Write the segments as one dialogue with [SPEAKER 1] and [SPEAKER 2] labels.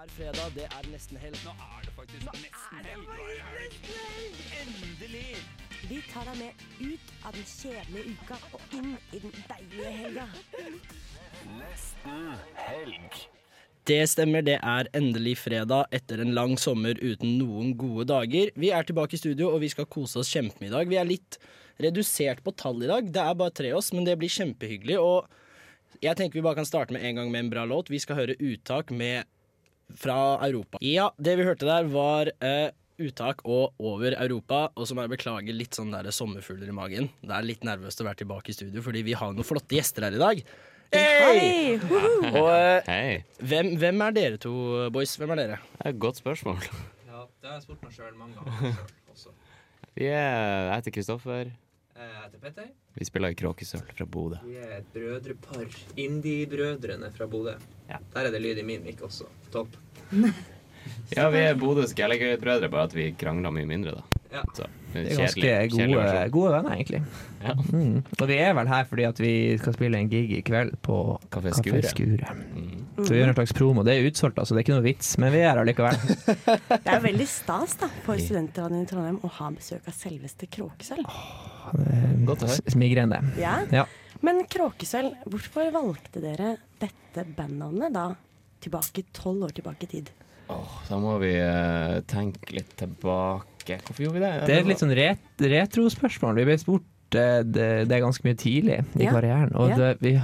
[SPEAKER 1] er fredag, det er nesten helg.
[SPEAKER 2] Nå er det faktisk nesten helg. Nå er det helg. Endelig!
[SPEAKER 3] Vi tar deg med ut av den kjedelige uka og inn i den deilige helga.
[SPEAKER 1] Det stemmer, det er endelig fredag etter en lang sommer uten noen gode dager. Vi er tilbake i studio, og vi skal kose oss kjempemye i dag. Vi er litt redusert på tall i dag. Det er bare tre oss, men det blir kjempehyggelig. Og jeg tenker vi bare kan starte med en gang med en bra låt. Vi skal høre uttak med fra Europa. Ja, det vi hørte der var eh, uttak og over Europa. Og så må jeg beklage litt sånn der sommerfugler i magen. Det er litt nervøst å være tilbake i studio, fordi vi har noen flotte gjester her i dag. Hei!
[SPEAKER 3] Hei! Woohoo!
[SPEAKER 1] Og eh,
[SPEAKER 4] Hei,
[SPEAKER 1] hvem, hvem er dere to, boys? Hvem er dere?
[SPEAKER 4] det er et godt spørsmål.
[SPEAKER 5] Ja, det har jeg spurt meg sjøl mange ganger selv også.
[SPEAKER 4] Vi er, jeg heter Kristoffer.
[SPEAKER 5] Eh, Jeg heter Petter.
[SPEAKER 4] Vi spiller i Kråkesølv fra Bodø.
[SPEAKER 5] Vi er et brødrepar. Indie-brødrene fra Bodø.
[SPEAKER 4] Ja.
[SPEAKER 5] Der er det lyd i min mikk også. Topp.
[SPEAKER 4] Ja, vi er Bodøs Gallagher-brødre, bare at vi krangler mye mindre, da.
[SPEAKER 5] Ja.
[SPEAKER 4] Så,
[SPEAKER 6] Vi er ganske gode, gode venner, egentlig.
[SPEAKER 4] Ja.
[SPEAKER 6] Mm. Og vi er vel her fordi at vi skal spille en gig i kveld på
[SPEAKER 4] Café Skure. Mm.
[SPEAKER 6] Kafé Skure. Så vi gjør en slags promo. Det er utsolgt, altså. Det er ikke noe vits, men vi er her likevel.
[SPEAKER 3] Det er veldig stas da, for studentradioen i Trondheim å ha besøk av selveste Kråkesølv.
[SPEAKER 4] Godt å høre.
[SPEAKER 6] S- Smigrende.
[SPEAKER 3] Ja.
[SPEAKER 6] Ja.
[SPEAKER 3] Men Kråkesølv, hvorfor valgte dere dette bandnavnet da? Tilbake tolv år tilbake i tid.
[SPEAKER 4] Åh, da må vi eh, tenke litt tilbake. Hvorfor gjorde vi det?
[SPEAKER 6] Det er et litt sånn ret retrospørsmål. Vi ble spurt eh, det, det er ganske mye tidlig i
[SPEAKER 3] Ja.
[SPEAKER 6] karrieren, og
[SPEAKER 3] Ja.
[SPEAKER 6] det, vi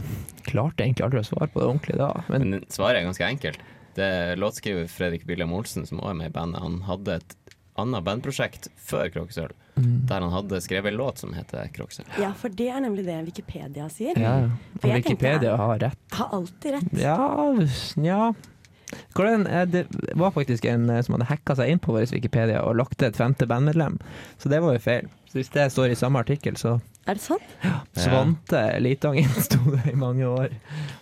[SPEAKER 6] klarte egentlig aldri å svare på det ordentlig da. Men
[SPEAKER 4] Men svaret er ganske enkelt. Det er låtskriver Fredrik William Olsen, som også er med i bandet, han hadde et annet bandprosjekt før Kråkesølv,
[SPEAKER 6] Mm.
[SPEAKER 4] der han hadde skrevet en låt som heter Kråkesølv.
[SPEAKER 3] Ja, for det er nemlig det Wikipedia sier.
[SPEAKER 6] ja, og
[SPEAKER 3] Mm. For jeg tenkte-
[SPEAKER 6] Wikipedia har rett.
[SPEAKER 3] Har alltid rett.
[SPEAKER 6] Ja, nja Hvordan, eh, Det var faktisk en eh, som hadde hacka seg inn på vår Wikipedia og lagt til et femte bandmedlem, så det var jo feil. Så Hvis det står i samme artikkel, så
[SPEAKER 3] Er det sant?
[SPEAKER 6] Svante Litangen sto det i mange år,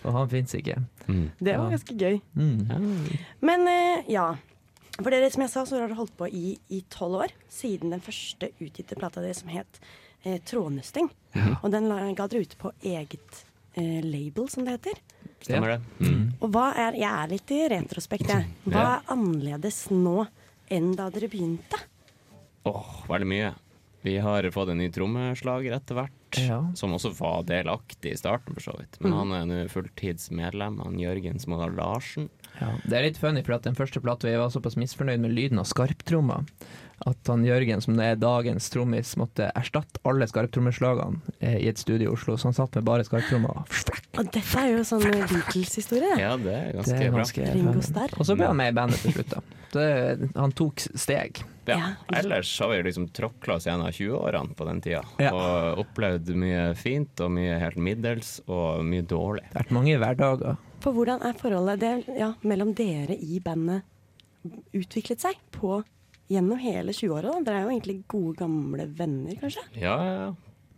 [SPEAKER 6] og han fins ikke.
[SPEAKER 4] Mm.
[SPEAKER 3] Det var
[SPEAKER 6] Ja.
[SPEAKER 3] ganske gøy.
[SPEAKER 6] Mm.
[SPEAKER 3] Men eh, ja. For dere, som jeg sa, så har dere holdt på i i tolv år. Siden den første utgitte plata deres som het eh, Trådnøsting. Og den la, ga dere ut på eget eh, label, som det heter.
[SPEAKER 4] Stemmer det? Mm.
[SPEAKER 3] Og hva er Jeg er litt i retrospekt, jeg. Hva
[SPEAKER 4] Ja.
[SPEAKER 3] er annerledes nå enn da dere begynte?
[SPEAKER 4] Åh, veldig mye. Vi har fått en ny trommeslager etter hvert,
[SPEAKER 6] Ja. Mm.
[SPEAKER 4] som også var delaktig i starten, for så vidt. Men han er nå fulltidsmedlem, han Jørgen Smådal Larsen.
[SPEAKER 6] Ja. Det er litt funny, for at den første plata vi var såpass misfornøyd med lyden av skarptromma at han Jørgen, som det er dagens trommis, måtte erstatte alle skarptrommeslagene eh, i et studio i Oslo, så han satt med bare skarptromma.
[SPEAKER 3] Og dette er jo sånn Beatles-historie.
[SPEAKER 4] Ja, det er ganske,
[SPEAKER 6] Det er ganske
[SPEAKER 4] bra.
[SPEAKER 3] Ringo
[SPEAKER 6] funny.
[SPEAKER 3] Starr.
[SPEAKER 6] Og så ble han med i bandet til slutt, da. Det, han tok steg.
[SPEAKER 4] Ja.
[SPEAKER 3] Ja.
[SPEAKER 4] Ellers har vi liksom tråkla oss gjennom 20-årene på den tida,
[SPEAKER 6] Ja.
[SPEAKER 4] og opplevd mye fint og mye helt middels og mye dårlig.
[SPEAKER 6] Det har vært mange hverdager.
[SPEAKER 3] For hvordan er forholdet det, ja, mellom dere i bandet utviklet seg på gjennom hele 20-åra? da? Dere er jo egentlig gode, gamle venner, kanskje?
[SPEAKER 4] Ja, ja, ja.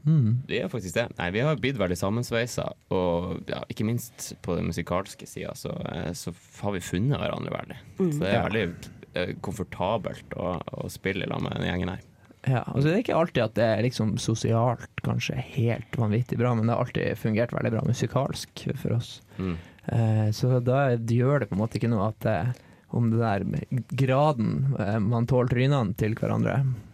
[SPEAKER 4] Vi er faktisk det. Nei, vi har blitt veldig sammensveisa, og ja, ikke minst på den musikalske sida så, eh, så har vi funnet hverandre veldig. Så det er
[SPEAKER 6] Ja.
[SPEAKER 4] veldig eh, komfortabelt å, å spille i lag med den gjengen her.
[SPEAKER 6] Ja, altså Det er ikke alltid at det er liksom sosialt kanskje helt vanvittig bra, men det har alltid fungert veldig bra musikalsk for oss.
[SPEAKER 4] Mm.
[SPEAKER 6] Eh, så da gjør det på en måte ikke noe at eh, om det der med graden eh, man tåler trynene til hverandre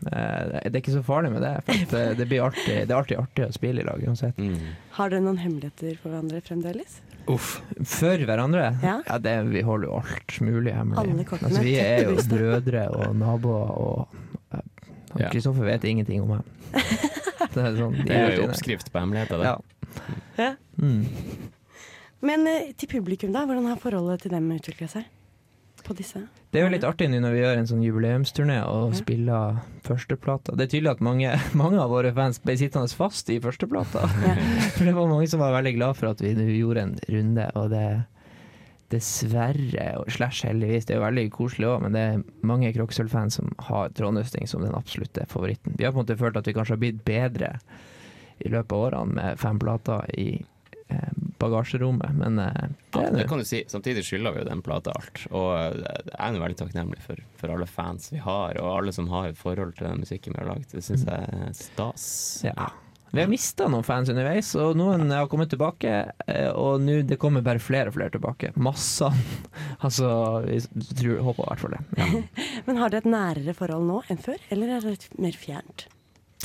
[SPEAKER 6] eh, Det er ikke så farlig med det, for at, eh, det, blir alltid, det er alltid artig å spille i lag uansett.
[SPEAKER 4] Mm.
[SPEAKER 3] Har dere noen hemmeligheter for hverandre fremdeles?
[SPEAKER 1] Uff.
[SPEAKER 6] For hverandre?
[SPEAKER 3] Ja.
[SPEAKER 6] det, vi holder jo alt mulig hemmelig.
[SPEAKER 3] Alle kortene
[SPEAKER 6] altså, vi er jo
[SPEAKER 3] tett i brystet.
[SPEAKER 6] brødre og naboer, og eh,
[SPEAKER 4] Ja.
[SPEAKER 6] Kristoffer vet ingenting om meg. Det er, sånn,
[SPEAKER 4] Det er jo
[SPEAKER 6] fine.
[SPEAKER 4] oppskrift på hemmeligheter, det.
[SPEAKER 6] Ja.
[SPEAKER 3] Ja.
[SPEAKER 6] Mm.
[SPEAKER 3] Men eh, til publikum, da? Hvordan har forholdet til dem utvikla seg? På disse?
[SPEAKER 6] Det er jo litt artig nå når vi gjør en sånn jubileumsturné og
[SPEAKER 3] Ja.
[SPEAKER 6] spiller førsteplata. Det er tydelig at mange, mange av våre fans ble sittende fast i førsteplata.
[SPEAKER 3] Ja.
[SPEAKER 6] For det var mange som var veldig glad for at vi nå gjorde en runde, og det dessverre, og slash heldigvis, det er jo veldig koselig òg, men det er mange Kroksølv-fans som har Trondhøsting som den absolutte favoritten. Vi har på en måte følt at vi kanskje har blitt bedre i løpet av årene med fem plater i eh, bagasjerommet, men eh, det
[SPEAKER 4] Ja,
[SPEAKER 6] er
[SPEAKER 4] det
[SPEAKER 6] nå
[SPEAKER 4] kan du si. Samtidig skylder vi jo den plata alt. Og eh, jeg er jo veldig takknemlig for, for alle fans vi har, og alle som har et forhold til den musikken vi har laget. Det syns jeg er stas.
[SPEAKER 6] Ja. Vi har mista noen fans underveis, og noen har kommet tilbake. eh, Og nå det kommer bare flere og flere tilbake. Massene. Altså, vi tror, håper i hvert fall det. Ja.
[SPEAKER 3] Men har dere et nærere forhold nå enn før, eller er det et mer fjernt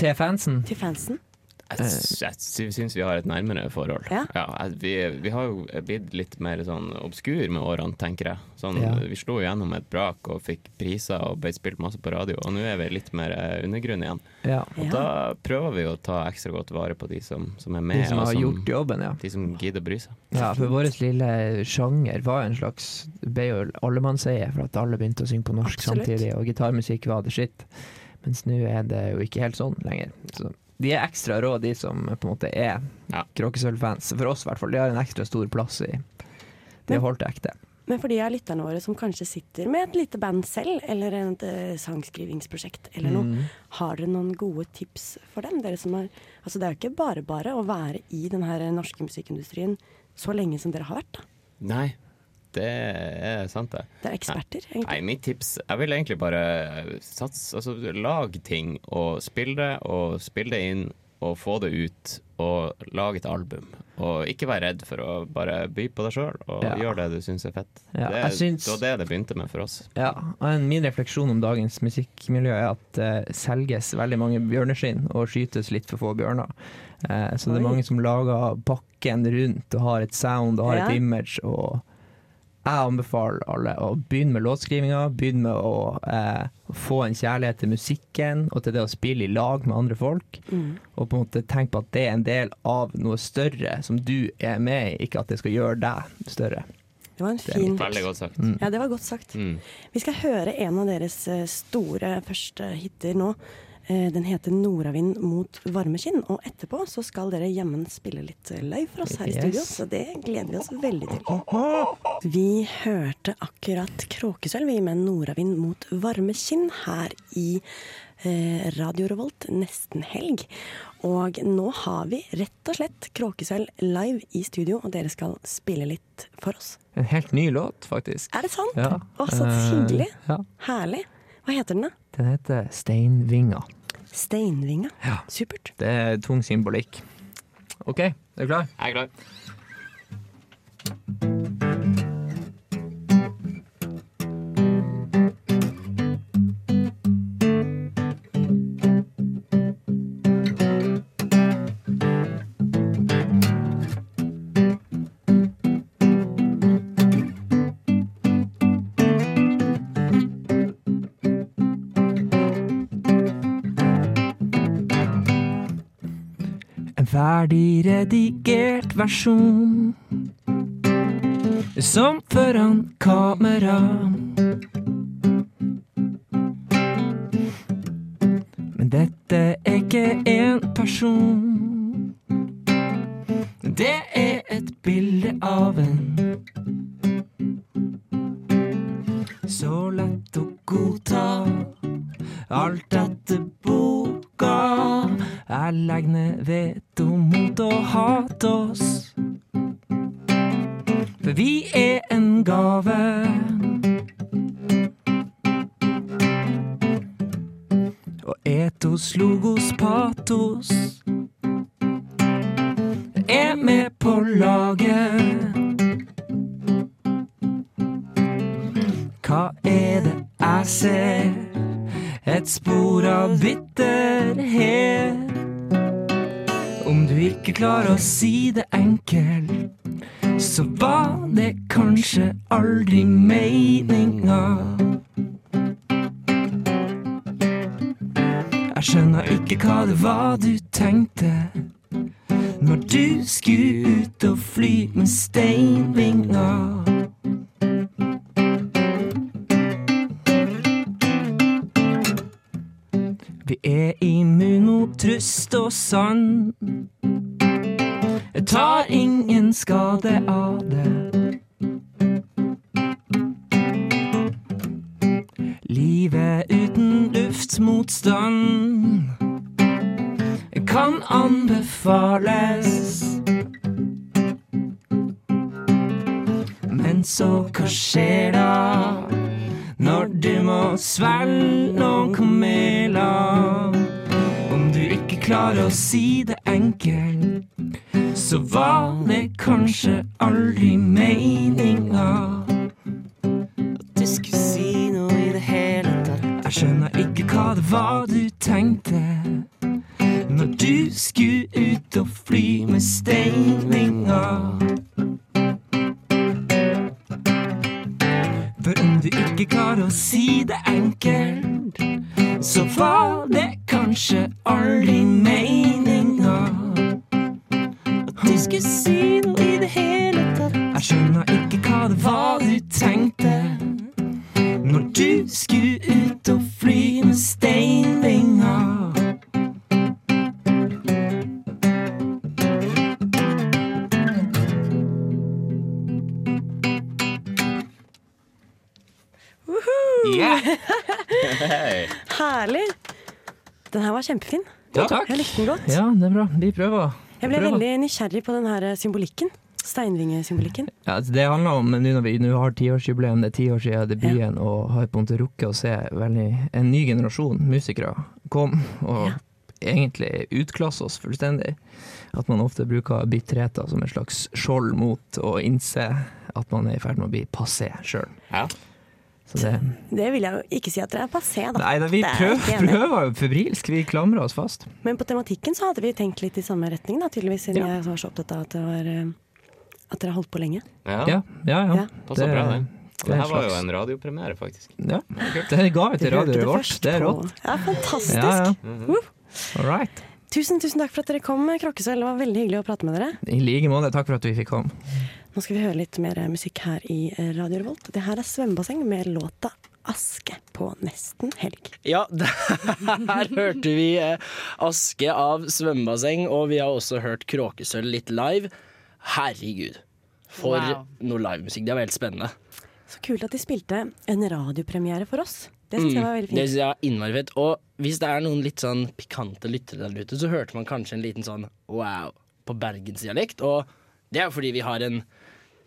[SPEAKER 6] Til fansen.
[SPEAKER 3] til fansen?
[SPEAKER 6] Eh.
[SPEAKER 4] Jeg, s- jeg sy- syns vi har et nærmere forhold.
[SPEAKER 3] Ja.
[SPEAKER 4] jeg- vi, vi har jo blitt litt mer sånn obskur med årene, tenker jeg. Sånn,
[SPEAKER 6] Ja.
[SPEAKER 4] Vi slo gjennom et brak og fikk priser og ble spilt masse på radio, og nå er vi litt mer eh, undergrunn igjen.
[SPEAKER 6] Ja.
[SPEAKER 4] Og
[SPEAKER 3] Ja.
[SPEAKER 4] da prøver vi å ta ekstra godt vare på de som, som er med, altså
[SPEAKER 6] De som
[SPEAKER 4] og
[SPEAKER 6] har
[SPEAKER 4] som,
[SPEAKER 6] gjort jobben, ja.
[SPEAKER 4] de som gidder å bry seg.
[SPEAKER 6] ja for vår lille sjanger var en slags det ble jo allemannseie, for at alle begynte å synge på norsk
[SPEAKER 3] Absolutt.
[SPEAKER 6] samtidig, og gitarmusikk var det shit. Mens nå er det jo ikke helt sånn lenger. Så de er ekstra rå, de som på en måte er
[SPEAKER 4] Ja.
[SPEAKER 6] Kråkesølv-fans. For oss, i hvert fall. De har en ekstra stor plass i Det
[SPEAKER 3] Men-
[SPEAKER 6] holdt ekte.
[SPEAKER 3] Men for de av lytterne våre som kanskje sitter med et lite band selv, eller et eh, sangskrivingsprosjekt eller
[SPEAKER 6] Mm.
[SPEAKER 3] noe, har dere noen gode tips for dem? Dere som har, altså det er jo ikke bare bare å være i den her norske musikkindustrien så lenge som dere har vært. da.
[SPEAKER 4] Nei, det er sant, det.
[SPEAKER 3] Dere er eksperter, egentlig.
[SPEAKER 4] Nei, mitt tips Jeg vil egentlig bare satse Altså, lag ting og spill det, og spill det inn, og få det ut, og lag et album. Og ikke vær redd for å bare by på deg sjøl, og
[SPEAKER 6] Ja.
[SPEAKER 4] gjør det du syns er fett.
[SPEAKER 6] Ja,
[SPEAKER 4] det,
[SPEAKER 6] jeg syns-
[SPEAKER 4] det var det det begynte med for oss.
[SPEAKER 6] Ja, og en- Min refleksjon om dagens musikkmiljø er at det selges veldig mange bjørneskinn og skytes litt for få bjørner. Eh, så det er
[SPEAKER 3] Oi.
[SPEAKER 6] mange som lager bakken rundt og har et sound og har
[SPEAKER 3] Ja.
[SPEAKER 6] et image. og jeg anbefaler alle å begynne med låtskrivinga, begynne med å eh, få en kjærlighet til musikken og til det å spille i lag med andre folk.
[SPEAKER 3] Mm.
[SPEAKER 6] Og på en måte tenk på at det er en del av noe større som du er med i, ikke at det skal gjøre deg større.
[SPEAKER 3] Det var en fin
[SPEAKER 6] Mm.
[SPEAKER 4] Veldig godt sagt.
[SPEAKER 3] Ja, det var godt sagt.
[SPEAKER 4] Mm.
[SPEAKER 3] Vi skal høre en av deres eh, store første hitter nå. Eh, Den heter 'Nordavind mot varmeskinn', og etterpå så skal dere jammen spille litt løy for oss her i
[SPEAKER 6] Yes.
[SPEAKER 3] studio, så det gleder vi oss veldig til. Vi hørte akkurat Kråkesølv vi, med 'Nordavind mot varmeskinn' her i eh, Radio Revolt nesten helg. Og nå har vi rett og slett Kråkesølv live i studio, og dere skal spille litt for oss.
[SPEAKER 6] En helt ny låt, faktisk.
[SPEAKER 3] Er det sant?
[SPEAKER 6] Ja.
[SPEAKER 3] Å, så
[SPEAKER 6] Eh,
[SPEAKER 3] hyggelig.
[SPEAKER 6] ja.
[SPEAKER 3] Herlig. Hva heter den, da?
[SPEAKER 6] Den heter Steinvinga.
[SPEAKER 3] Steinvinga.
[SPEAKER 6] Ja.
[SPEAKER 3] Supert.
[SPEAKER 6] Det er tung symbolikk. OK, er du klar?
[SPEAKER 4] Jeg er klar.
[SPEAKER 6] En ferdig redigert versjon. Som foran kamera. Men dette er ikke en person. Det er et bilde av en. Så lett å godta. Alt etter boka. Jeg legger ned veto mot å hate oss. For vi er en gave. Og etos, logos, patos er med på laget. Hva er det jeg ser? Et spor av bitterhet. Om du ikke klarer å si det enkelt, så var det kanskje aldri meninga. Jeg skjønner ikke hva det var du tenkte når du skulle ut og fly med steinvinger. Vi er immun mot trøst og sann. Jeg tar ingen skade av det. Livet uten luftmotstand kan anbefales. Men så hva skjer da? Når du må svelge noen kameler Om du ikke klarer å si det
[SPEAKER 7] enkel, så var det kanskje aldri meninga at du skulle si noe i det hele tatt. Jeg skjønner ikke hva det var du tenkte når du skulle ut og fly med steininga. For om du ikke klarer å si det enkelt, så var det kanskje aldri meninga at du skulle si noe i det hele tatt. Jeg skjønner ikke hva det var du tenkte når du skulle ut og fly med steinvinger.
[SPEAKER 4] Hei.
[SPEAKER 3] Herlig! Den her var kjempefin.
[SPEAKER 7] Ja, takk.
[SPEAKER 3] Jeg likte den godt.
[SPEAKER 6] Ja, det er bra. Vi prøver.
[SPEAKER 3] Jeg ble
[SPEAKER 6] Prøver.
[SPEAKER 3] veldig nysgjerrig på den her symbolikken. Steinvingesymbolikken.
[SPEAKER 6] Ja, altså, det handler om nå når vi nå har tiårsjubileum, det er ti år siden debuten, og har på en måte rukket å se veldig, en ny generasjon musikere kom og egentlig utklasse oss fullstendig. At man ofte bruker bitterheter som en slags skjold mot å innse at man er i ferd med å bli passé sjøl.
[SPEAKER 4] Ja.
[SPEAKER 6] Så det,
[SPEAKER 3] Det vil jeg jo ikke si at dere er passé, da.
[SPEAKER 6] nei da, vi
[SPEAKER 3] Det er jeg
[SPEAKER 6] prøver,
[SPEAKER 3] ikke enig i.
[SPEAKER 6] prøver jo febrilsk, vi klamrer oss fast.
[SPEAKER 3] Men på tematikken så hadde vi tenkt litt i samme retning, da, tydeligvis, siden jeg var så opptatt av at det var eh, at dere har holdt på lenge.
[SPEAKER 4] Ja,
[SPEAKER 6] Ja, ja. ja.
[SPEAKER 3] Ja.
[SPEAKER 4] passer bra, det.
[SPEAKER 6] er
[SPEAKER 4] Det her
[SPEAKER 6] en
[SPEAKER 4] var jo
[SPEAKER 6] slags-
[SPEAKER 4] en radiopremiere, faktisk.
[SPEAKER 6] Ja. Det ga vi
[SPEAKER 3] Dere
[SPEAKER 6] til
[SPEAKER 3] hørte
[SPEAKER 6] radioet
[SPEAKER 3] det
[SPEAKER 6] vårt,
[SPEAKER 3] først
[SPEAKER 6] det er
[SPEAKER 3] på-
[SPEAKER 6] rått.
[SPEAKER 3] Ja, fantastisk.
[SPEAKER 6] Ja, ja.
[SPEAKER 3] Woo.
[SPEAKER 6] All right.
[SPEAKER 3] Tusen, tusen takk for at dere kom, Krokkesølv. Det var veldig hyggelig å prate med dere.
[SPEAKER 6] I like måte, takk for at vi fikk komme.
[SPEAKER 3] Nå skal vi høre litt mer musikk her i eh, Radio Revolt. Det her er svømmebasseng med låta 'Aske på nesten helg'.
[SPEAKER 1] Ja, der hørte vi eh, Aske av svømmebasseng, og vi har også hørt Kråkesølv litt live. Herregud, for
[SPEAKER 8] Wow.
[SPEAKER 1] noe livemusikk. Det er veldig spennende.
[SPEAKER 3] Så kult at de spilte en radiopremiere for oss. Det synes jeg var veldig
[SPEAKER 1] Det
[SPEAKER 3] fint.
[SPEAKER 1] synes jeg er innmari fett. Og hvis det er noen litt sånn pikante lyttere der ute, så hørte man kanskje en liten sånn wow på bergensdialekt. Og det er jo fordi vi har en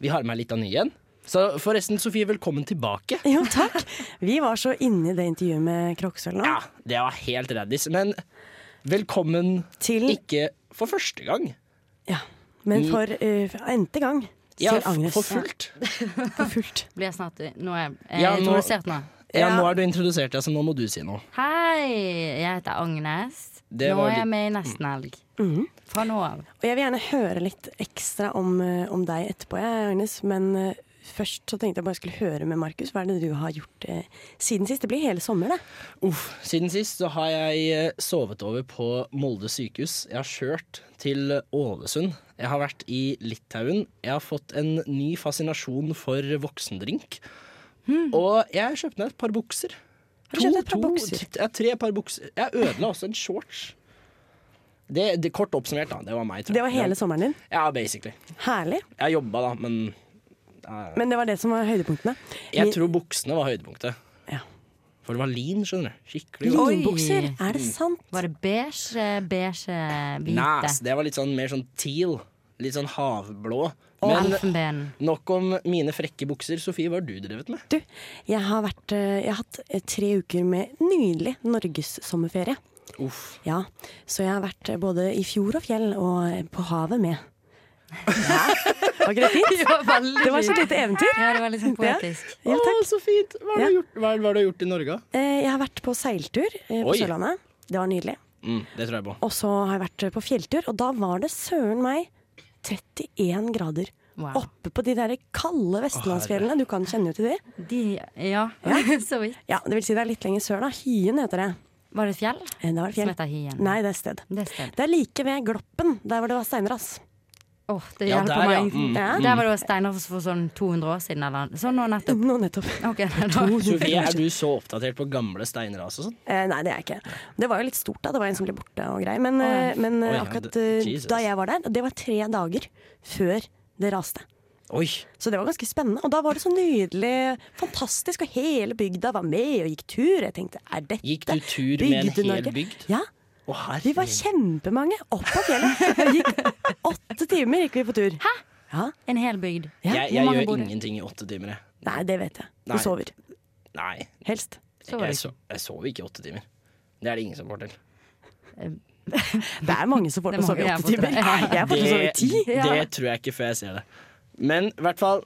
[SPEAKER 1] Vi har med litt av ny igjen. Så forresten, Sofie, velkommen tilbake.
[SPEAKER 3] Jo, takk. Vi var så inne i det intervjuet med Krokkesølv nå.
[SPEAKER 1] Ja, det var helt raddis. Men velkommen
[SPEAKER 3] Til
[SPEAKER 1] ikke for første gang.
[SPEAKER 3] Ja. Men for eh, for n-te gang.
[SPEAKER 1] Ja,
[SPEAKER 3] til Agnes.
[SPEAKER 1] for fullt.
[SPEAKER 3] For fullt.
[SPEAKER 8] Blir jeg snart Nå er jeg eh,
[SPEAKER 1] Ja, nå-
[SPEAKER 8] introdusert nå.
[SPEAKER 1] Ja,
[SPEAKER 3] Ja.
[SPEAKER 1] nå er du introdusert, ja, så nå må du si noe.
[SPEAKER 8] Hei, jeg heter Agnes.
[SPEAKER 1] Det
[SPEAKER 8] Nå
[SPEAKER 1] var
[SPEAKER 8] er
[SPEAKER 1] litt-
[SPEAKER 8] jeg med i Nesten helg.
[SPEAKER 3] Mhm.
[SPEAKER 8] Fra nå av.
[SPEAKER 3] Og jeg vil gjerne høre litt ekstra om, eh, om deg etterpå, jeg, Agnes. Men eh, først så tenkte jeg bare jeg skulle høre med Markus. Hva er det du har gjort eh, siden sist? Det blir hele sommer, det.
[SPEAKER 1] Uff, siden sist så har jeg eh, sovet over på Molde sykehus. Jeg har kjørt til Ålesund. Jeg har vært i Litauen. Jeg har fått en ny fascinasjon for voksendrink. Og jeg kjøpte meg et par bukser.
[SPEAKER 3] Hmm. Har du kjøpt deg et par bukser?
[SPEAKER 1] ja, tre par bukser. Jeg ødela også en shorts. Det, det Kort oppsummert, da. Det var meg. tror jeg.
[SPEAKER 3] Det var hele sommeren din.
[SPEAKER 1] Ja, basically.
[SPEAKER 3] Herlig.
[SPEAKER 1] Jeg jobba, da, men
[SPEAKER 3] Men det var det som var høydepunktene.
[SPEAKER 1] jeg tror buksene var høydepunktet.
[SPEAKER 3] Ja.
[SPEAKER 1] For det var lin, skjønner du. Skikkelig. godt.
[SPEAKER 3] Linbukser, er
[SPEAKER 8] Mm.
[SPEAKER 3] det sant?
[SPEAKER 8] Var det beige, eh, beige, eh, hvite?
[SPEAKER 1] Nice. Det var litt sånn, mer sånn teal. Litt sånn havblå.
[SPEAKER 8] Og
[SPEAKER 1] Men
[SPEAKER 8] elfenben.
[SPEAKER 1] nok om mine frekke bukser. Sofie, hva har du drevet med?
[SPEAKER 3] Du, jeg har, vært, eh, jeg har hatt eh, tre uker med nydelig norgessommerferie.
[SPEAKER 1] Uff.
[SPEAKER 3] Ja, så jeg har vært eh, både i fjord og fjell og eh, på havet med. Ja, var ikke det fint?
[SPEAKER 8] var veldig
[SPEAKER 3] Det var så
[SPEAKER 8] fint.
[SPEAKER 3] lite eventyr.
[SPEAKER 8] Ja, det var litt sånn poetisk.
[SPEAKER 3] Ja, takk.
[SPEAKER 1] så fint! Hva
[SPEAKER 3] har du
[SPEAKER 1] gjort, i Norge?
[SPEAKER 3] Eh, Jeg har vært på seiltur eh, på
[SPEAKER 1] Oi.
[SPEAKER 3] Sørlandet. Det var nydelig.
[SPEAKER 1] Mm, det tror jeg på.
[SPEAKER 3] Og så har jeg vært eh, på fjelltur, og da var det søren meg 31 grader.
[SPEAKER 8] Wow.
[SPEAKER 3] Oppe på de der kalde vestlandsfjellene. Du kan kjenne jo til de.
[SPEAKER 8] De, ja, så vidt.
[SPEAKER 3] Ja, det vil si det er litt lenger sør, da. Hyen heter det.
[SPEAKER 8] Var det et fjell?
[SPEAKER 3] Eh, Det var et
[SPEAKER 8] Som
[SPEAKER 3] fjell.
[SPEAKER 8] heter Hien.
[SPEAKER 3] Nei, det er et sted.
[SPEAKER 8] Det er et sted.
[SPEAKER 3] Det er like ved Gloppen, der hvor det var steinras.
[SPEAKER 8] Åh, det
[SPEAKER 1] Ja,
[SPEAKER 8] hjelper
[SPEAKER 1] der, ja.
[SPEAKER 8] meg.
[SPEAKER 1] Mm,
[SPEAKER 3] Ja.
[SPEAKER 8] Der var det jo steiner for sånn 200 år siden, eller sånn nå nettopp.
[SPEAKER 3] Nå nettopp.
[SPEAKER 8] Ok, da.
[SPEAKER 1] Sofie, er du så oppdatert på gamle steinras og sånn?
[SPEAKER 3] Eh, nei, det er jeg ikke. Det var jo litt stort, da. Det var en som ble borte og greier. Men,
[SPEAKER 8] Oi.
[SPEAKER 3] eh, men eh,
[SPEAKER 1] Oi, ja,
[SPEAKER 3] akkurat
[SPEAKER 1] det-
[SPEAKER 3] eh,
[SPEAKER 1] Jesus.
[SPEAKER 3] da jeg var der, det var tre dager før det raste.
[SPEAKER 1] Oi!
[SPEAKER 3] Så det var ganske spennende. Og da var det så nydelig, fantastisk, og hele bygda var med og gikk tur. Jeg tenkte, er dette
[SPEAKER 1] Gikk du tur med en hel
[SPEAKER 3] Bygde-Norge?
[SPEAKER 1] bygd? Mm.
[SPEAKER 3] Ja.
[SPEAKER 1] Å,
[SPEAKER 3] Vi var
[SPEAKER 1] herregud.
[SPEAKER 3] kjempemange opp av fjellet. Og gikk åtte timer gikk vi på tur. Hæ? Ja.
[SPEAKER 8] En hel bygd.
[SPEAKER 3] ja.
[SPEAKER 1] Jeg,
[SPEAKER 8] Hvor
[SPEAKER 1] jeg
[SPEAKER 8] mange
[SPEAKER 1] gjør
[SPEAKER 8] bor det?
[SPEAKER 1] ingenting i åtte timer, jeg.
[SPEAKER 3] Nei, det vet jeg. Du
[SPEAKER 1] Nei.
[SPEAKER 3] sover.
[SPEAKER 1] Nei.
[SPEAKER 3] Helst.
[SPEAKER 8] Så var
[SPEAKER 1] Jeg,
[SPEAKER 8] det
[SPEAKER 1] so jeg sover ikke i åtte timer. Det er det ingen som får til.
[SPEAKER 3] Det er mange som får
[SPEAKER 8] Det
[SPEAKER 3] til å
[SPEAKER 8] er
[SPEAKER 3] sove i
[SPEAKER 8] mange
[SPEAKER 3] åtte timer.
[SPEAKER 8] jeg har fått til.
[SPEAKER 3] Jeg har fått til å sove i ti.
[SPEAKER 8] ja.
[SPEAKER 1] det tror jeg ikke før jeg ser det. Men i hvert fall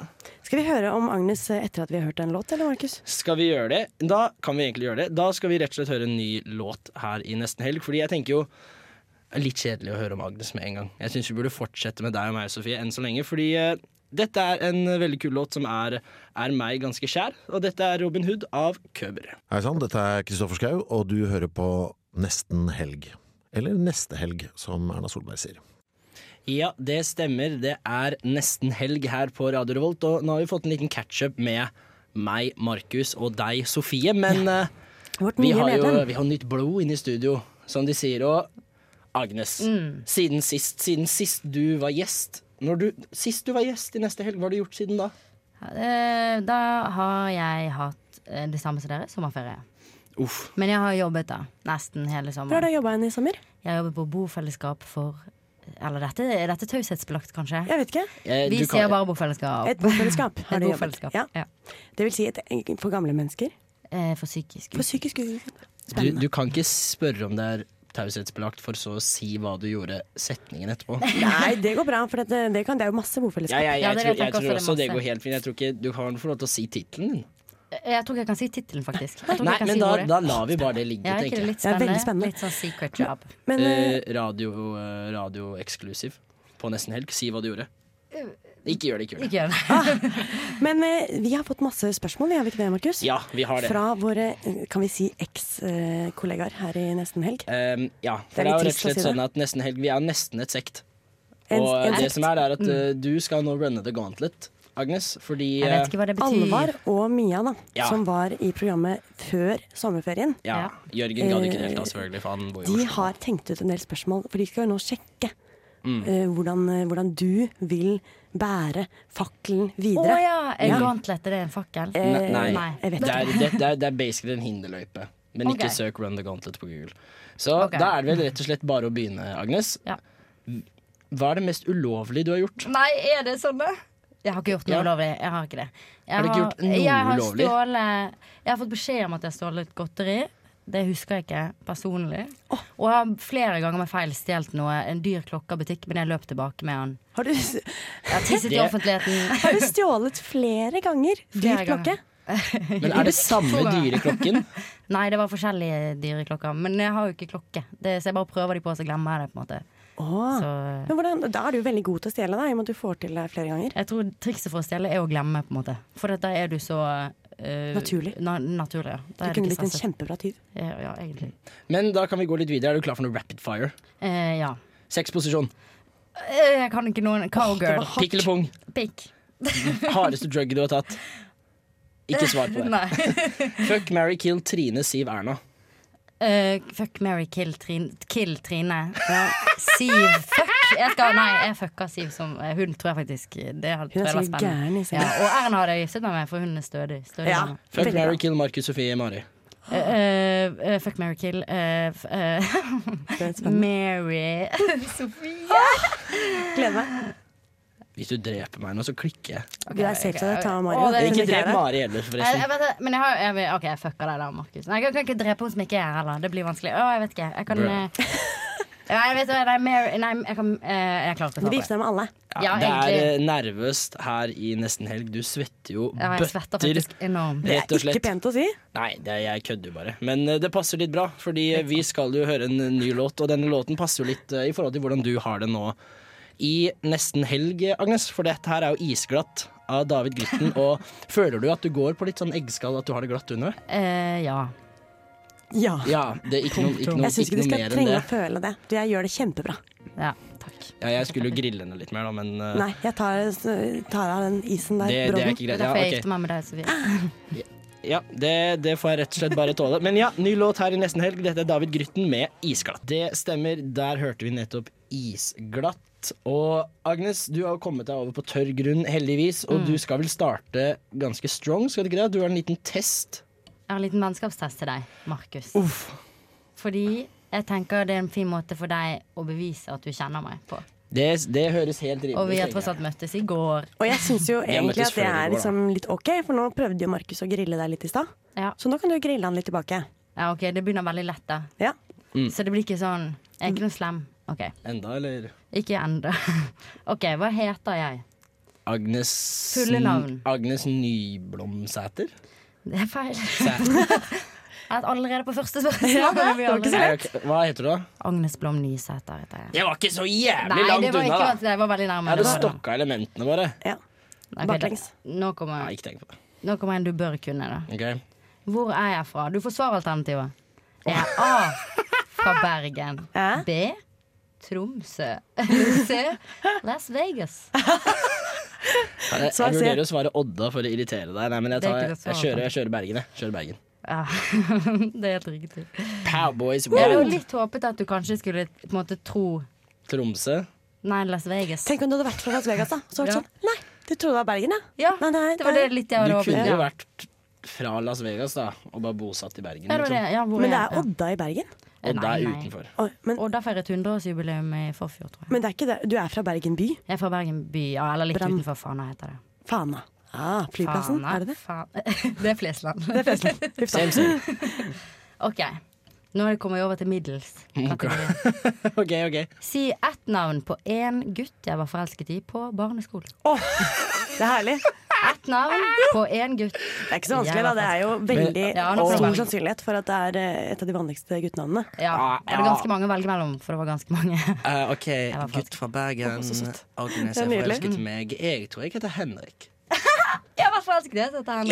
[SPEAKER 3] Skal vi høre om Agnes eh, etter at vi har hørt en låt, eller Markus?
[SPEAKER 1] skal vi gjøre det. Da kan vi egentlig gjøre det. Da skal vi rett og slett høre en ny låt her i Nesten Helg. Fordi jeg tenker jo det er litt kjedelig å høre om Agnes med en gang. Jeg syns vi burde fortsette med deg og meg, Sofie, enn så lenge. Fordi eh, dette er en veldig kul låt som er, er meg ganske kjær. Og dette er Robin Hood av Køber.
[SPEAKER 9] Hei sann, dette er Kristoffer Schau, og du hører på Nesten helg. Eller Neste helg, som Erna Solberg sier.
[SPEAKER 1] Ja, det stemmer. Det er nesten helg her på Radio Revolt, og nå har vi fått en liten catch-up med meg, Markus, og deg, Sofie. Men eh,
[SPEAKER 3] Vårt
[SPEAKER 1] vi
[SPEAKER 3] nye
[SPEAKER 1] har jo
[SPEAKER 3] medlem.
[SPEAKER 1] vi har nytt blod inne i studio, som de sier. Og Agnes,
[SPEAKER 8] Mm.
[SPEAKER 1] siden, sist, siden sist du var gjest når du, Sist du var gjest i neste helg, hva har du gjort siden da?
[SPEAKER 8] Eh, Da har jeg hatt eh, det samme som dere, sommerferie.
[SPEAKER 1] Uff.
[SPEAKER 8] Men jeg har jobbet da, nesten hele
[SPEAKER 3] Hvor har
[SPEAKER 8] sommeren.
[SPEAKER 3] du jobba hen i sommer?
[SPEAKER 8] Jeg jobber på bofellesskap for Eller dette er dette taushetsbelagt, kanskje?
[SPEAKER 3] Jeg vet ikke.
[SPEAKER 1] Eh,
[SPEAKER 8] Vi
[SPEAKER 1] du kan-
[SPEAKER 8] sier bare bofellesskap.
[SPEAKER 3] Et bofellesskap.
[SPEAKER 8] Et
[SPEAKER 3] Har du jobbet?
[SPEAKER 8] bofellesskap,
[SPEAKER 3] Ja.
[SPEAKER 8] ja.
[SPEAKER 3] Det vil si et, for gamle mennesker?
[SPEAKER 8] Eh, For psykisk
[SPEAKER 3] For psykisk utviklede.
[SPEAKER 1] du, du kan ikke spørre om det er taushetsbelagt, for så å si hva du gjorde setningen etterpå.
[SPEAKER 3] Nei, det går bra, for det, det, kan, det er jo masse
[SPEAKER 1] Ja,
[SPEAKER 3] bofellesskap.
[SPEAKER 1] jeg, jeg,
[SPEAKER 8] Ja, det
[SPEAKER 1] tror,
[SPEAKER 8] vet jeg
[SPEAKER 1] jeg
[SPEAKER 8] ikke
[SPEAKER 1] tror
[SPEAKER 8] også,
[SPEAKER 1] også
[SPEAKER 8] det
[SPEAKER 1] det
[SPEAKER 8] er
[SPEAKER 1] går
[SPEAKER 8] masse.
[SPEAKER 1] helt fint. Jeg tror ikke, Du kan få lov til å si tittelen din.
[SPEAKER 8] Jeg tror ikke jeg kan si tittelen, faktisk. Jeg tror ikke
[SPEAKER 1] Nei,
[SPEAKER 8] jeg kan
[SPEAKER 1] men
[SPEAKER 8] si
[SPEAKER 1] da,
[SPEAKER 8] ordet.
[SPEAKER 1] da lar vi bare det ligge,
[SPEAKER 8] Ja, er ikke
[SPEAKER 1] tenker
[SPEAKER 8] det
[SPEAKER 1] jeg.
[SPEAKER 8] litt
[SPEAKER 3] Det er
[SPEAKER 8] spennende?
[SPEAKER 3] veldig spennende.
[SPEAKER 8] Litt sånn secret job.
[SPEAKER 3] Men eh,
[SPEAKER 1] Eh, radio eh, radio eksklusiv på nesten helg. Si hva du gjorde. Ikke gjør det, ikke gjør det.
[SPEAKER 8] Eh, Ikke gjør det.
[SPEAKER 3] Men eh, vi har fått masse spørsmål, vi har vi ikke det, Markus?
[SPEAKER 1] Ja, vi har det.
[SPEAKER 3] Fra våre, eh, kan vi si, eks-kollegaer her i Nesten Helg.
[SPEAKER 1] Ehm, ja, for
[SPEAKER 3] Det er
[SPEAKER 1] det er,
[SPEAKER 3] litt
[SPEAKER 1] jo rett og
[SPEAKER 3] trist å
[SPEAKER 1] slett
[SPEAKER 3] si det.
[SPEAKER 1] sånn at nesten helg, vi er nesten et sekt.
[SPEAKER 3] En-
[SPEAKER 1] Og
[SPEAKER 3] en
[SPEAKER 1] det
[SPEAKER 3] sekt. Mm.
[SPEAKER 1] som er, det er at eh, du skal nå runne the gauntlet, Agnes, fordi
[SPEAKER 8] Jeg vet ikke hva det betyr.
[SPEAKER 3] Alvar og Mia, da,
[SPEAKER 1] Ja.
[SPEAKER 3] som var i programmet før sommerferien,
[SPEAKER 1] eh, ja, Jørgen gadd ikke delta, Eh, selvfølgelig, for han bor i
[SPEAKER 3] de
[SPEAKER 1] Oslo.
[SPEAKER 3] har tenkt ut en del spørsmål. For de skal jo nå sjekke
[SPEAKER 1] Mm.
[SPEAKER 3] eh, hvordan, eh, hvordan du vil bære fakkelen
[SPEAKER 8] Å
[SPEAKER 3] videre.
[SPEAKER 8] ja! En
[SPEAKER 3] Ja. Eh,
[SPEAKER 8] gauntlet, er det en fakkel?
[SPEAKER 1] Ne- Nei,
[SPEAKER 8] Nei.
[SPEAKER 3] jeg vet
[SPEAKER 1] Det, er, det, det, er, det er basically en hinderløype. Men
[SPEAKER 8] Ok.
[SPEAKER 1] ikke søk Run the Gauntlet på Google. Så
[SPEAKER 8] Ok.
[SPEAKER 1] da er det vel rett og slett bare å begynne, Agnes.
[SPEAKER 8] Ja.
[SPEAKER 1] Hva er det mest ulovlige du har gjort?
[SPEAKER 8] Nei, er det sånn, da? Jeg har ikke gjort noe
[SPEAKER 1] Ja.
[SPEAKER 8] ulovlig. Jeg har ikke det. Jeg
[SPEAKER 1] Har du ikke gjort noe
[SPEAKER 8] jeg har
[SPEAKER 1] ulovlig?
[SPEAKER 8] Stjålet, jeg har fått beskjed om at jeg har stjålet godteri. Det husker jeg ikke personlig. Og jeg har flere ganger med feil stjålet noe. En dyr klokke av butikk, men jeg løp tilbake med den.
[SPEAKER 3] Har du,
[SPEAKER 8] Jeg har tisset i
[SPEAKER 1] Det-
[SPEAKER 8] offentligheten.
[SPEAKER 3] har du stjålet flere ganger? Dyr
[SPEAKER 8] Flere
[SPEAKER 3] klokke?
[SPEAKER 8] ganger.
[SPEAKER 1] Men er det samme dyre klokken?
[SPEAKER 8] Nei, det var forskjellige dyreklokker. Men jeg har jo ikke klokke, det, så jeg bare prøver de på, så glemmer jeg det. på en måte
[SPEAKER 1] Ah.
[SPEAKER 3] Åh.
[SPEAKER 8] Så eh,
[SPEAKER 3] Men hvordan, da er du veldig god til å stjele, da, i og med at du får til det flere ganger.
[SPEAKER 8] jeg tror trikset for å stjele er å glemme, på en måte. For da er du så eh,
[SPEAKER 3] Naturlig.
[SPEAKER 8] Na naturlig ja.
[SPEAKER 3] Du
[SPEAKER 8] Da er
[SPEAKER 3] kunne
[SPEAKER 8] ikke
[SPEAKER 3] blitt en
[SPEAKER 8] stresset.
[SPEAKER 3] kjempebra tyv.
[SPEAKER 8] Ja, ja, egentlig.
[SPEAKER 1] Men da kan vi gå litt videre. Er du klar for noe rapid fire?
[SPEAKER 8] Eh, ja.
[SPEAKER 1] Sexposisjon.
[SPEAKER 8] Eh, Jeg kan ikke noen Cowgirl.
[SPEAKER 3] var
[SPEAKER 1] Pikk eller pung?
[SPEAKER 8] Pikk.
[SPEAKER 1] Hardeste drugget du har tatt? Ikke svar på det.
[SPEAKER 8] Nei.
[SPEAKER 1] Fuck, marry, kill Trine, Siv, Erna.
[SPEAKER 8] Eh, fuck, Mary, kill Trine. Kill Trine. Ja. Siv. Fuck! Jeg skal, nei, jeg fucka Siv som eh, Hun tror jeg faktisk Det hadde-
[SPEAKER 3] Hun
[SPEAKER 8] tror
[SPEAKER 3] er
[SPEAKER 8] jeg
[SPEAKER 3] sikkert
[SPEAKER 8] var spennende.
[SPEAKER 3] gæren i seg.
[SPEAKER 8] Ja, og Erna hadde jeg giftet meg med, for hun er stødig. stødig
[SPEAKER 3] Ja.
[SPEAKER 8] dame.
[SPEAKER 1] Fuck,
[SPEAKER 3] Veldig
[SPEAKER 1] marry,
[SPEAKER 3] bra.
[SPEAKER 1] kill Markus, Sofie, Mari.
[SPEAKER 8] Eh, eh, fuck, Mary, kill eh, f- eh,
[SPEAKER 3] Det er spennende.
[SPEAKER 8] Mary Sofie.
[SPEAKER 3] Gleder meg.
[SPEAKER 1] Hvis du dreper meg nå, så klikker jeg.
[SPEAKER 3] Du er safe, så
[SPEAKER 8] ok.
[SPEAKER 3] ta Mario.
[SPEAKER 8] Å, det er
[SPEAKER 1] Ikke
[SPEAKER 3] Ikke
[SPEAKER 1] drep
[SPEAKER 3] det.
[SPEAKER 1] Mari heller,
[SPEAKER 8] Eh, Jeg
[SPEAKER 1] forresten.
[SPEAKER 8] vet, det, men jeg har jeg, vil- OK, jeg fucker deg da, Markus. Nei, Jeg kan ikke drepe henne som ikke er her, heller. Det blir vanskelig. Å, jeg vet ikke. Jeg kan
[SPEAKER 1] Bruh.
[SPEAKER 8] eh, Nei, jeg vet hva, nei, Mary Nei, jeg kan eh, Jeg klarer ikke
[SPEAKER 3] Du
[SPEAKER 8] å ta
[SPEAKER 3] blir
[SPEAKER 8] på det.
[SPEAKER 3] gifta med alle.
[SPEAKER 8] Ja,
[SPEAKER 1] det er
[SPEAKER 8] egentlig.
[SPEAKER 1] eh, nervøst her i Nesten Helg. Du svetter jo
[SPEAKER 8] Ja, jeg svetter
[SPEAKER 1] bøtter.
[SPEAKER 8] faktisk enormt.
[SPEAKER 3] Det
[SPEAKER 1] Rett og
[SPEAKER 3] er ikke
[SPEAKER 1] slett.
[SPEAKER 3] pent å si.
[SPEAKER 1] Nei, det, jeg kødder jo bare. Men eh, det passer litt bra, fordi eh, vi skal jo høre en ny låt, og denne låten passer jo litt eh, i forhold til hvordan du har det nå i Nesten Helg, eh, Agnes. For dette her er jo isglatt av David Gritten, og føler du at du går på litt sånn eggskall, at du har det glatt under?
[SPEAKER 8] Eh, ja.
[SPEAKER 3] Ja.
[SPEAKER 1] Ja, det er ikke noe, ikke noe,
[SPEAKER 3] Jeg syns
[SPEAKER 1] ikke
[SPEAKER 3] ikke du
[SPEAKER 1] noe
[SPEAKER 3] skal
[SPEAKER 1] mer enn
[SPEAKER 3] trenge
[SPEAKER 1] det.
[SPEAKER 3] å føle det. Du, jeg gjør det kjempebra.
[SPEAKER 8] ja. Takk.
[SPEAKER 1] Ja, jeg skulle jo grille henne litt mer, da, men eh,
[SPEAKER 3] Nei, jeg tar, tar av den isen
[SPEAKER 1] det,
[SPEAKER 3] der.
[SPEAKER 1] det er
[SPEAKER 3] brodden.
[SPEAKER 1] ikke greit.
[SPEAKER 8] Det er
[SPEAKER 1] Ja,
[SPEAKER 8] derfor jeg
[SPEAKER 1] ok.
[SPEAKER 8] gifter meg med deg, Sofie.
[SPEAKER 1] Ja, det, det får jeg rett og slett bare tåle. Men ja, ny låt her i nesten helg. Dette er David Grytten med 'Isglatt'. Det stemmer. Der hørte vi nettopp 'Isglatt'. Og Agnes, du har jo kommet deg over på tørr grunn, heldigvis. Og du skal vel starte ganske strong, skal du ikke det? Du har en liten test.
[SPEAKER 8] Jeg har en liten vennskapstest til deg, Markus.
[SPEAKER 1] Uff.
[SPEAKER 8] Fordi jeg tenker det er en fin måte for deg å bevise at du kjenner meg på.
[SPEAKER 1] Det, det høres helt rimelig
[SPEAKER 8] Og vi har
[SPEAKER 1] tenker
[SPEAKER 8] tross
[SPEAKER 1] jeg.
[SPEAKER 8] alt møttes i går.
[SPEAKER 3] Og jeg syns jo
[SPEAKER 1] har
[SPEAKER 3] egentlig
[SPEAKER 1] møttes
[SPEAKER 3] at det
[SPEAKER 1] før i
[SPEAKER 3] er
[SPEAKER 1] går, da.
[SPEAKER 3] liksom litt OK, for nå prøvde jo Markus å grille deg litt i stad.
[SPEAKER 8] Ja,
[SPEAKER 3] Så nå kan du grille han litt tilbake.
[SPEAKER 8] ja ok, Det begynner veldig lett, da.
[SPEAKER 1] Mm.
[SPEAKER 3] Ja.
[SPEAKER 8] Så det blir ikke sånn Jeg er ikke noe slem. Ok,
[SPEAKER 1] Enda, eller?
[SPEAKER 8] Ikke ennå. OK, hva heter jeg?
[SPEAKER 1] Agnes
[SPEAKER 8] Fulle navn.
[SPEAKER 1] Agnes Nyblomsæter?
[SPEAKER 8] Det er feil.
[SPEAKER 1] Sæter.
[SPEAKER 8] Jeg er allerede på første spørsmål. Det blir aldri-
[SPEAKER 1] Nei, ok. Hva heter du, da?
[SPEAKER 8] Agnes Blom Nysæter heter jeg.
[SPEAKER 1] Jeg var ikke så
[SPEAKER 8] Nei,
[SPEAKER 1] jævlig
[SPEAKER 8] det
[SPEAKER 1] langt
[SPEAKER 8] var,
[SPEAKER 1] unna,
[SPEAKER 8] ikke,
[SPEAKER 1] da.
[SPEAKER 8] det var veldig nærme.
[SPEAKER 1] Jeg hadde
[SPEAKER 8] Det var-
[SPEAKER 1] stokka elementene våre.
[SPEAKER 3] Ja.
[SPEAKER 8] Nei, ok,
[SPEAKER 3] Baklengs.
[SPEAKER 8] da- Nå kommer,
[SPEAKER 1] Nei, ikke tenk på det.
[SPEAKER 8] nå kommer en du bør kunne, da.
[SPEAKER 1] Ok.
[SPEAKER 8] Hvor er jeg fra? Du får svaralternativer. Er jeg A fra Bergen?
[SPEAKER 3] Hæ?
[SPEAKER 8] B Tromsø? C Las Vegas?
[SPEAKER 1] Jeg,
[SPEAKER 3] Så
[SPEAKER 1] jeg
[SPEAKER 3] jeg ser-
[SPEAKER 1] vurderer å svare Odda for å irritere deg. Nei, men jeg,
[SPEAKER 8] Det er
[SPEAKER 1] tar,
[SPEAKER 8] ikke
[SPEAKER 1] jeg,
[SPEAKER 8] det svaret.
[SPEAKER 1] kjører, jeg kjører Bergen, jeg. Kjører Bergen.
[SPEAKER 8] Ja, det er helt riktig.
[SPEAKER 1] Powboys
[SPEAKER 8] Jeg hadde jo
[SPEAKER 1] World.
[SPEAKER 8] litt håpet at du kanskje skulle på en måte tro
[SPEAKER 1] Tromsø.
[SPEAKER 8] Nei, Las Vegas.
[SPEAKER 3] Tenk om du hadde vært fra Las Vegas, da. Så var det
[SPEAKER 8] Ja.
[SPEAKER 3] sånn Nei, du trodde det var Bergen, ja.
[SPEAKER 8] Ja,
[SPEAKER 3] Nei, nei,
[SPEAKER 8] det var det litt jeg
[SPEAKER 1] Du
[SPEAKER 8] hadde
[SPEAKER 1] kunne
[SPEAKER 8] håpet.
[SPEAKER 1] jo
[SPEAKER 8] Ja.
[SPEAKER 1] vært fra Las Vegas da og bare bosatt i Bergen.
[SPEAKER 8] Ja, det var
[SPEAKER 1] Liksom.
[SPEAKER 8] det. Ja, hvor
[SPEAKER 3] Men det
[SPEAKER 8] jeg-
[SPEAKER 3] er Odda i Bergen.
[SPEAKER 8] ja.
[SPEAKER 1] Odda er
[SPEAKER 8] Nei, nei.
[SPEAKER 1] utenfor.
[SPEAKER 3] Oi, men,
[SPEAKER 8] Odda feiret 100-årsjubileum i forfjor, tror jeg.
[SPEAKER 3] men det er ikke det. Du er fra Bergen by.
[SPEAKER 8] Jeg er fra Bergen by, ja, eller litt
[SPEAKER 3] Bram.
[SPEAKER 8] utenfor Fana heter det.
[SPEAKER 3] Fana. Ah, flyplassen,
[SPEAKER 8] Fana,
[SPEAKER 3] er det det?
[SPEAKER 8] Fana. Det er Flesland.
[SPEAKER 3] Det er Flesland. Uff da.
[SPEAKER 8] Ok, nå er det kommet over til middels.
[SPEAKER 1] Mm,
[SPEAKER 8] kategori.
[SPEAKER 1] OK, OK.
[SPEAKER 8] Si ett navn på én gutt jeg var forelsket i på barneskolen.
[SPEAKER 3] Det er herlig. Det
[SPEAKER 8] Ett navn på én gutt.
[SPEAKER 3] er ikke så vanskelig, da. Ah! Det er jo veldig
[SPEAKER 8] Ja, nå får du
[SPEAKER 3] stor
[SPEAKER 8] velge.
[SPEAKER 3] sannsynlighet for at det er eh, et av de vanligste guttenavnene.
[SPEAKER 1] Ah,
[SPEAKER 8] Ja, det er ganske mange å velge mellom, for det var ganske mange.
[SPEAKER 1] Eh, ok,
[SPEAKER 8] var faktisk-
[SPEAKER 1] gutt fra Bergen. Agnes
[SPEAKER 3] Det er
[SPEAKER 1] er
[SPEAKER 3] nydelig.
[SPEAKER 1] forelsket i meg. Jeg tror jeg heter Henrik.
[SPEAKER 8] Jeg var forelsket i det, så dette er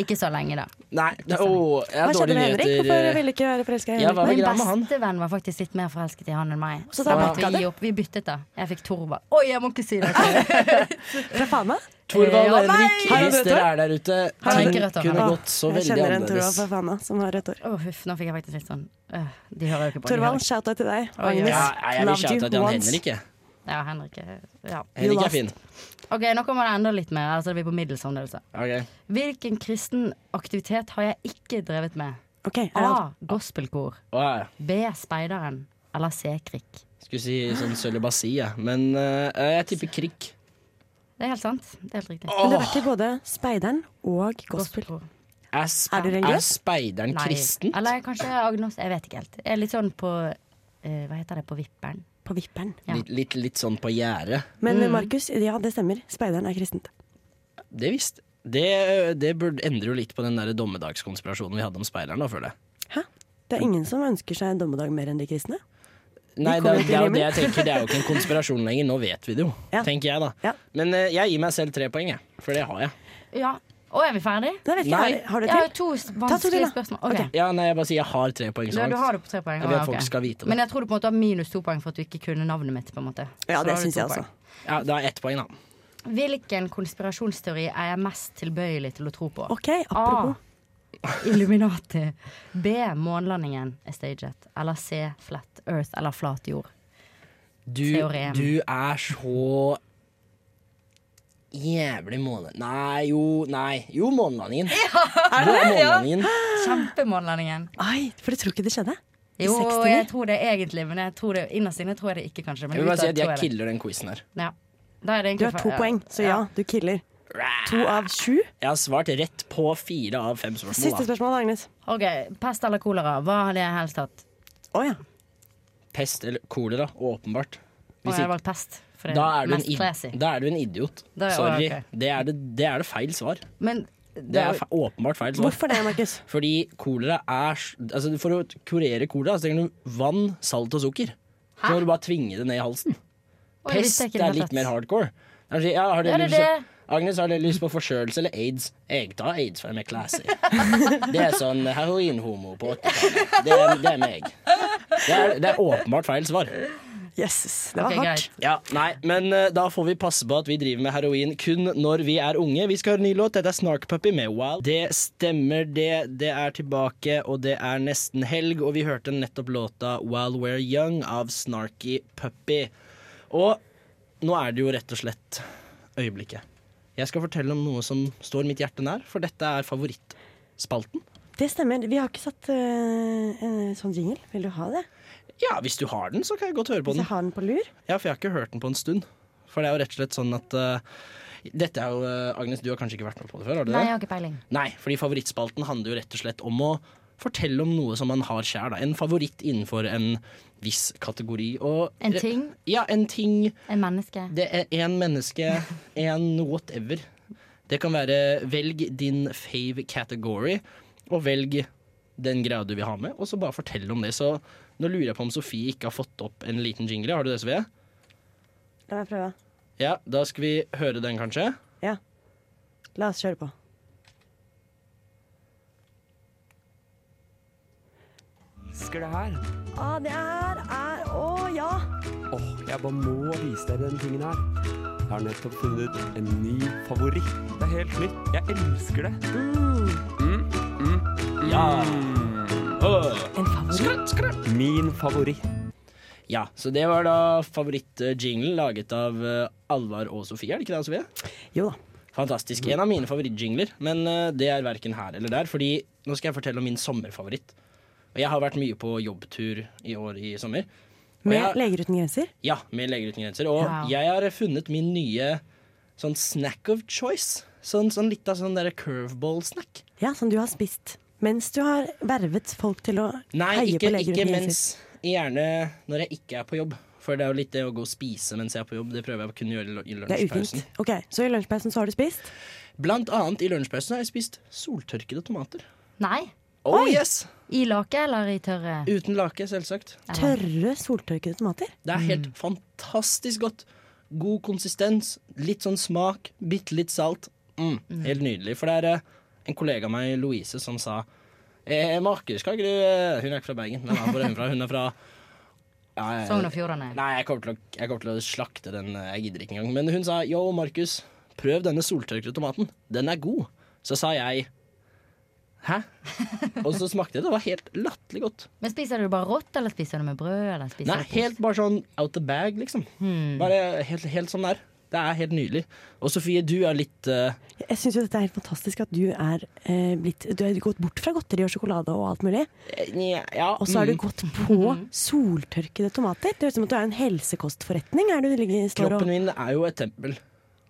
[SPEAKER 8] Ikke så lenge, da.
[SPEAKER 1] Nei, det, åh, jeg
[SPEAKER 3] Hva
[SPEAKER 1] har
[SPEAKER 3] skjedde
[SPEAKER 1] dårlige
[SPEAKER 3] med Henrik? Hvorfor
[SPEAKER 1] nyheter. eh,
[SPEAKER 3] ville ikke være forelska i
[SPEAKER 1] Jeg var
[SPEAKER 3] Henrik?
[SPEAKER 1] vel
[SPEAKER 8] Min
[SPEAKER 1] greia med han.
[SPEAKER 8] bestevenn var faktisk litt mer forelsket i han enn meg.
[SPEAKER 3] Så
[SPEAKER 8] Så
[SPEAKER 3] da
[SPEAKER 8] måtte
[SPEAKER 3] bakka
[SPEAKER 8] vi
[SPEAKER 3] det?
[SPEAKER 8] gi opp. Vi byttet, da. Jeg fikk Torvald. Oi, jeg må ikke si det! Jeg
[SPEAKER 3] Fra Fana?
[SPEAKER 1] Torvald
[SPEAKER 8] Ja,
[SPEAKER 1] og Henrik,
[SPEAKER 3] nei!
[SPEAKER 1] hvis dere er der ute,
[SPEAKER 8] Har han
[SPEAKER 1] ting
[SPEAKER 8] rødt hår?
[SPEAKER 1] kunne
[SPEAKER 8] Å,
[SPEAKER 1] gått så
[SPEAKER 3] jeg
[SPEAKER 1] veldig
[SPEAKER 3] kjenner en Torvald
[SPEAKER 1] annerledes.
[SPEAKER 3] fra
[SPEAKER 8] altså.
[SPEAKER 3] Fana som har rødt hår.
[SPEAKER 8] Å, huff, nå fikk jeg faktisk litt sånn øh, De hører jo ikke på. de hører
[SPEAKER 3] Torvald, shout-out til deg.
[SPEAKER 8] Oi, oi, oi.
[SPEAKER 3] Agnes,
[SPEAKER 1] Ja, jeg vil
[SPEAKER 3] loved
[SPEAKER 1] shoute
[SPEAKER 3] you
[SPEAKER 1] til han
[SPEAKER 3] once.
[SPEAKER 1] Henrik, jeg.
[SPEAKER 8] ikke. Ja, Henrik er- ja.
[SPEAKER 1] Henrik
[SPEAKER 3] lost.
[SPEAKER 1] er fin.
[SPEAKER 8] Ok, Nå kommer det enda litt mer. Altså det blir på middels omdelelse.
[SPEAKER 1] Ok.
[SPEAKER 8] Hvilken kristen aktivitet har jeg ikke drevet med?
[SPEAKER 3] Ok, er det
[SPEAKER 1] Ah.
[SPEAKER 3] alt?
[SPEAKER 8] A. Gospelkor.
[SPEAKER 1] Wow.
[SPEAKER 8] B. Speideren. Eller C. Krikk.
[SPEAKER 1] Skulle si sånn sølibasi, ja. men eh, jeg tipper krik.
[SPEAKER 8] Det er helt sant. Det er helt riktig.
[SPEAKER 3] Men du har vært i både Speideren og Gospel.
[SPEAKER 8] Gospelkor.
[SPEAKER 1] Er, sp
[SPEAKER 3] Er du religiøs?
[SPEAKER 1] er speideren
[SPEAKER 8] Nei.
[SPEAKER 1] kristent?
[SPEAKER 8] Eller kanskje agnos. Jeg vet ikke helt. Jeg er litt sånn på eh, Hva heter det på vipperen?
[SPEAKER 3] På vipperen.
[SPEAKER 8] Ja.
[SPEAKER 1] Litt, litt, litt sånn på gjerdet.
[SPEAKER 3] Men Markus, ja det stemmer. Speideren er kristent.
[SPEAKER 1] Det visst. Det, det burde endre jo litt på den der dommedagskonspirasjonen vi hadde om speideren. da, føler jeg.
[SPEAKER 3] Hæ? Det
[SPEAKER 1] Mm.
[SPEAKER 3] er ingen som ønsker seg en dommedag mer enn de kristne.
[SPEAKER 1] Nei, det,
[SPEAKER 3] kommer
[SPEAKER 1] er- det er jo
[SPEAKER 3] til
[SPEAKER 1] det jeg tenker. Det er jo ikke en konspirasjon lenger. Nå vet vi det jo,
[SPEAKER 3] Ja.
[SPEAKER 1] tenker jeg da.
[SPEAKER 3] Ja.
[SPEAKER 1] Men eh, jeg gir meg selv tre poeng, jeg. For det har jeg.
[SPEAKER 8] Ja. Å, er vi ferdige?
[SPEAKER 3] Det vet ikke,
[SPEAKER 1] Nei.
[SPEAKER 3] har, har du
[SPEAKER 8] Jeg har
[SPEAKER 3] til?
[SPEAKER 8] jo to s-
[SPEAKER 3] to til,
[SPEAKER 8] vanskelige
[SPEAKER 3] da.
[SPEAKER 8] spørsmål. Ok.
[SPEAKER 3] Ok.
[SPEAKER 1] Ja, nei, jeg bare sier jeg har tre poeng så
[SPEAKER 8] Ja, du har
[SPEAKER 1] langt.
[SPEAKER 8] det på tre poeng.
[SPEAKER 1] Jeg vil
[SPEAKER 8] Ah,
[SPEAKER 1] at folk
[SPEAKER 8] ok.
[SPEAKER 1] skal vite det.
[SPEAKER 8] Men jeg tror du på en måte har minus to poeng for at du ikke kunne navnet mitt. på en måte
[SPEAKER 3] Ja,
[SPEAKER 8] Så da
[SPEAKER 3] det
[SPEAKER 8] har du
[SPEAKER 3] syns
[SPEAKER 8] to
[SPEAKER 3] jeg
[SPEAKER 8] poeng.
[SPEAKER 3] også.
[SPEAKER 1] Ja, da er ett poeng, da.
[SPEAKER 8] Hvilken konspirasjonsteori er jeg mest tilbøyelig til å tro på?
[SPEAKER 3] Ok, apropos.
[SPEAKER 8] A. Illuminati. B. Månelandingen er staged. Eller C. Flat Earth eller flat jord.
[SPEAKER 1] Du,
[SPEAKER 8] Teorem.
[SPEAKER 1] du er så jævlig måne... Nei, jo, nei. Jo, månelandingen. er det det? Månelandingen.
[SPEAKER 8] Kjempemånelandingen.
[SPEAKER 1] Ah.
[SPEAKER 3] Ai, for du tror ikke det skjedde? I
[SPEAKER 8] Jo,
[SPEAKER 3] 69?
[SPEAKER 8] jeg tror det egentlig, men jeg tror det, innerst inne tror jeg det ikke, kanskje. Men
[SPEAKER 1] Jeg vil bare si
[SPEAKER 8] utad
[SPEAKER 1] at jeg
[SPEAKER 8] tror jeg det.
[SPEAKER 1] killer den quizen her.
[SPEAKER 8] Ja. Da er
[SPEAKER 3] Du
[SPEAKER 8] det egentlig
[SPEAKER 3] har to
[SPEAKER 8] fa- ja.
[SPEAKER 3] poeng, så ja, du killer. To av sju.
[SPEAKER 1] Jeg har svart rett på fire av fem spørsmål.
[SPEAKER 3] Siste
[SPEAKER 1] Da.
[SPEAKER 3] spørsmål, Agnes.
[SPEAKER 8] OK. Pest eller kolera, hva hadde jeg helst hatt?
[SPEAKER 3] Å ja.
[SPEAKER 1] Pest eller kolera, åpenbart.
[SPEAKER 8] Og
[SPEAKER 1] Hvis
[SPEAKER 8] jeg
[SPEAKER 1] ikke
[SPEAKER 8] har valgt pest. For det
[SPEAKER 1] Da
[SPEAKER 8] er
[SPEAKER 1] er, du en
[SPEAKER 8] mest classy.
[SPEAKER 1] id- da er du en idiot.
[SPEAKER 8] Da er-
[SPEAKER 1] Sorry.
[SPEAKER 8] ok.
[SPEAKER 1] Det, er det, det er det feil svar.
[SPEAKER 8] Men
[SPEAKER 1] Det er fe åpenbart feil svar.
[SPEAKER 3] Hvorfor det, Markus?
[SPEAKER 1] Fordi kolera er s- altså For å kurere kolera så trenger du vann, salt og sukker. Så må du bare tvinge det ned i halsen.
[SPEAKER 8] Oi, jeg
[SPEAKER 1] Pest
[SPEAKER 8] visste ikke
[SPEAKER 1] er
[SPEAKER 8] det
[SPEAKER 1] litt
[SPEAKER 8] helt
[SPEAKER 1] mer
[SPEAKER 8] tatt.
[SPEAKER 1] hardcore. Det er å si, Ja, har
[SPEAKER 8] Ja,
[SPEAKER 1] dere
[SPEAKER 8] det er
[SPEAKER 1] lyst, Agnes, har dere lyst på forkjølelse eller aids? Jeg tar aids, for jeg er classy. Det er sånn heroinhomo på 80-tallet. Det, er- det er meg. Det er, det er åpenbart feil svar.
[SPEAKER 3] Jesus, det var
[SPEAKER 8] Ok,
[SPEAKER 3] hardt.
[SPEAKER 8] greit.
[SPEAKER 1] Ja, nei, men eh, da får vi passe på at vi driver med heroin kun når vi er unge. Vi skal høre en ny låt. Dette er Snarkpuppy med Wild. Det stemmer, det. Det er tilbake, og det er nesten helg. Og vi hørte nettopp låta While We're Young av Snarky Puppy. Og nå er det jo rett og slett øyeblikket. Jeg skal fortelle om noe som står mitt hjerte nær, for dette er favorittspalten.
[SPEAKER 3] Det stemmer. Vi har ikke satt øh, en sånn jingle. Vil du ha det?
[SPEAKER 1] Ja, hvis du har den, så kan jeg godt høre på
[SPEAKER 3] Hvis
[SPEAKER 1] den.
[SPEAKER 3] jeg har den på lur?
[SPEAKER 1] Ja, for jeg har ikke hørt den på en stund. For det er jo rett og slett sånn at eh, Dette er jo eh, Agnes, du har kanskje ikke vært med på det før? har du
[SPEAKER 8] Nei, jeg
[SPEAKER 1] det?
[SPEAKER 8] har ikke peiling.
[SPEAKER 1] Nei, fordi favorittspalten handler jo rett og slett om å fortell om noe som man har sjæl. da. En favoritt innenfor en viss kategori. Og,
[SPEAKER 8] En ting,
[SPEAKER 1] Ja, en ting.
[SPEAKER 8] en menneske.
[SPEAKER 1] Det er én menneske, én whatever. Det kan være velg din fave category, og velg den greia du vil ha med, og så bare fortell om det. Så nå lurer jeg på om Sofie ikke har fått opp en liten jingle. Har du det, Sofie?
[SPEAKER 3] La meg prøve.
[SPEAKER 1] Ja, da skal vi høre den, kanskje.
[SPEAKER 3] Ja. La oss kjøre på.
[SPEAKER 7] Husker det her?
[SPEAKER 3] Å, det her er Å, ja!
[SPEAKER 7] Åh, jeg bare må vise dere denne tingen her. Jeg har nettopp funnet en ny favoritt. Det er helt nytt. Jeg elsker det. Mm,
[SPEAKER 3] En favoritt.
[SPEAKER 7] Min favoritt.
[SPEAKER 1] Ja, Så det var da favorittjinglen laget av eh, Alvar og Sofie, er det ikke det, Sofie?
[SPEAKER 3] Jo da.
[SPEAKER 1] Fantastisk. En av mine favorittjingler, men eh, det er verken her eller der. Fordi nå skal jeg fortelle om min sommerfavoritt. Og jeg har vært mye på jobbtur i år i sommer. Og
[SPEAKER 3] Med
[SPEAKER 1] jeg,
[SPEAKER 3] Leger uten grenser.
[SPEAKER 1] ja, med Leger uten grenser. Og
[SPEAKER 8] Wow.
[SPEAKER 1] jeg har funnet min nye sånn snack of choice. Sånn, sånn litt av sånn derre curveball-snack.
[SPEAKER 3] Ja, Som du har spist. Mens du har vervet folk til å
[SPEAKER 1] Nei,
[SPEAKER 3] heie
[SPEAKER 1] ikke,
[SPEAKER 3] på Leger
[SPEAKER 1] ikke
[SPEAKER 3] uten
[SPEAKER 1] mens.
[SPEAKER 3] grenser.
[SPEAKER 1] Gjerne når jeg ikke er på jobb. For det er jo litt det å gå og spise mens jeg er på jobb. Det prøver jeg å kunne gjøre i lu- i
[SPEAKER 3] Det er ufint.
[SPEAKER 1] lunsjpausen.
[SPEAKER 3] Ok, Så i lunsjpausen så har du spist?
[SPEAKER 1] Blant annet i lunsjpausen har jeg spist soltørkede tomater.
[SPEAKER 8] Nei.
[SPEAKER 1] Oh yes!
[SPEAKER 8] I lake eller i tørre?
[SPEAKER 1] Uten lake, selvsagt.
[SPEAKER 3] Tørre, soltørkede tomater?
[SPEAKER 1] Det er helt fantastisk godt. God konsistens, litt sånn smak, bitte litt salt. Mm, Helt nydelig. For det er eh, en kollega av meg, Louise, som sa eh, Markus, hva er det du eh, Hun er ikke fra Bergen, men hvor er hun fra? Hun er fra eh, ja, jeg-
[SPEAKER 8] Sogn og Fjordane.
[SPEAKER 1] Nei, jeg kommer, til å, jeg kommer til å slakte den. eh, Jeg gidder ikke engang. Men hun sa yo, Markus, prøv denne soltørkede tomaten. Den er god. Så sa jeg hæ? Og så smakte jeg det. Det var helt latterlig godt.
[SPEAKER 8] Men spiser du bare rått, eller spiser du med brød? Eller spiser
[SPEAKER 1] Nei,
[SPEAKER 8] du pose?
[SPEAKER 1] helt bare sånn out the bag, liksom.
[SPEAKER 3] Hmm.
[SPEAKER 1] Bare helt, helt sånn der. Det er helt nydelig. Og Sofie, du er litt eh,
[SPEAKER 3] Jeg syns jo dette er helt fantastisk at du er eh, blitt Du har gått bort fra godteri og sjokolade og alt mulig,
[SPEAKER 1] nja, Ja.
[SPEAKER 3] og så har du
[SPEAKER 1] mm.
[SPEAKER 3] gått på soltørkede tomater. Det høres ut som at du er en helsekostforretning. Er du ligger, står
[SPEAKER 1] Kroppen
[SPEAKER 3] og,
[SPEAKER 1] min er jo et tempel.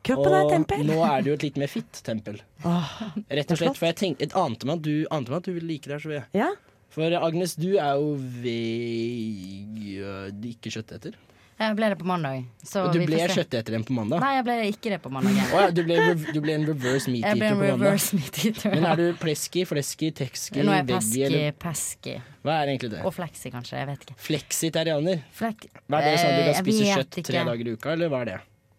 [SPEAKER 3] kroppen er et tempel.
[SPEAKER 1] nå er det jo et litt mer fitt tempel. Rett og slett. For jeg tenk, jeg ante meg at du, ante meg at du ville like det her, Sofie.
[SPEAKER 3] Ja,
[SPEAKER 1] For Agnes, du er jo veg... øh, Ikke kjøtteter.
[SPEAKER 8] Jeg ble det på mandag. Så
[SPEAKER 1] Du
[SPEAKER 8] vi får
[SPEAKER 1] ble
[SPEAKER 8] se.
[SPEAKER 1] kjøtteter igjen på mandag.
[SPEAKER 8] Nei, jeg ble ikke det på mandag.
[SPEAKER 1] Å ja, du ble, rev- du ble en reverse meat
[SPEAKER 8] Jeg
[SPEAKER 1] eater
[SPEAKER 8] ble en
[SPEAKER 1] på mandag.
[SPEAKER 8] reverse meat eater.
[SPEAKER 1] Men er du pleski, fleski, tekski,
[SPEAKER 8] Nå er jeg
[SPEAKER 1] veggie
[SPEAKER 8] pesky,
[SPEAKER 1] eller
[SPEAKER 8] pesky.
[SPEAKER 1] Hva er egentlig det?
[SPEAKER 8] Og flexi, kanskje. Jeg vet ikke.
[SPEAKER 1] Fleksitarianer?
[SPEAKER 8] Flek
[SPEAKER 1] Hva er det sånn at du kan
[SPEAKER 8] Eh, jeg
[SPEAKER 1] spise
[SPEAKER 8] vet
[SPEAKER 1] kjøtt tre
[SPEAKER 8] ikke.
[SPEAKER 1] dager i uka, eller hva er det?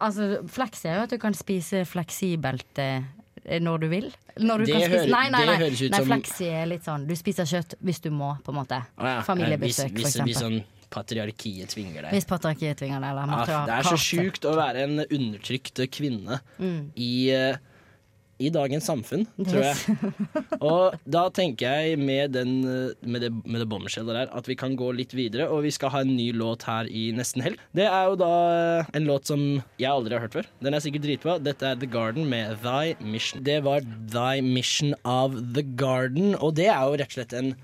[SPEAKER 8] Altså, Flexi er jo at du kan spise fleksibelt eh, når du vil. Når du
[SPEAKER 1] Det
[SPEAKER 8] kan spise,
[SPEAKER 1] hører-
[SPEAKER 8] nei, nei,
[SPEAKER 1] det
[SPEAKER 8] nei.
[SPEAKER 1] høres ut
[SPEAKER 8] nei
[SPEAKER 1] som-
[SPEAKER 8] Flexi er litt sånn du spiser kjøtt hvis du må, på en måte.
[SPEAKER 1] Å ja, eh,
[SPEAKER 8] Familiebesøk,
[SPEAKER 1] hvis,
[SPEAKER 8] for
[SPEAKER 1] hvis, hvis
[SPEAKER 8] eksempel.
[SPEAKER 1] sånn patriarkiet tvinger deg.
[SPEAKER 8] Hvis patriarkiet tvinger deg. Eller
[SPEAKER 1] Ah, det er så sjukt å være en undertrykt kvinne i, eh, i dagens samfunn, tror jeg. Og da tenker jeg med, den, eh, med det, med det bombshellet der at vi kan gå litt videre, og vi skal ha en ny låt her i nesten helg. Det er jo da eh, en låt som jeg aldri har hørt før. Den er sikkert dritbra. Dette er The Garden med Thy Mission. Det var Thy Mission av The Garden, og det er jo rett og slett en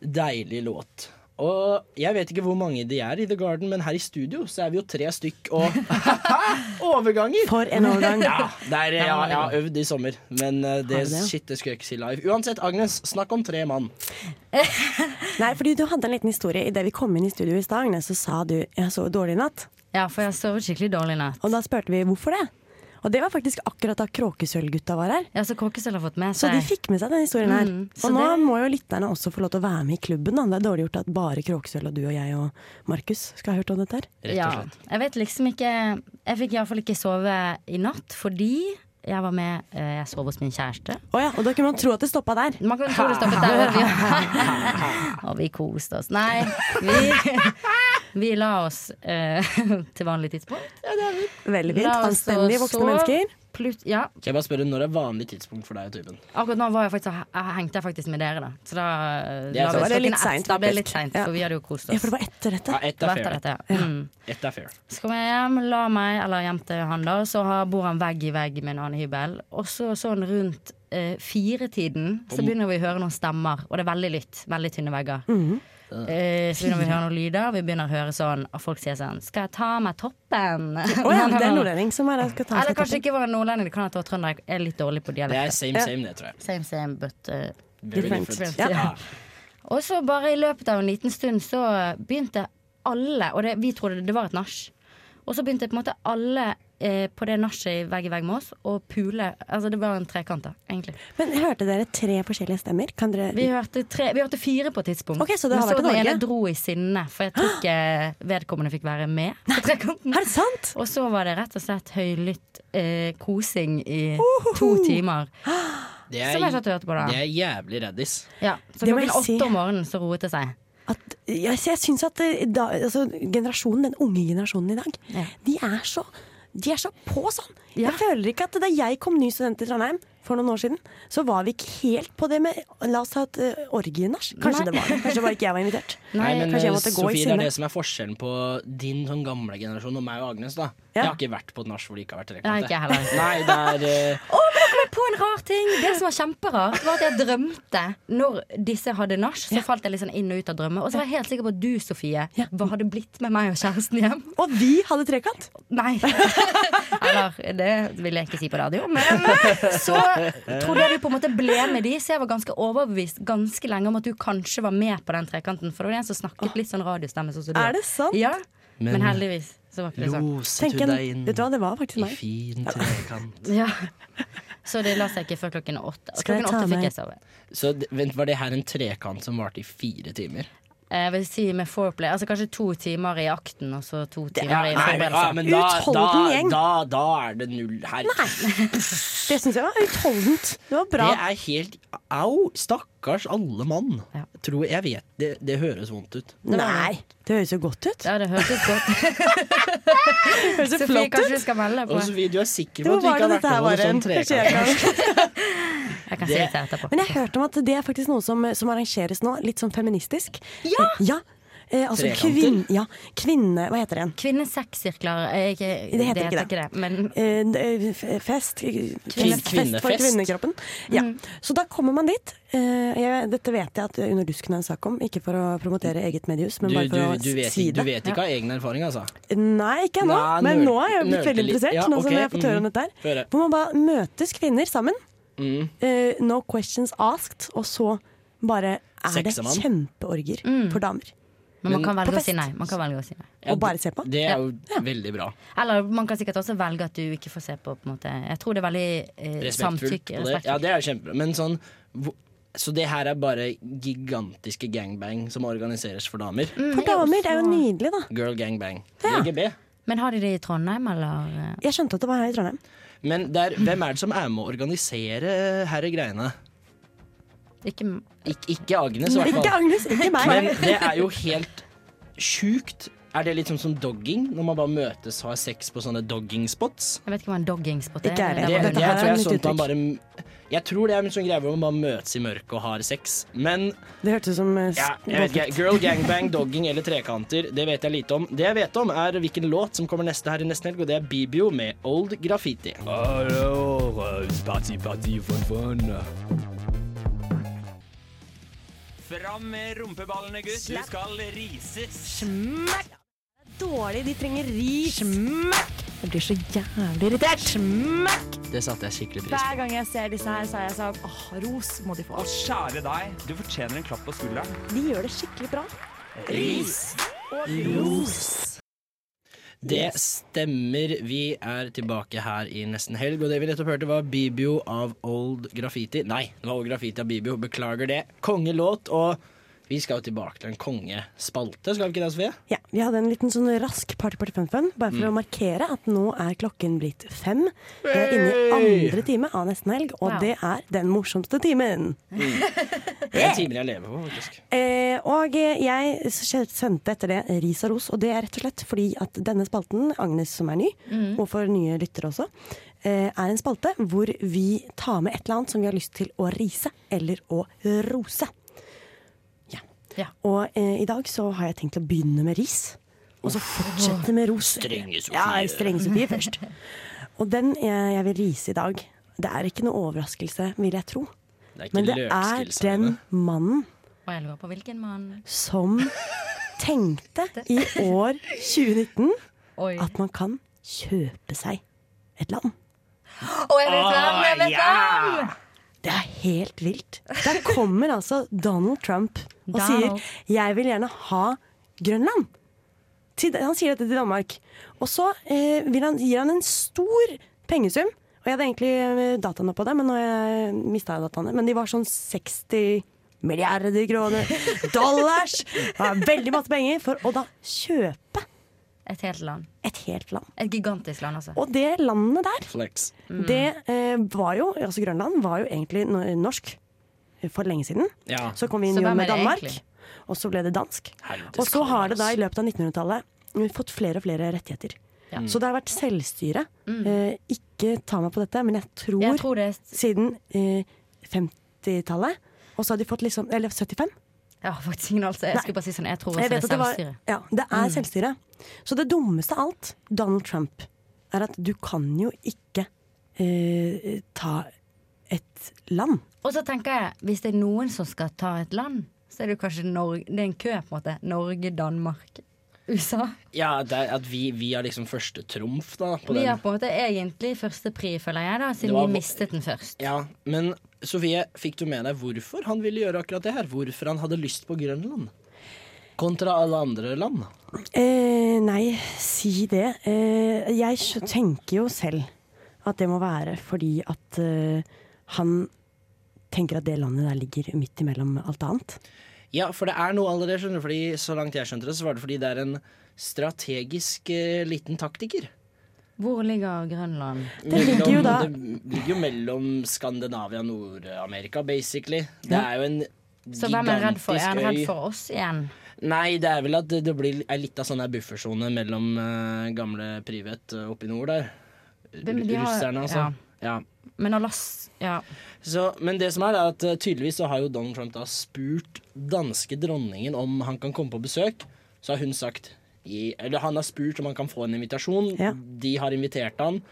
[SPEAKER 1] deilig låt. Og jeg vet ikke hvor mange de er i The Garden, men her i studio så er vi jo tre stykk og Overganger!
[SPEAKER 3] for en overgang.
[SPEAKER 1] Ja, det er, ja, jeg har øvd i sommer, men eh, det,
[SPEAKER 3] Har du det?
[SPEAKER 1] shit, det skulle jeg ikke si live. Uansett, Agnes, snakk om tre mann.
[SPEAKER 3] Nei, fordi du hadde en liten historie. Idet vi kom inn i studio i stad, Agnes, så sa du 'jeg sov dårlig i natt'.
[SPEAKER 8] Ja, for jeg sovet skikkelig dårlig i natt.
[SPEAKER 3] Og da spurte vi hvorfor det. Og det var faktisk akkurat da Kråkesølvgutta var her.
[SPEAKER 8] Ja, så Kåkesølv har fått med
[SPEAKER 3] Så
[SPEAKER 8] seg
[SPEAKER 3] de fikk med seg den historien her.
[SPEAKER 8] Mm, så
[SPEAKER 3] og nå
[SPEAKER 8] det-
[SPEAKER 3] må jo lytterne også få lov til å være med i klubben. Da. Det er dårlig gjort at bare Kråkesølv og du og jeg og Markus skal ha hørt om dette her.
[SPEAKER 1] Rett og slett.
[SPEAKER 8] Ja, jeg vet liksom ikke Jeg fikk iallfall ikke sove i natt fordi jeg var med eh, Jeg sov hos min kjæreste.
[SPEAKER 3] Å ja, og da kunne man tro at det stoppa der.
[SPEAKER 8] Man kan tro det stoppet der. og vi- Og vi koste oss. Nei, vi, vi la oss eh, til vanlig tidspunkt.
[SPEAKER 3] Veldig fint.
[SPEAKER 8] La oss
[SPEAKER 3] Anstendige
[SPEAKER 8] så
[SPEAKER 3] voksne
[SPEAKER 8] sove.
[SPEAKER 3] mennesker.
[SPEAKER 8] Plut ja,
[SPEAKER 1] Kan jeg bare spørre, Når er vanlig tidspunkt for deg og typen?
[SPEAKER 8] akkurat nå var jeg faktisk, jeg hengte jeg faktisk med dere, da. Så da, eh,
[SPEAKER 1] Ja, så var
[SPEAKER 8] la vi oss
[SPEAKER 3] det
[SPEAKER 8] klokken
[SPEAKER 3] litt
[SPEAKER 8] ett.
[SPEAKER 3] sent,
[SPEAKER 8] Da ble det litt
[SPEAKER 3] faktisk.
[SPEAKER 8] seint,
[SPEAKER 3] Ja.
[SPEAKER 8] for vi hadde jo kost
[SPEAKER 3] Ja, for det var
[SPEAKER 8] oss.
[SPEAKER 3] etter dette.
[SPEAKER 1] Ja, ett er
[SPEAKER 8] Det var
[SPEAKER 1] fair.
[SPEAKER 8] etter dette, ja. Mm.
[SPEAKER 1] Ett er fair.
[SPEAKER 8] Så kom jeg hjem, la meg, eller hjem til han da, så har- bor han vegg i vegg med en annen hybel. Og så sånn rundt eh, firetiden så begynner vi å høre noen stemmer, og det er veldig lytt. Veldig tynne vegger.
[SPEAKER 3] Mhm.
[SPEAKER 8] eh, så begynner vi å høre noen lyder, vi begynner å høre sånn at folk sier sånn Skal jeg ta meg toppen?
[SPEAKER 3] Å ja, det er en nordlending som er der og skal ta
[SPEAKER 8] Eller
[SPEAKER 3] seg
[SPEAKER 8] kanskje
[SPEAKER 3] toppen.
[SPEAKER 8] ikke var det nordlending, det kan hende det var trønder. Jeg er litt dårlig på
[SPEAKER 1] Det er
[SPEAKER 8] dialekt.
[SPEAKER 1] same, same, det, tror jeg.
[SPEAKER 8] Same, same, but eh,
[SPEAKER 1] Very
[SPEAKER 3] Different.
[SPEAKER 1] different.
[SPEAKER 8] Ja.
[SPEAKER 1] Ja.
[SPEAKER 8] Og så bare i løpet av en liten stund så begynte alle, og det, vi trodde det var et nach, og så begynte på en måte alle eh, på det nachet vegg i vegg med oss å pule. Altså det var en trekant, da, egentlig.
[SPEAKER 3] Men hørte dere tre forskjellige stemmer? Kan dere
[SPEAKER 8] Vi hørte, tre, vi hørte fire på et tidspunkt.
[SPEAKER 3] Ok, så det har
[SPEAKER 8] Men
[SPEAKER 3] vært i
[SPEAKER 8] den
[SPEAKER 3] Norge?
[SPEAKER 8] ene dro i sinne, for jeg tror ikke vedkommende fikk være med på trekanten.
[SPEAKER 3] Er det sant?
[SPEAKER 8] Og så var det rett og slett høylytt eh, kosing i to timer.
[SPEAKER 1] Det
[SPEAKER 8] Som jeg satt og hørte på da.
[SPEAKER 1] det er jævlig reddis.
[SPEAKER 8] Ja, så
[SPEAKER 3] Det må
[SPEAKER 8] klokken
[SPEAKER 3] jeg si.
[SPEAKER 8] åtte om morgenen så roet det seg.
[SPEAKER 3] At, jeg, jeg syns at eh, da, altså, generasjonen, den unge generasjonen i dag,
[SPEAKER 8] Ja.
[SPEAKER 3] de er så de er så på sånn!
[SPEAKER 8] Ja.
[SPEAKER 3] Jeg føler ikke at Da jeg kom ny student til Trondheim for noen år siden, så var vi ikke helt på det med La oss ta et uh, orgienach. Kanskje
[SPEAKER 8] Nei.
[SPEAKER 3] det var det. Kanskje bare ikke jeg var invitert.
[SPEAKER 1] Nei, men
[SPEAKER 3] kanskje jeg
[SPEAKER 1] eh,
[SPEAKER 3] måtte gå i
[SPEAKER 1] Sofie, det er
[SPEAKER 3] sinne.
[SPEAKER 1] det som er forskjellen på din sånn gamle generasjon og meg og Agnes. da Jeg har ikke vært på et nach hvor det ikke har vært trekant.
[SPEAKER 8] Nei, ikke jeg heller.
[SPEAKER 1] Nei, det er eh,
[SPEAKER 8] Å, men da kom jeg på en rar ting! Det som var kjemperart, var at jeg drømte når disse hadde nach. Så falt jeg litt sånn inn og ut av drømmer. Og så var jeg helt sikker på at du, Sofie, hva hadde blitt med meg og kjæresten hjem.
[SPEAKER 3] Og vi hadde trekant!
[SPEAKER 8] Nei. Eller det vil jeg ikke si på radio. Men så trodde jeg du på en måte ble med de, så jeg var ganske overbevist ganske lenge om at du kanskje var med på den trekanten. For det var en som snakket litt sånn radiostemme. Sånn som du.
[SPEAKER 3] Er det sant?
[SPEAKER 8] Ja, men,
[SPEAKER 1] Men-
[SPEAKER 8] heldigvis så var ikke det sånn.
[SPEAKER 1] Lose
[SPEAKER 3] Tenk
[SPEAKER 1] du
[SPEAKER 3] en,
[SPEAKER 1] deg inn
[SPEAKER 3] vet du hva, det var
[SPEAKER 1] i
[SPEAKER 3] faktisk meg.
[SPEAKER 1] fin trekant.
[SPEAKER 8] Ja. Så det la seg ikke før klokken åtte. Og
[SPEAKER 3] Skal jeg
[SPEAKER 8] klokken
[SPEAKER 3] ta
[SPEAKER 8] åtte
[SPEAKER 3] meg-
[SPEAKER 8] fikk jeg sove.
[SPEAKER 1] Så d- vent, var det her en trekant som varte i fire timer?
[SPEAKER 8] Eh, Jeg vil si med foreplay, altså kanskje to timer i akten og så to timer
[SPEAKER 1] Nei,
[SPEAKER 8] i
[SPEAKER 1] men, ja,
[SPEAKER 8] forberedelse.
[SPEAKER 1] men da, da,
[SPEAKER 3] Utholden gjeng.
[SPEAKER 1] da, da er det null her.
[SPEAKER 3] Det syns jeg var utholdent. Det var bra.
[SPEAKER 1] Det er helt Au! Stakkars alle mann.
[SPEAKER 8] Ja.
[SPEAKER 1] Tror, jeg vet det, det høres vondt ut.
[SPEAKER 3] Nei, det høres jo godt ut.
[SPEAKER 8] Ja, det hørtes godt ut.
[SPEAKER 3] Det høres jo
[SPEAKER 8] Sofie,
[SPEAKER 3] flott ut.
[SPEAKER 8] kanskje du skal melde på?
[SPEAKER 1] Og Sofie, du er sikker på
[SPEAKER 3] Hvor
[SPEAKER 1] at du
[SPEAKER 3] var
[SPEAKER 1] ikke
[SPEAKER 3] det
[SPEAKER 1] har vært
[SPEAKER 3] dette
[SPEAKER 1] med
[SPEAKER 3] her
[SPEAKER 1] på
[SPEAKER 3] var
[SPEAKER 1] sånn
[SPEAKER 3] en? Kanskje jeg
[SPEAKER 1] trekant?
[SPEAKER 3] kan
[SPEAKER 8] Jeg kan si det til etterpå.
[SPEAKER 3] Men jeg hørte om at det er faktisk noe som, som arrangeres nå, litt sånn feministisk. Ja! ja. Eh, altså
[SPEAKER 1] Trekanter?
[SPEAKER 3] kvinn... Ja, kvinne... Hva heter den?
[SPEAKER 8] Kvinnesekssirkler eh, ikke,
[SPEAKER 3] Det heter ikke det.
[SPEAKER 8] Men
[SPEAKER 3] Eh, n- eh, fest Kvinnefest for
[SPEAKER 1] kvinnefest.
[SPEAKER 3] kvinnekroppen. Ja. Så da kommer man dit. Eh, jeg, dette vet jeg at Under dusken er en sak om, ikke for å promotere eget mediehus, men
[SPEAKER 1] Du, du,
[SPEAKER 3] bare for
[SPEAKER 1] du,
[SPEAKER 3] å
[SPEAKER 1] vet,
[SPEAKER 3] si
[SPEAKER 1] ikke- du
[SPEAKER 3] det.
[SPEAKER 1] vet ikke av egen erfaring, altså?
[SPEAKER 3] Nei, ikke ennå,
[SPEAKER 1] Nei,
[SPEAKER 3] men
[SPEAKER 1] nøl-
[SPEAKER 3] nå er jeg blitt
[SPEAKER 1] nølte
[SPEAKER 3] veldig
[SPEAKER 1] litt.
[SPEAKER 3] interessert.
[SPEAKER 1] Ja,
[SPEAKER 3] nå som
[SPEAKER 1] ok, Mm-hmm.
[SPEAKER 3] jeg har fått høre om dette her.
[SPEAKER 1] Høre.
[SPEAKER 3] Hvor man bare møtes kvinner sammen.
[SPEAKER 1] Mm.
[SPEAKER 3] Eh, no questions asked. Og så bare er det
[SPEAKER 1] Seksemann.
[SPEAKER 3] kjempeorger for damer.
[SPEAKER 8] Men man kan
[SPEAKER 3] Mm, på
[SPEAKER 8] velge å
[SPEAKER 3] fest.
[SPEAKER 8] si nei. Man kan velge å si nei.
[SPEAKER 1] Ja,
[SPEAKER 3] Og bare se på.
[SPEAKER 1] Det er jo veldig bra.
[SPEAKER 8] Eller man kan sikkert også velge at du ikke får se på. på en måte. Jeg tror det er veldig eh,
[SPEAKER 1] Respektfullt.
[SPEAKER 8] samtykke.
[SPEAKER 1] på det. Ja,
[SPEAKER 8] respektfullt.
[SPEAKER 1] det er jo kjempebra. Men sånn hvor- så det her er bare gigantiske gangbang som organiseres for damer?
[SPEAKER 8] Mm,
[SPEAKER 3] For
[SPEAKER 8] jeg også-
[SPEAKER 3] damer, det er jo nydelig, da.
[SPEAKER 1] Girl gangbang.
[SPEAKER 3] Ja.
[SPEAKER 1] GGB.
[SPEAKER 8] Men har de det i Trondheim, eller? eh?
[SPEAKER 3] Jeg skjønte at det var her i Trondheim.
[SPEAKER 1] Men der, hvem er det som er med å organisere herre greiene?
[SPEAKER 8] Ikke m-
[SPEAKER 1] Ik ikke Agnes, i hvert fall.
[SPEAKER 3] Ikke Agnes, ikke
[SPEAKER 1] Men
[SPEAKER 3] meg.
[SPEAKER 1] det er jo helt sjukt. Er det litt sånn som dogging? Når man bare møtes og har sex på sånne dogging spots?
[SPEAKER 8] jeg vet ikke hva en doggingspot eh,
[SPEAKER 3] Ikke jeg
[SPEAKER 8] Det
[SPEAKER 1] Det,
[SPEAKER 8] var-
[SPEAKER 3] Dette
[SPEAKER 1] det,
[SPEAKER 3] her
[SPEAKER 1] tror
[SPEAKER 3] er
[SPEAKER 1] jeg, er
[SPEAKER 3] nytt
[SPEAKER 1] sånn at man bare, jeg tror det er en sånn greie hvor man bare møtes i mørket og har sex. Men
[SPEAKER 3] Det hørtes ut som eh, s-
[SPEAKER 1] ja, jeg vet ikke, girl gangbang, dogging eller trekanter, det vet jeg lite om. Det jeg vet om, er hvilken låt som kommer neste her i nesten helg, og det er Bibio med Old Graffiti.
[SPEAKER 2] Fram med rumpeballene, gutt. Du skal rises.
[SPEAKER 3] Dårlig, de trenger ris.
[SPEAKER 7] Jeg blir så jævlig irritert. Smekk!
[SPEAKER 1] Det satte jeg skikkelig pris på.
[SPEAKER 7] Hver gang jeg ser disse her, så er jeg sånn åh, ros må de få.
[SPEAKER 2] Og kjære deg, du fortjener en klapp på skulderen.
[SPEAKER 3] De gjør det skikkelig bra.
[SPEAKER 2] Ris!
[SPEAKER 1] Det stemmer. Vi er tilbake her i nesten helg, og det vi nettopp hørte, var Bibio av Old Graffiti. Nei, det var Old Graffiti av Bibio. Beklager det. Kongelåt, og vi skal jo tilbake til en kongespalte, skal vi ikke det, Sofie?
[SPEAKER 3] Ja, Vi hadde en liten sånn rask party party fun fun, bare
[SPEAKER 1] Mm.
[SPEAKER 3] for å markere at nå er klokken blitt fem. Vi er inne i
[SPEAKER 1] Hey!
[SPEAKER 3] andre time av nesten helg, og
[SPEAKER 8] Wow.
[SPEAKER 3] det er den morsomste timen.
[SPEAKER 1] Det er timer jeg lever på, faktisk.
[SPEAKER 3] Eh, og eh, jeg s- sendte etter det ris og ros, og det er rett og slett fordi at denne spalten, Agnes som er ny,
[SPEAKER 1] Mm.
[SPEAKER 3] og for nye lyttere også, eh, er en spalte hvor vi tar med et eller annet som vi har lyst til å rise eller å rose. Ja.
[SPEAKER 8] Ja.
[SPEAKER 3] Og eh, i dag så har jeg tenkt å begynne med ris, og så fortsette med ros.
[SPEAKER 1] Strenge Sofie.
[SPEAKER 3] Ja, strenge Sofie først. Og den jeg, jeg vil rise i dag, det er ikke noe overraskelse, vil jeg tro,
[SPEAKER 1] Det er ikke
[SPEAKER 3] men det er
[SPEAKER 1] løkskilsene
[SPEAKER 3] den
[SPEAKER 1] dine.
[SPEAKER 3] mannen
[SPEAKER 8] Og jeg lurer på hvilken mann.
[SPEAKER 3] som tenkte i år 2019
[SPEAKER 8] Oi.
[SPEAKER 3] at man kan kjøpe seg et land. Ah,
[SPEAKER 8] Å, jeg vet hvem! Jeg vet hvem!
[SPEAKER 3] Det er helt vilt. Der kommer altså Donald Trump og
[SPEAKER 8] Donald.
[SPEAKER 3] sier 'jeg vil gjerne ha Grønland'. Til, han sier dette til Danmark. Og så eh, vil han, gir han en stor pengesum. Og jeg hadde egentlig eh, dataene på det, men nå har jeg mista dataene. Men de var sånn 60 milliarder kroner. Dollars! Det var Veldig masse penger for å da kjøpe
[SPEAKER 8] Et helt land.
[SPEAKER 3] et helt land.
[SPEAKER 8] Et gigantisk land, altså.
[SPEAKER 3] Og det landet der
[SPEAKER 1] Flex.
[SPEAKER 3] det eh, var jo, altså Grønland var jo egentlig no- norsk for lenge siden.
[SPEAKER 1] Ja.
[SPEAKER 3] Så kom vi inn
[SPEAKER 8] Så
[SPEAKER 3] jo
[SPEAKER 8] hvem
[SPEAKER 3] med
[SPEAKER 8] er det
[SPEAKER 3] Danmark,
[SPEAKER 8] egentlig?
[SPEAKER 3] og så ble det dansk.
[SPEAKER 1] Helvetes
[SPEAKER 3] Og så har
[SPEAKER 1] kaller,
[SPEAKER 3] det da i
[SPEAKER 1] altså.
[SPEAKER 3] løpet av 1900-tallet fått flere og flere rettigheter.
[SPEAKER 8] Ja. Mm.
[SPEAKER 3] Så det har vært selvstyre. Eh, ikke ta meg på dette, men jeg tror,
[SPEAKER 8] Jeg tror det er
[SPEAKER 3] siden eh, 50-tallet. Og så har de fått liksom Eller 75.
[SPEAKER 8] Jeg har faktisk ingen anelse. Jeg
[SPEAKER 3] Nei.
[SPEAKER 8] skulle bare si sånn, jeg tror
[SPEAKER 3] Jeg
[SPEAKER 8] også det
[SPEAKER 3] vet
[SPEAKER 8] er
[SPEAKER 3] at det, var,
[SPEAKER 8] selvstyre. Mm.
[SPEAKER 3] ja, det er selvstyre. Så det dummeste av alt, Donald Trump, er at du kan jo ikke eh, ta et land.
[SPEAKER 8] Og så tenker jeg, hvis det er noen som skal ta et land, så er det jo kanskje Norge Det er en kø, på en måte. Norge, Danmark, USA.
[SPEAKER 1] Ja, det er at vi, vi er liksom første trumf, da. På
[SPEAKER 8] Vi
[SPEAKER 1] den.
[SPEAKER 8] har på en måte egentlig førstepri, føler jeg, da,
[SPEAKER 1] Det
[SPEAKER 8] siden
[SPEAKER 1] var-
[SPEAKER 8] vi mistet den først.
[SPEAKER 1] Ja, Men Sofie, fikk du med deg hvorfor han ville gjøre akkurat det her? Hvorfor han hadde lyst på Grønland? Kontra alle andre land.
[SPEAKER 3] Eh, nei, si det. Eh, jeg skj- tenker jo selv at det må være fordi at eh, han tenker at det landet der ligger midt imellom alt annet.
[SPEAKER 1] Ja, for det er noe allerede, skjønner du. Fordi, så langt jeg skjønte det, så var det fordi det er en strategisk eh, liten taktiker.
[SPEAKER 8] Hvor ligger Grønland?
[SPEAKER 3] ligger jo da-
[SPEAKER 1] det ligger jo mellom Skandinavia og Nord-Amerika, basically. Det er jo en
[SPEAKER 8] Så hvem er redd for? Er han redd
[SPEAKER 1] gigantisk øy.
[SPEAKER 8] for oss igjen?
[SPEAKER 1] Nei, det er vel at det, det blir ei lita sånn her buffersone mellom eh, gamle Privet eh, oppe i nord der.
[SPEAKER 8] Det- men de har-
[SPEAKER 1] Russerne, altså.
[SPEAKER 8] ja.
[SPEAKER 1] Ja.
[SPEAKER 8] Men Alaska Ja.
[SPEAKER 1] Så, men det som er, er at eh, tydeligvis så har jo Donald Trump da spurt danske dronningen om han kan komme på besøk. Så har hun sagt i, Eller han har spurt om han kan få en invitasjon.
[SPEAKER 3] Ja.
[SPEAKER 1] De har invitert han.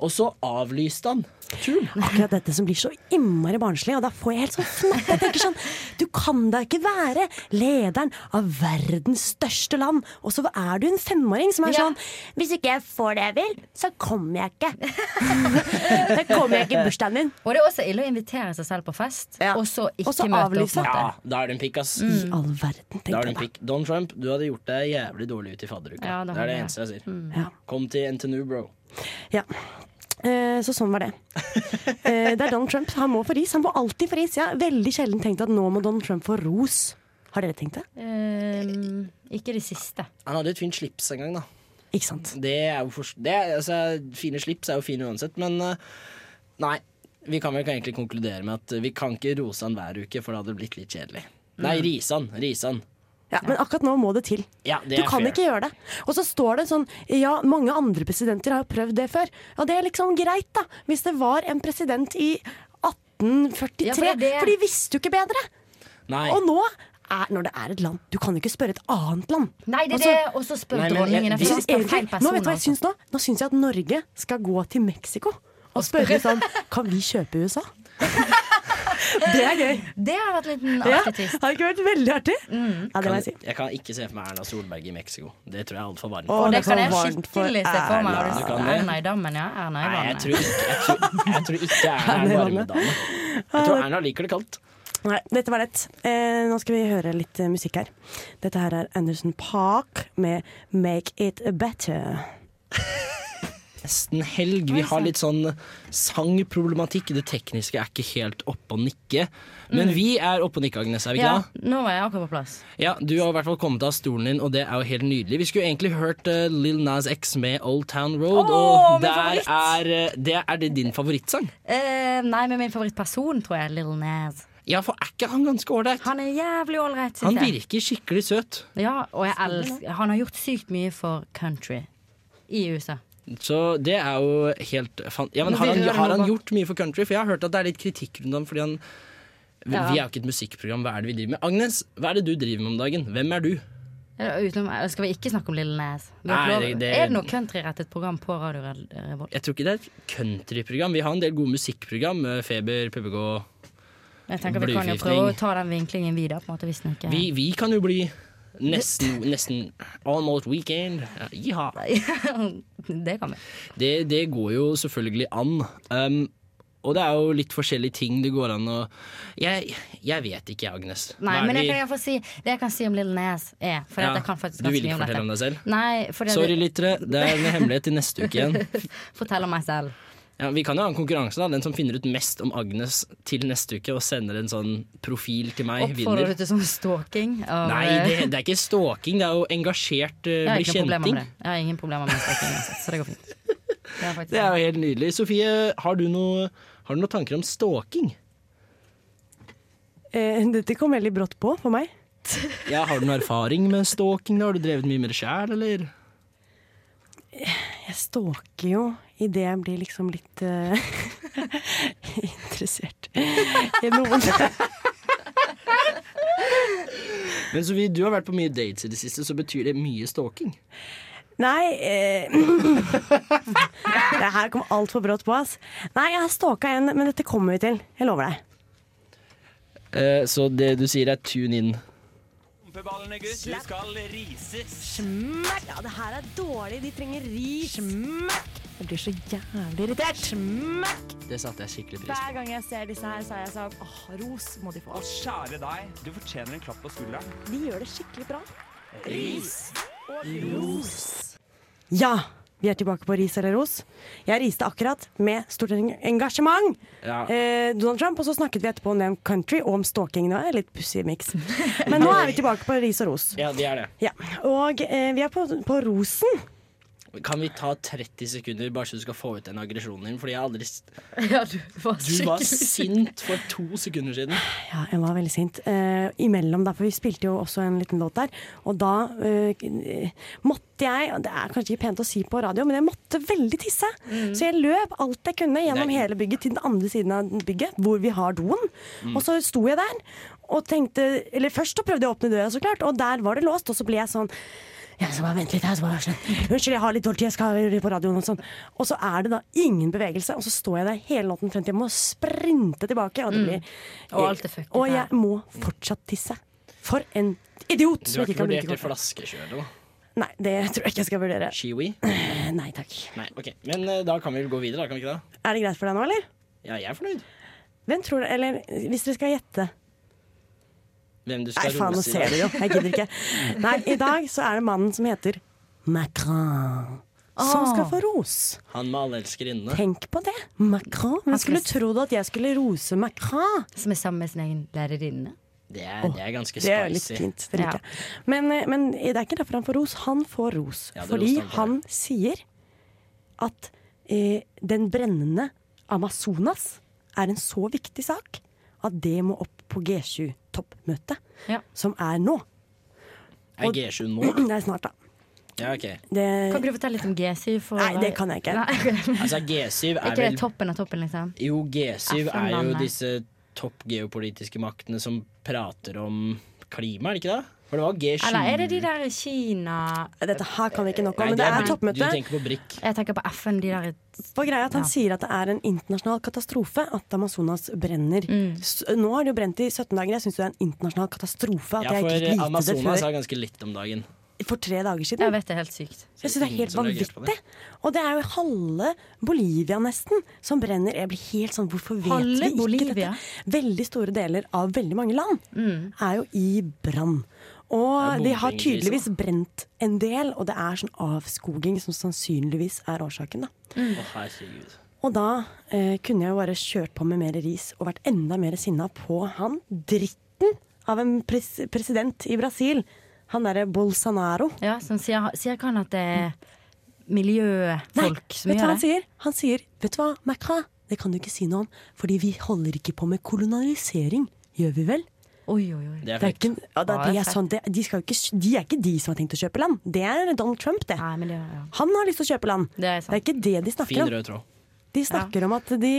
[SPEAKER 1] Og så avlyste han. Tull.
[SPEAKER 3] Akkurat dette som blir så innmari barnslig, og da får jeg helt sånn fnatt. Jeg tenker sånn Du kan da ikke være lederen av verdens største land, og så er du en femåring som er
[SPEAKER 8] Ja.
[SPEAKER 3] sånn Hvis ikke jeg får det jeg vil, så kommer jeg ikke. da kommer jeg ikke i bursdagen din.
[SPEAKER 8] Og det er også ille å invitere seg selv på fest,
[SPEAKER 3] Ja.
[SPEAKER 8] og så ikke
[SPEAKER 3] Og så
[SPEAKER 8] møte
[SPEAKER 3] avlyse.
[SPEAKER 8] opp. på en måte.
[SPEAKER 1] Ja, da er det en pikk, ass.
[SPEAKER 8] Mm.
[SPEAKER 3] I all verden,
[SPEAKER 1] Da er
[SPEAKER 3] tenker
[SPEAKER 1] det en
[SPEAKER 3] jeg da.
[SPEAKER 1] pikk. Donald Trump, du hadde gjort deg jævlig dårlig ut i fadderuka.
[SPEAKER 8] Ja, det
[SPEAKER 1] det,
[SPEAKER 8] hadde
[SPEAKER 1] er det
[SPEAKER 8] jeg. Mm.
[SPEAKER 1] eneste jeg sier.
[SPEAKER 3] Ja.
[SPEAKER 1] Kom til NTNU, bro.
[SPEAKER 3] Ja. Eh, Så sånn var det. Eh, Det er Donald Trump. Han må få ris. Han får alltid få ris. Jeg har veldig sjelden tenkt at nå må Donald Trump få ros. Har dere tenkt det?
[SPEAKER 8] Ehm, ikke det siste.
[SPEAKER 1] Han hadde et fint slips en gang, da.
[SPEAKER 3] Ikke sant?
[SPEAKER 1] Det er jo for, det er, altså, fine slips er jo fine uansett, men eh, nei. Vi kan vel egentlig konkludere med at eh, vi kan ikke rose han hver uke, for det hadde blitt litt kjedelig. Nei, rise han. Rise han.
[SPEAKER 3] Ja, men akkurat nå må det til.
[SPEAKER 1] Ja, det
[SPEAKER 3] Du
[SPEAKER 1] er
[SPEAKER 3] kan
[SPEAKER 1] fair.
[SPEAKER 3] ikke gjøre det. Og så står det sånn Ja, mange andre presidenter har jo prøvd det før. Og det er liksom greit, da. Hvis det var en president i 1843.
[SPEAKER 8] Ja, for det er det.
[SPEAKER 3] For de visste jo ikke bedre.
[SPEAKER 1] Nei.
[SPEAKER 3] Og nå er, når det er et land Du kan jo ikke spørre et annet land.
[SPEAKER 8] Nei, det er
[SPEAKER 3] Altså-
[SPEAKER 8] det, og så spør
[SPEAKER 1] Nei, men
[SPEAKER 8] dronningen.
[SPEAKER 1] jeg-
[SPEAKER 8] Jeg,
[SPEAKER 1] hvis-
[SPEAKER 8] spør feil
[SPEAKER 3] nå
[SPEAKER 8] person,
[SPEAKER 3] vet du hva jeg
[SPEAKER 8] altså.
[SPEAKER 3] syns nå? Nå syns jeg at Norge skal gå til Mexico og spørre sånn Kan vi kjøpe USA? det er gøy.
[SPEAKER 8] Det har vært litt
[SPEAKER 3] Ja,
[SPEAKER 8] artig
[SPEAKER 3] har
[SPEAKER 8] twist. Mm.
[SPEAKER 3] det ikke vært veldig artig? Ja, det må
[SPEAKER 1] kan,
[SPEAKER 3] jeg si.
[SPEAKER 1] jeg kan ikke se for meg Erna Solberg i Mexico. Det tror jeg er altfor varmt.
[SPEAKER 3] Å,
[SPEAKER 8] Og det
[SPEAKER 3] er så
[SPEAKER 8] kan jeg
[SPEAKER 3] varmt for
[SPEAKER 8] skikkelig se for
[SPEAKER 3] Erna.
[SPEAKER 8] meg. Har du
[SPEAKER 1] Du kan
[SPEAKER 8] sett
[SPEAKER 1] det.
[SPEAKER 8] Erna i dammen? Ja, Erna i
[SPEAKER 1] Nei, jeg
[SPEAKER 8] vannet.
[SPEAKER 1] tror ikke, jeg tror, jeg tror ikke Erna er en varmedame. Jeg tror Erna liker det kaldt.
[SPEAKER 3] Nei, dette var lett. Eh, nå skal vi høre litt eh, musikk her. Dette her er Anderson Park med 'Make It Better'.
[SPEAKER 1] nesten helg. Vi har litt sånn sangproblematikk. Det tekniske er ikke helt oppe og nikke. Men vi er oppe og nikke, Agnes. Er vi ikke
[SPEAKER 8] Ja,
[SPEAKER 1] da?
[SPEAKER 8] nå var jeg akkurat på plass.
[SPEAKER 1] Ja, Du har i hvert fall kommet av stolen din, og det er jo helt nydelig. Vi skulle egentlig hørt eh, Lil Nas X med Old Town Road,
[SPEAKER 8] Åh,
[SPEAKER 1] og
[SPEAKER 8] min
[SPEAKER 1] der
[SPEAKER 8] favoritt!
[SPEAKER 1] er, eh, det, er det din favorittsang?
[SPEAKER 8] Eh, nei, men min favorittperson tror jeg er Little Nas.
[SPEAKER 1] Ja, for er ikke han ganske ålreit?
[SPEAKER 8] Han er jævlig ålreit,
[SPEAKER 1] Han
[SPEAKER 8] syns jeg.
[SPEAKER 1] virker skikkelig søt.
[SPEAKER 8] Ja, og jeg elsker Han har gjort sykt mye for country i USA.
[SPEAKER 1] Så det er jo helt fan... Ja, men
[SPEAKER 8] Nå
[SPEAKER 1] har han,
[SPEAKER 8] virrer det
[SPEAKER 1] har
[SPEAKER 8] noe
[SPEAKER 1] han
[SPEAKER 8] bak.
[SPEAKER 1] gjort mye for country? For jeg har hørt at det er litt kritikk rundt ham fordi han Vi
[SPEAKER 8] Ja.
[SPEAKER 1] vi er jo ikke et musikkprogram, hva er det vi driver med? Agnes, hva er det du driver med om dagen? Hvem er du?
[SPEAKER 8] Eller Utenom, eller skal vi ikke snakke om Little Nas? Vi har
[SPEAKER 1] Nei,
[SPEAKER 8] ikke lov-
[SPEAKER 1] det- det-
[SPEAKER 8] Er det noe countryrettet program på Radio Re- Revolt?
[SPEAKER 1] Jeg tror ikke det er et countryprogram. Vi har en del gode musikkprogram. eh, Feber, PBK
[SPEAKER 8] Jeg tenker Vi kan jo prøve å ta den vinklingen vi, da. På en måte, hvis den ikke
[SPEAKER 1] Vi, vi kan jo bli nesten, nesten almost weekend. Ja, Jiha.
[SPEAKER 8] Det kan vi.
[SPEAKER 1] Det, det går jo selvfølgelig an. Um, Og det er jo litt forskjellige ting det går an å Jeg, jeg vet ikke, Agnes.
[SPEAKER 8] Nei,
[SPEAKER 1] Hva er
[SPEAKER 8] men
[SPEAKER 1] det
[SPEAKER 8] jeg
[SPEAKER 1] vi-
[SPEAKER 8] kan i hvert fall si det jeg kan si om Little Nas er. For
[SPEAKER 1] Ja,
[SPEAKER 8] at jeg kan faktisk
[SPEAKER 1] du
[SPEAKER 8] ganske
[SPEAKER 1] vil
[SPEAKER 8] mye
[SPEAKER 1] ikke
[SPEAKER 8] om dette.
[SPEAKER 1] fortelle om deg selv?
[SPEAKER 8] Nei, for
[SPEAKER 1] Sorry, lyttere. Det er en hemmelighet til neste uke igjen.
[SPEAKER 8] Fortell om meg selv.
[SPEAKER 1] Ja, vi kan jo ha en konkurranse, da. Den som finner ut mest om Agnes til neste uke og sender en sånn profil til meg,
[SPEAKER 8] Oppfordrer
[SPEAKER 1] vinner.
[SPEAKER 8] du til sånn stalking? Av, eh,
[SPEAKER 1] Nei, det, det er ikke stalking. Det er jo engasjert
[SPEAKER 8] jeg
[SPEAKER 1] uh, bli
[SPEAKER 8] har ikke noe
[SPEAKER 1] kjenting.
[SPEAKER 8] problemer med det. Jeg har ingen problemer med stalking uansett, så det går fint. Det er faktisk-
[SPEAKER 1] Det er jo helt nydelig. Sofie, har du, noe, har du noen tanker om stalking?
[SPEAKER 3] Eh, dette kom veldig brått på for meg.
[SPEAKER 1] Ja, Har du noen erfaring med stalking? da? Har du drevet mye med det sjæl, eller?
[SPEAKER 3] Jeg stalker jo idet jeg blir liksom litt eh, interessert i noen.
[SPEAKER 1] Men Sofie, du har vært på mye dates i det siste, så betyr det mye stalking.
[SPEAKER 3] Nei eh, Det her kom altfor brått på, ass. Nei, jeg har stalka en, men dette kommer vi til. Jeg lover deg.
[SPEAKER 1] Eh, så det du sier er tune in.
[SPEAKER 2] Pumpeballene, gutt, du skal rises.
[SPEAKER 3] Smekk! Ja, det her er dårlig. De trenger ris. Smekk! Jeg blir så jævlig irritert. Smekk!
[SPEAKER 1] Det satte jeg skikkelig pris på.
[SPEAKER 3] Hver gang jeg ser disse her, så er jeg sånn åh, ros må de få.
[SPEAKER 2] Og kjære deg, du fortjener en klapp på skulderen.
[SPEAKER 3] De gjør det skikkelig bra. Ja, vi er tilbake på ris eller ros. Jeg riste akkurat med stort eng- engasjement
[SPEAKER 1] Ja.
[SPEAKER 3] eh, Donald Trump, og så snakket vi etterpå om Name Country og om stalking. Det var en litt pussig miks. Men nå er vi tilbake på ris og ros.
[SPEAKER 1] Ja, det er det.
[SPEAKER 3] Ja, Og eh, vi er på, på rosen.
[SPEAKER 1] Kan vi ta 30 sekunder bare så du skal få ut den aggresjonen din? Fordi jeg har aldri s-
[SPEAKER 8] Ja, du var
[SPEAKER 1] Du var
[SPEAKER 8] skikkelig-
[SPEAKER 1] sint for to sekunder siden.
[SPEAKER 3] Ja, jeg var veldig sint. Eh, imellom der, for vi spilte jo også en liten låt der. Og da eh, k- måtte jeg, og det er kanskje ikke pent å si på radio, men jeg måtte veldig tisse. Så jeg løp alt jeg kunne gjennom
[SPEAKER 1] Nei.
[SPEAKER 3] hele bygget til den andre siden av bygget, hvor vi har doen. Og så sto jeg der og tenkte Eller først så prøvde jeg å åpne døra, så klart, og der var det låst. Og så ble jeg sånn jeg skal bare vente litt her, så bare, Unnskyld, jeg har litt dårlig tid, jeg skal på radioen og sånn. Og så er det da ingen bevegelse, og så står jeg der hele natten frem til jeg må sprinte tilbake. Og det blir
[SPEAKER 8] Og alt er fucket
[SPEAKER 3] Og
[SPEAKER 8] her.
[SPEAKER 3] jeg må fortsatt tisse. For en idiot!
[SPEAKER 1] Du
[SPEAKER 3] som
[SPEAKER 1] har
[SPEAKER 3] ikke
[SPEAKER 1] ikke
[SPEAKER 3] kan
[SPEAKER 1] vurdert det
[SPEAKER 3] bruke kortet.
[SPEAKER 1] flaskekjøret, da?
[SPEAKER 3] Nei, det tror jeg ikke jeg skal vurdere.
[SPEAKER 1] Shiwi?
[SPEAKER 3] Eh, Nei takk.
[SPEAKER 1] Nei, ok. Men eh, da kan vi vel gå videre, da, kan vi ikke det?
[SPEAKER 3] Er det greit for deg nå, eller?
[SPEAKER 1] Ja, jeg er fornøyd.
[SPEAKER 3] Hvem tror det, eller Hvis dere skal gjette
[SPEAKER 1] Hvem du
[SPEAKER 3] Nei,
[SPEAKER 1] skal
[SPEAKER 3] faen, nå
[SPEAKER 1] rose i
[SPEAKER 3] ser
[SPEAKER 1] dag.
[SPEAKER 3] dere jo. Jeg gidder ikke. Nei, i dag så er det mannen som heter Macron. Som
[SPEAKER 8] Ah.
[SPEAKER 3] skal få ros.
[SPEAKER 1] Han med alle elskerinnene.
[SPEAKER 3] Tenk på det. Macron. Man skulle trodd at jeg skulle rose Macron.
[SPEAKER 8] Som er sammen med sin egen lærerinne.
[SPEAKER 1] Det er, det er ganske
[SPEAKER 3] Det er jo litt
[SPEAKER 1] spicy.
[SPEAKER 3] fint. Det liker
[SPEAKER 8] Ja.
[SPEAKER 3] jeg. Men, eh, men det er ikke derfor han får ros. Han får ros
[SPEAKER 1] Ja, det
[SPEAKER 3] fordi
[SPEAKER 1] roste han for.
[SPEAKER 3] han sier at eh, den brennende Amazonas er en så viktig sak at det må opp på G7-toppmøtet,
[SPEAKER 8] Ja.
[SPEAKER 3] som er nå.
[SPEAKER 1] Er G7 nå?
[SPEAKER 3] Det er snart, da.
[SPEAKER 1] Ja, ok.
[SPEAKER 3] Det,
[SPEAKER 8] Kan ikke du fortelle litt om G7? For,
[SPEAKER 3] nei, det kan jeg ikke.
[SPEAKER 8] Nei, ok.
[SPEAKER 1] Altså, G7
[SPEAKER 8] Er
[SPEAKER 1] er
[SPEAKER 8] ikke det
[SPEAKER 1] vel
[SPEAKER 8] toppen av toppen, liksom?
[SPEAKER 1] Jo, G7 er jo
[SPEAKER 8] FN-landene.
[SPEAKER 1] disse topp geopolitiske maktene som prater om klima, er det ikke det? For det var G7
[SPEAKER 8] Eller er det de der i Kina
[SPEAKER 3] Dette her kan vi ikke nok
[SPEAKER 1] Nei,
[SPEAKER 3] om, men det er
[SPEAKER 1] bri-
[SPEAKER 3] toppmøte.
[SPEAKER 1] Du tenker på BRIC.
[SPEAKER 8] Jeg tenker på FN, de der
[SPEAKER 3] På greia er at Han
[SPEAKER 8] Ja.
[SPEAKER 3] sier at det er en internasjonal katastrofe at Amazonas brenner.
[SPEAKER 8] Mm.
[SPEAKER 3] S- Nå har det jo brent i 17 dager. Jeg syns det er en internasjonal katastrofe at
[SPEAKER 1] Ja,
[SPEAKER 3] jeg
[SPEAKER 1] for
[SPEAKER 3] ikke
[SPEAKER 1] eh,
[SPEAKER 3] fikk vite det
[SPEAKER 1] Amazonas
[SPEAKER 3] før
[SPEAKER 1] er ganske litt om dagen.
[SPEAKER 3] for tre dager siden.
[SPEAKER 8] Jeg vet det er helt sykt.
[SPEAKER 3] Jeg synes det er
[SPEAKER 1] Ingen
[SPEAKER 3] helt
[SPEAKER 1] som reagerte på
[SPEAKER 3] vanvittig. Og det er jo halve Bolivia nesten som brenner. Jeg blir helt sånn, hvorfor vet
[SPEAKER 8] Halve
[SPEAKER 3] vi ikke
[SPEAKER 8] Bolivia? Mm.
[SPEAKER 3] dette? Veldig store deler av veldig mange land er jo i brann.
[SPEAKER 1] Det
[SPEAKER 3] Og
[SPEAKER 1] er liksom.
[SPEAKER 3] de har
[SPEAKER 1] bombingkrise,
[SPEAKER 3] tydeligvis brent en del, og det er sånn avskoging som sannsynligvis er årsaken. Da.
[SPEAKER 8] Mm.
[SPEAKER 1] Å, herregud.
[SPEAKER 3] Og da eh, kunne jeg jo bare kjørt på med mer ris og vært enda mer sinna på han dritten av en pres president i Brasil. Han derre Bolsonaro.
[SPEAKER 8] Ja, som sier, sier ikke han at det er miljøfolk som
[SPEAKER 3] vet du hva
[SPEAKER 8] gjør
[SPEAKER 3] han
[SPEAKER 8] det?
[SPEAKER 3] sier? Han sier, vet du hva, Macron, det kan du ikke si noe om, fordi vi holder ikke på med kolonialisering, gjør vi vel?
[SPEAKER 8] Oi, oi, oi.
[SPEAKER 1] Det er
[SPEAKER 3] Det er
[SPEAKER 1] fett.
[SPEAKER 3] ikke, ja, det,
[SPEAKER 8] Ja, det
[SPEAKER 3] det
[SPEAKER 8] er
[SPEAKER 3] er sånn, det, de, skal jo ikke, de er ikke de som har tenkt å kjøpe land, det er Donald Trump det.
[SPEAKER 8] Nei, miljø, ja.
[SPEAKER 3] Han har lyst til å kjøpe land.
[SPEAKER 8] Det er sant.
[SPEAKER 3] ikke det de snakker
[SPEAKER 1] Fin
[SPEAKER 3] om.
[SPEAKER 1] rød tråd.
[SPEAKER 3] De snakker om at de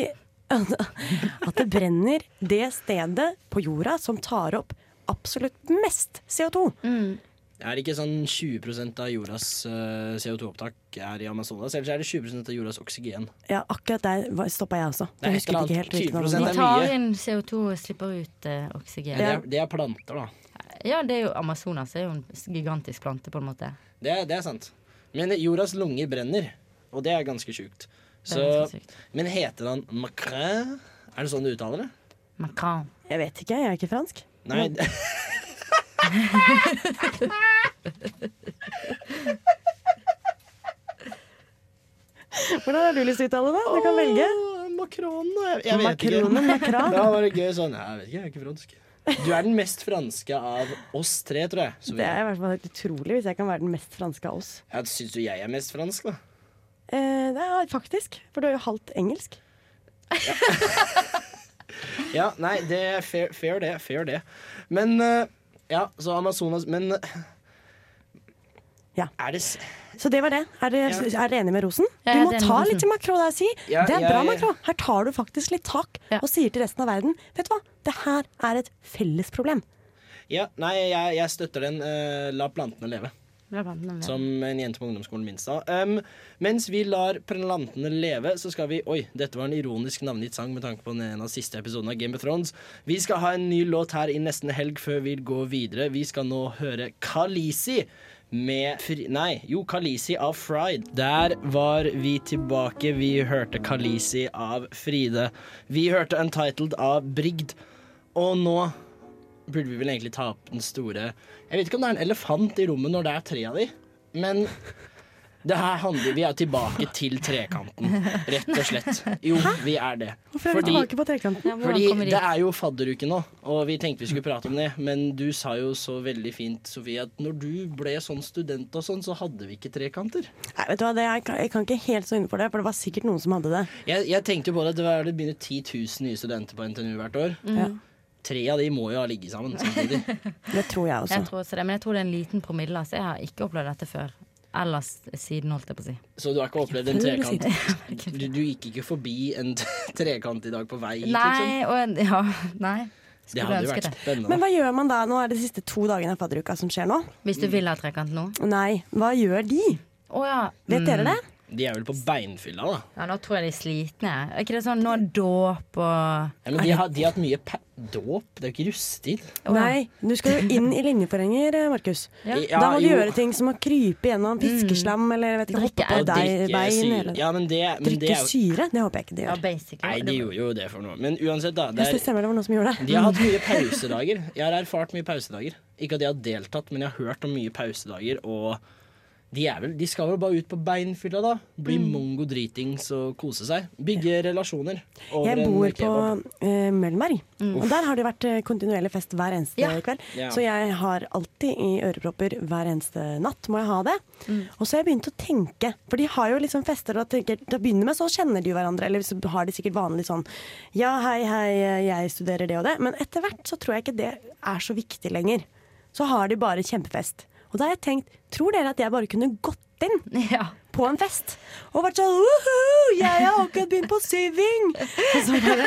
[SPEAKER 3] At det brenner det stedet på jorda som tar opp absolutt mest CO2.
[SPEAKER 1] Er det ikke sånn 20 av jordas eh, CO2-opptak er i Amazonas? Ellers er det 20 av jordas oksygen.
[SPEAKER 3] Ja, akkurat der stoppa jeg også.
[SPEAKER 1] Det er
[SPEAKER 3] Jeg
[SPEAKER 1] et eller
[SPEAKER 3] husket ikke
[SPEAKER 1] annet
[SPEAKER 3] helt
[SPEAKER 1] 20%
[SPEAKER 3] hvilken av
[SPEAKER 8] De
[SPEAKER 1] det er
[SPEAKER 8] tar
[SPEAKER 1] mye.
[SPEAKER 8] inn CO2 og slipper ut eh, oksygen.
[SPEAKER 1] Men Det,
[SPEAKER 8] Ja.
[SPEAKER 1] er, det er planter, da.
[SPEAKER 8] det er jo Amazonas er jo en gigantisk plante, på en måte.
[SPEAKER 1] Det er, det er sant. Men jordas lunger brenner, og det er ganske sjukt.
[SPEAKER 8] Det
[SPEAKER 1] Så,
[SPEAKER 8] er ganske sykt.
[SPEAKER 1] men heter han Macron? Er det sånn du uttaler det?
[SPEAKER 8] Macron.
[SPEAKER 3] Jeg vet ikke, jeg er ikke fransk.
[SPEAKER 1] Nei.
[SPEAKER 3] Hvordan har du lyst til å uttale det? Du kan velge.
[SPEAKER 1] Åh, Macron, da. Jeg, jeg vet ikke.
[SPEAKER 3] Makronen, makran.
[SPEAKER 1] Da var det gøy sånn Jeg vet ikke, jeg er ikke fransk. Du er den mest franske av oss tre, tror jeg. Så
[SPEAKER 3] Det er i hvert fall helt utrolig hvis jeg kan være den mest franske av oss.
[SPEAKER 1] jeg syns jo jeg er mest fransk, da.
[SPEAKER 3] Eh, det er faktisk, for du er jo halvt engelsk.
[SPEAKER 1] Ja, nei, det er fair, fair det. Fair det. Men eh, Ja, så Amazonas Men eh,
[SPEAKER 3] Ja.
[SPEAKER 1] Er det s-
[SPEAKER 3] Så det var det. Er dere
[SPEAKER 1] Ja.
[SPEAKER 3] er dere enig med Rosen?
[SPEAKER 8] Jeg
[SPEAKER 3] Du
[SPEAKER 8] er
[SPEAKER 3] må
[SPEAKER 8] enig med
[SPEAKER 3] ta
[SPEAKER 8] Rosen.
[SPEAKER 3] litt i makro der, si.
[SPEAKER 1] Ja,
[SPEAKER 3] Det er
[SPEAKER 1] jeg-
[SPEAKER 3] bra makro. Her tar du faktisk litt tak
[SPEAKER 8] Ja.
[SPEAKER 3] og sier til resten av verden Vet du hva, det her er et felles problem.
[SPEAKER 1] Ja, nei, jeg, jeg støtter den. eh, la plantene leve.
[SPEAKER 8] Blant annet.
[SPEAKER 1] Som en jente på ungdomsskolen min sa. Um, mens vi lar plantene leve, så skal vi Oi, dette var en ironisk navngitt sang med tanke på den ene av siste episoden av Game of Thrones. Vi skal ha en ny låt her i nesten helg før vi går videre. Vi skal nå høre Kalisi. Med fri... Nei, jo, Kalisi av Fried. Der var vi tilbake. Vi hørte Kalisi av Fride. Vi hørte Untitled av Brigd. Og nå burde vi vel egentlig ta opp den store Jeg vet ikke om det er en elefant i rommet når det er tre av de, men det her handler Vi er tilbake til trekanten, rett og slett. Jo, vi er det.
[SPEAKER 3] Hvorfor er vi tilbake på trekanten?
[SPEAKER 8] Ja, hvordan
[SPEAKER 1] fordi
[SPEAKER 8] kommer de-
[SPEAKER 1] det er jo fadderuke nå, og vi tenkte vi skulle prate om det, men du sa jo så veldig fint, Sofie, at når du ble sånn student og sånn, så hadde vi ikke trekanter.
[SPEAKER 3] Nei, vet du hva, det, jeg, kan, jeg kan ikke helt stå inne for det, for det var sikkert noen som hadde det.
[SPEAKER 1] Jeg, jeg tenkte jo på det, det var- det begynner 10 000 nye studenter på NTNU hvert år.
[SPEAKER 3] Ja,
[SPEAKER 1] Tre av de må jo ha ligget sammen samtidig.
[SPEAKER 3] det tror jeg
[SPEAKER 1] sånn.
[SPEAKER 3] også.
[SPEAKER 8] Jeg tror også det, men jeg tror det er en liten promille. Så jeg har ikke opplevd dette før. Eller s- siden, holdt jeg på å si.
[SPEAKER 1] Så du har ikke opplevd en
[SPEAKER 3] Før eller
[SPEAKER 1] trekant? Du, du gikk ikke forbi en t- trekant i dag på vei hit, liksom?
[SPEAKER 8] Nei, og ja, nei.
[SPEAKER 1] Det
[SPEAKER 8] Skulle
[SPEAKER 1] hadde jo
[SPEAKER 8] ønske
[SPEAKER 1] vært
[SPEAKER 8] det.
[SPEAKER 1] spennende.
[SPEAKER 3] Men hva gjør man da? Nå er det de siste to dagene av fadderuka som skjer nå.
[SPEAKER 8] Hvis du
[SPEAKER 1] Mm.
[SPEAKER 8] vil ha trekant nå.
[SPEAKER 3] Nei, hva gjør de?
[SPEAKER 8] Å ja.
[SPEAKER 3] Vet dere det?
[SPEAKER 1] De er vel på beinfylla, da.
[SPEAKER 8] ja. Nå tror jeg de er slitne. Er ikke det sånn nå er dåp og
[SPEAKER 1] Ja, men de, har, de har hatt mye pa dåp. Det er jo ikke russetid.
[SPEAKER 8] Å, ja.
[SPEAKER 3] Nei, du skal jo inn i linjeforeninger, Markus.
[SPEAKER 8] Ja.
[SPEAKER 3] da må du
[SPEAKER 1] jo,
[SPEAKER 3] gjøre ting som å krype gjennom fiskeslam eller jeg vet ikke, hoppe
[SPEAKER 8] Drikke
[SPEAKER 3] på
[SPEAKER 1] og
[SPEAKER 3] deg,
[SPEAKER 1] Mm. drikke
[SPEAKER 3] bein.
[SPEAKER 1] syre.
[SPEAKER 3] Eller,
[SPEAKER 1] Ja, men det, men det
[SPEAKER 3] drikke
[SPEAKER 1] er jo
[SPEAKER 3] syre? Det håper jeg ikke de
[SPEAKER 8] Ja,
[SPEAKER 3] gjør.
[SPEAKER 8] basically.
[SPEAKER 1] Nei, de gjorde jo det for noe. Men uansett, da. Det
[SPEAKER 3] Hvis det
[SPEAKER 1] er,
[SPEAKER 3] stemmer det var noen som gjorde det.
[SPEAKER 1] de har hatt mye pausedager. Jeg har erfart mye pausedager. Ikke at jeg har deltatt, men jeg har hørt om mye pausedager, og de, er vel, de skal vel bare ut på beinfylla, da. Bli
[SPEAKER 3] Mm.
[SPEAKER 1] mongo dritings og kose seg. Bygge relasjoner. over
[SPEAKER 3] Jeg
[SPEAKER 1] en
[SPEAKER 3] bor på
[SPEAKER 1] kebab.
[SPEAKER 3] eh, Møllenberg, og der har det vært eh, kontinuerlig fest hver eneste
[SPEAKER 8] Ja.
[SPEAKER 3] kveld.
[SPEAKER 1] Ja.
[SPEAKER 3] Så jeg har alltid i ørepropper hver eneste natt, må jeg ha det.
[SPEAKER 1] Mm.
[SPEAKER 3] Og så har jeg begynt å tenke, for de har jo liksom fester og tenker Til å begynne med så kjenner de jo hverandre, eller så har de sikkert vanlig sånn Ja, hei, hei, eh, jeg studerer det og det. Men etter hvert så tror jeg ikke det er så viktig lenger. Så har de bare kjempefest. Og da har jeg tenkt, tror dere at jeg bare kunne gått inn?
[SPEAKER 8] Ja.
[SPEAKER 3] på en fest og vært sånn «Woohoo, Jeg har akkurat begynt på syving! Og så bare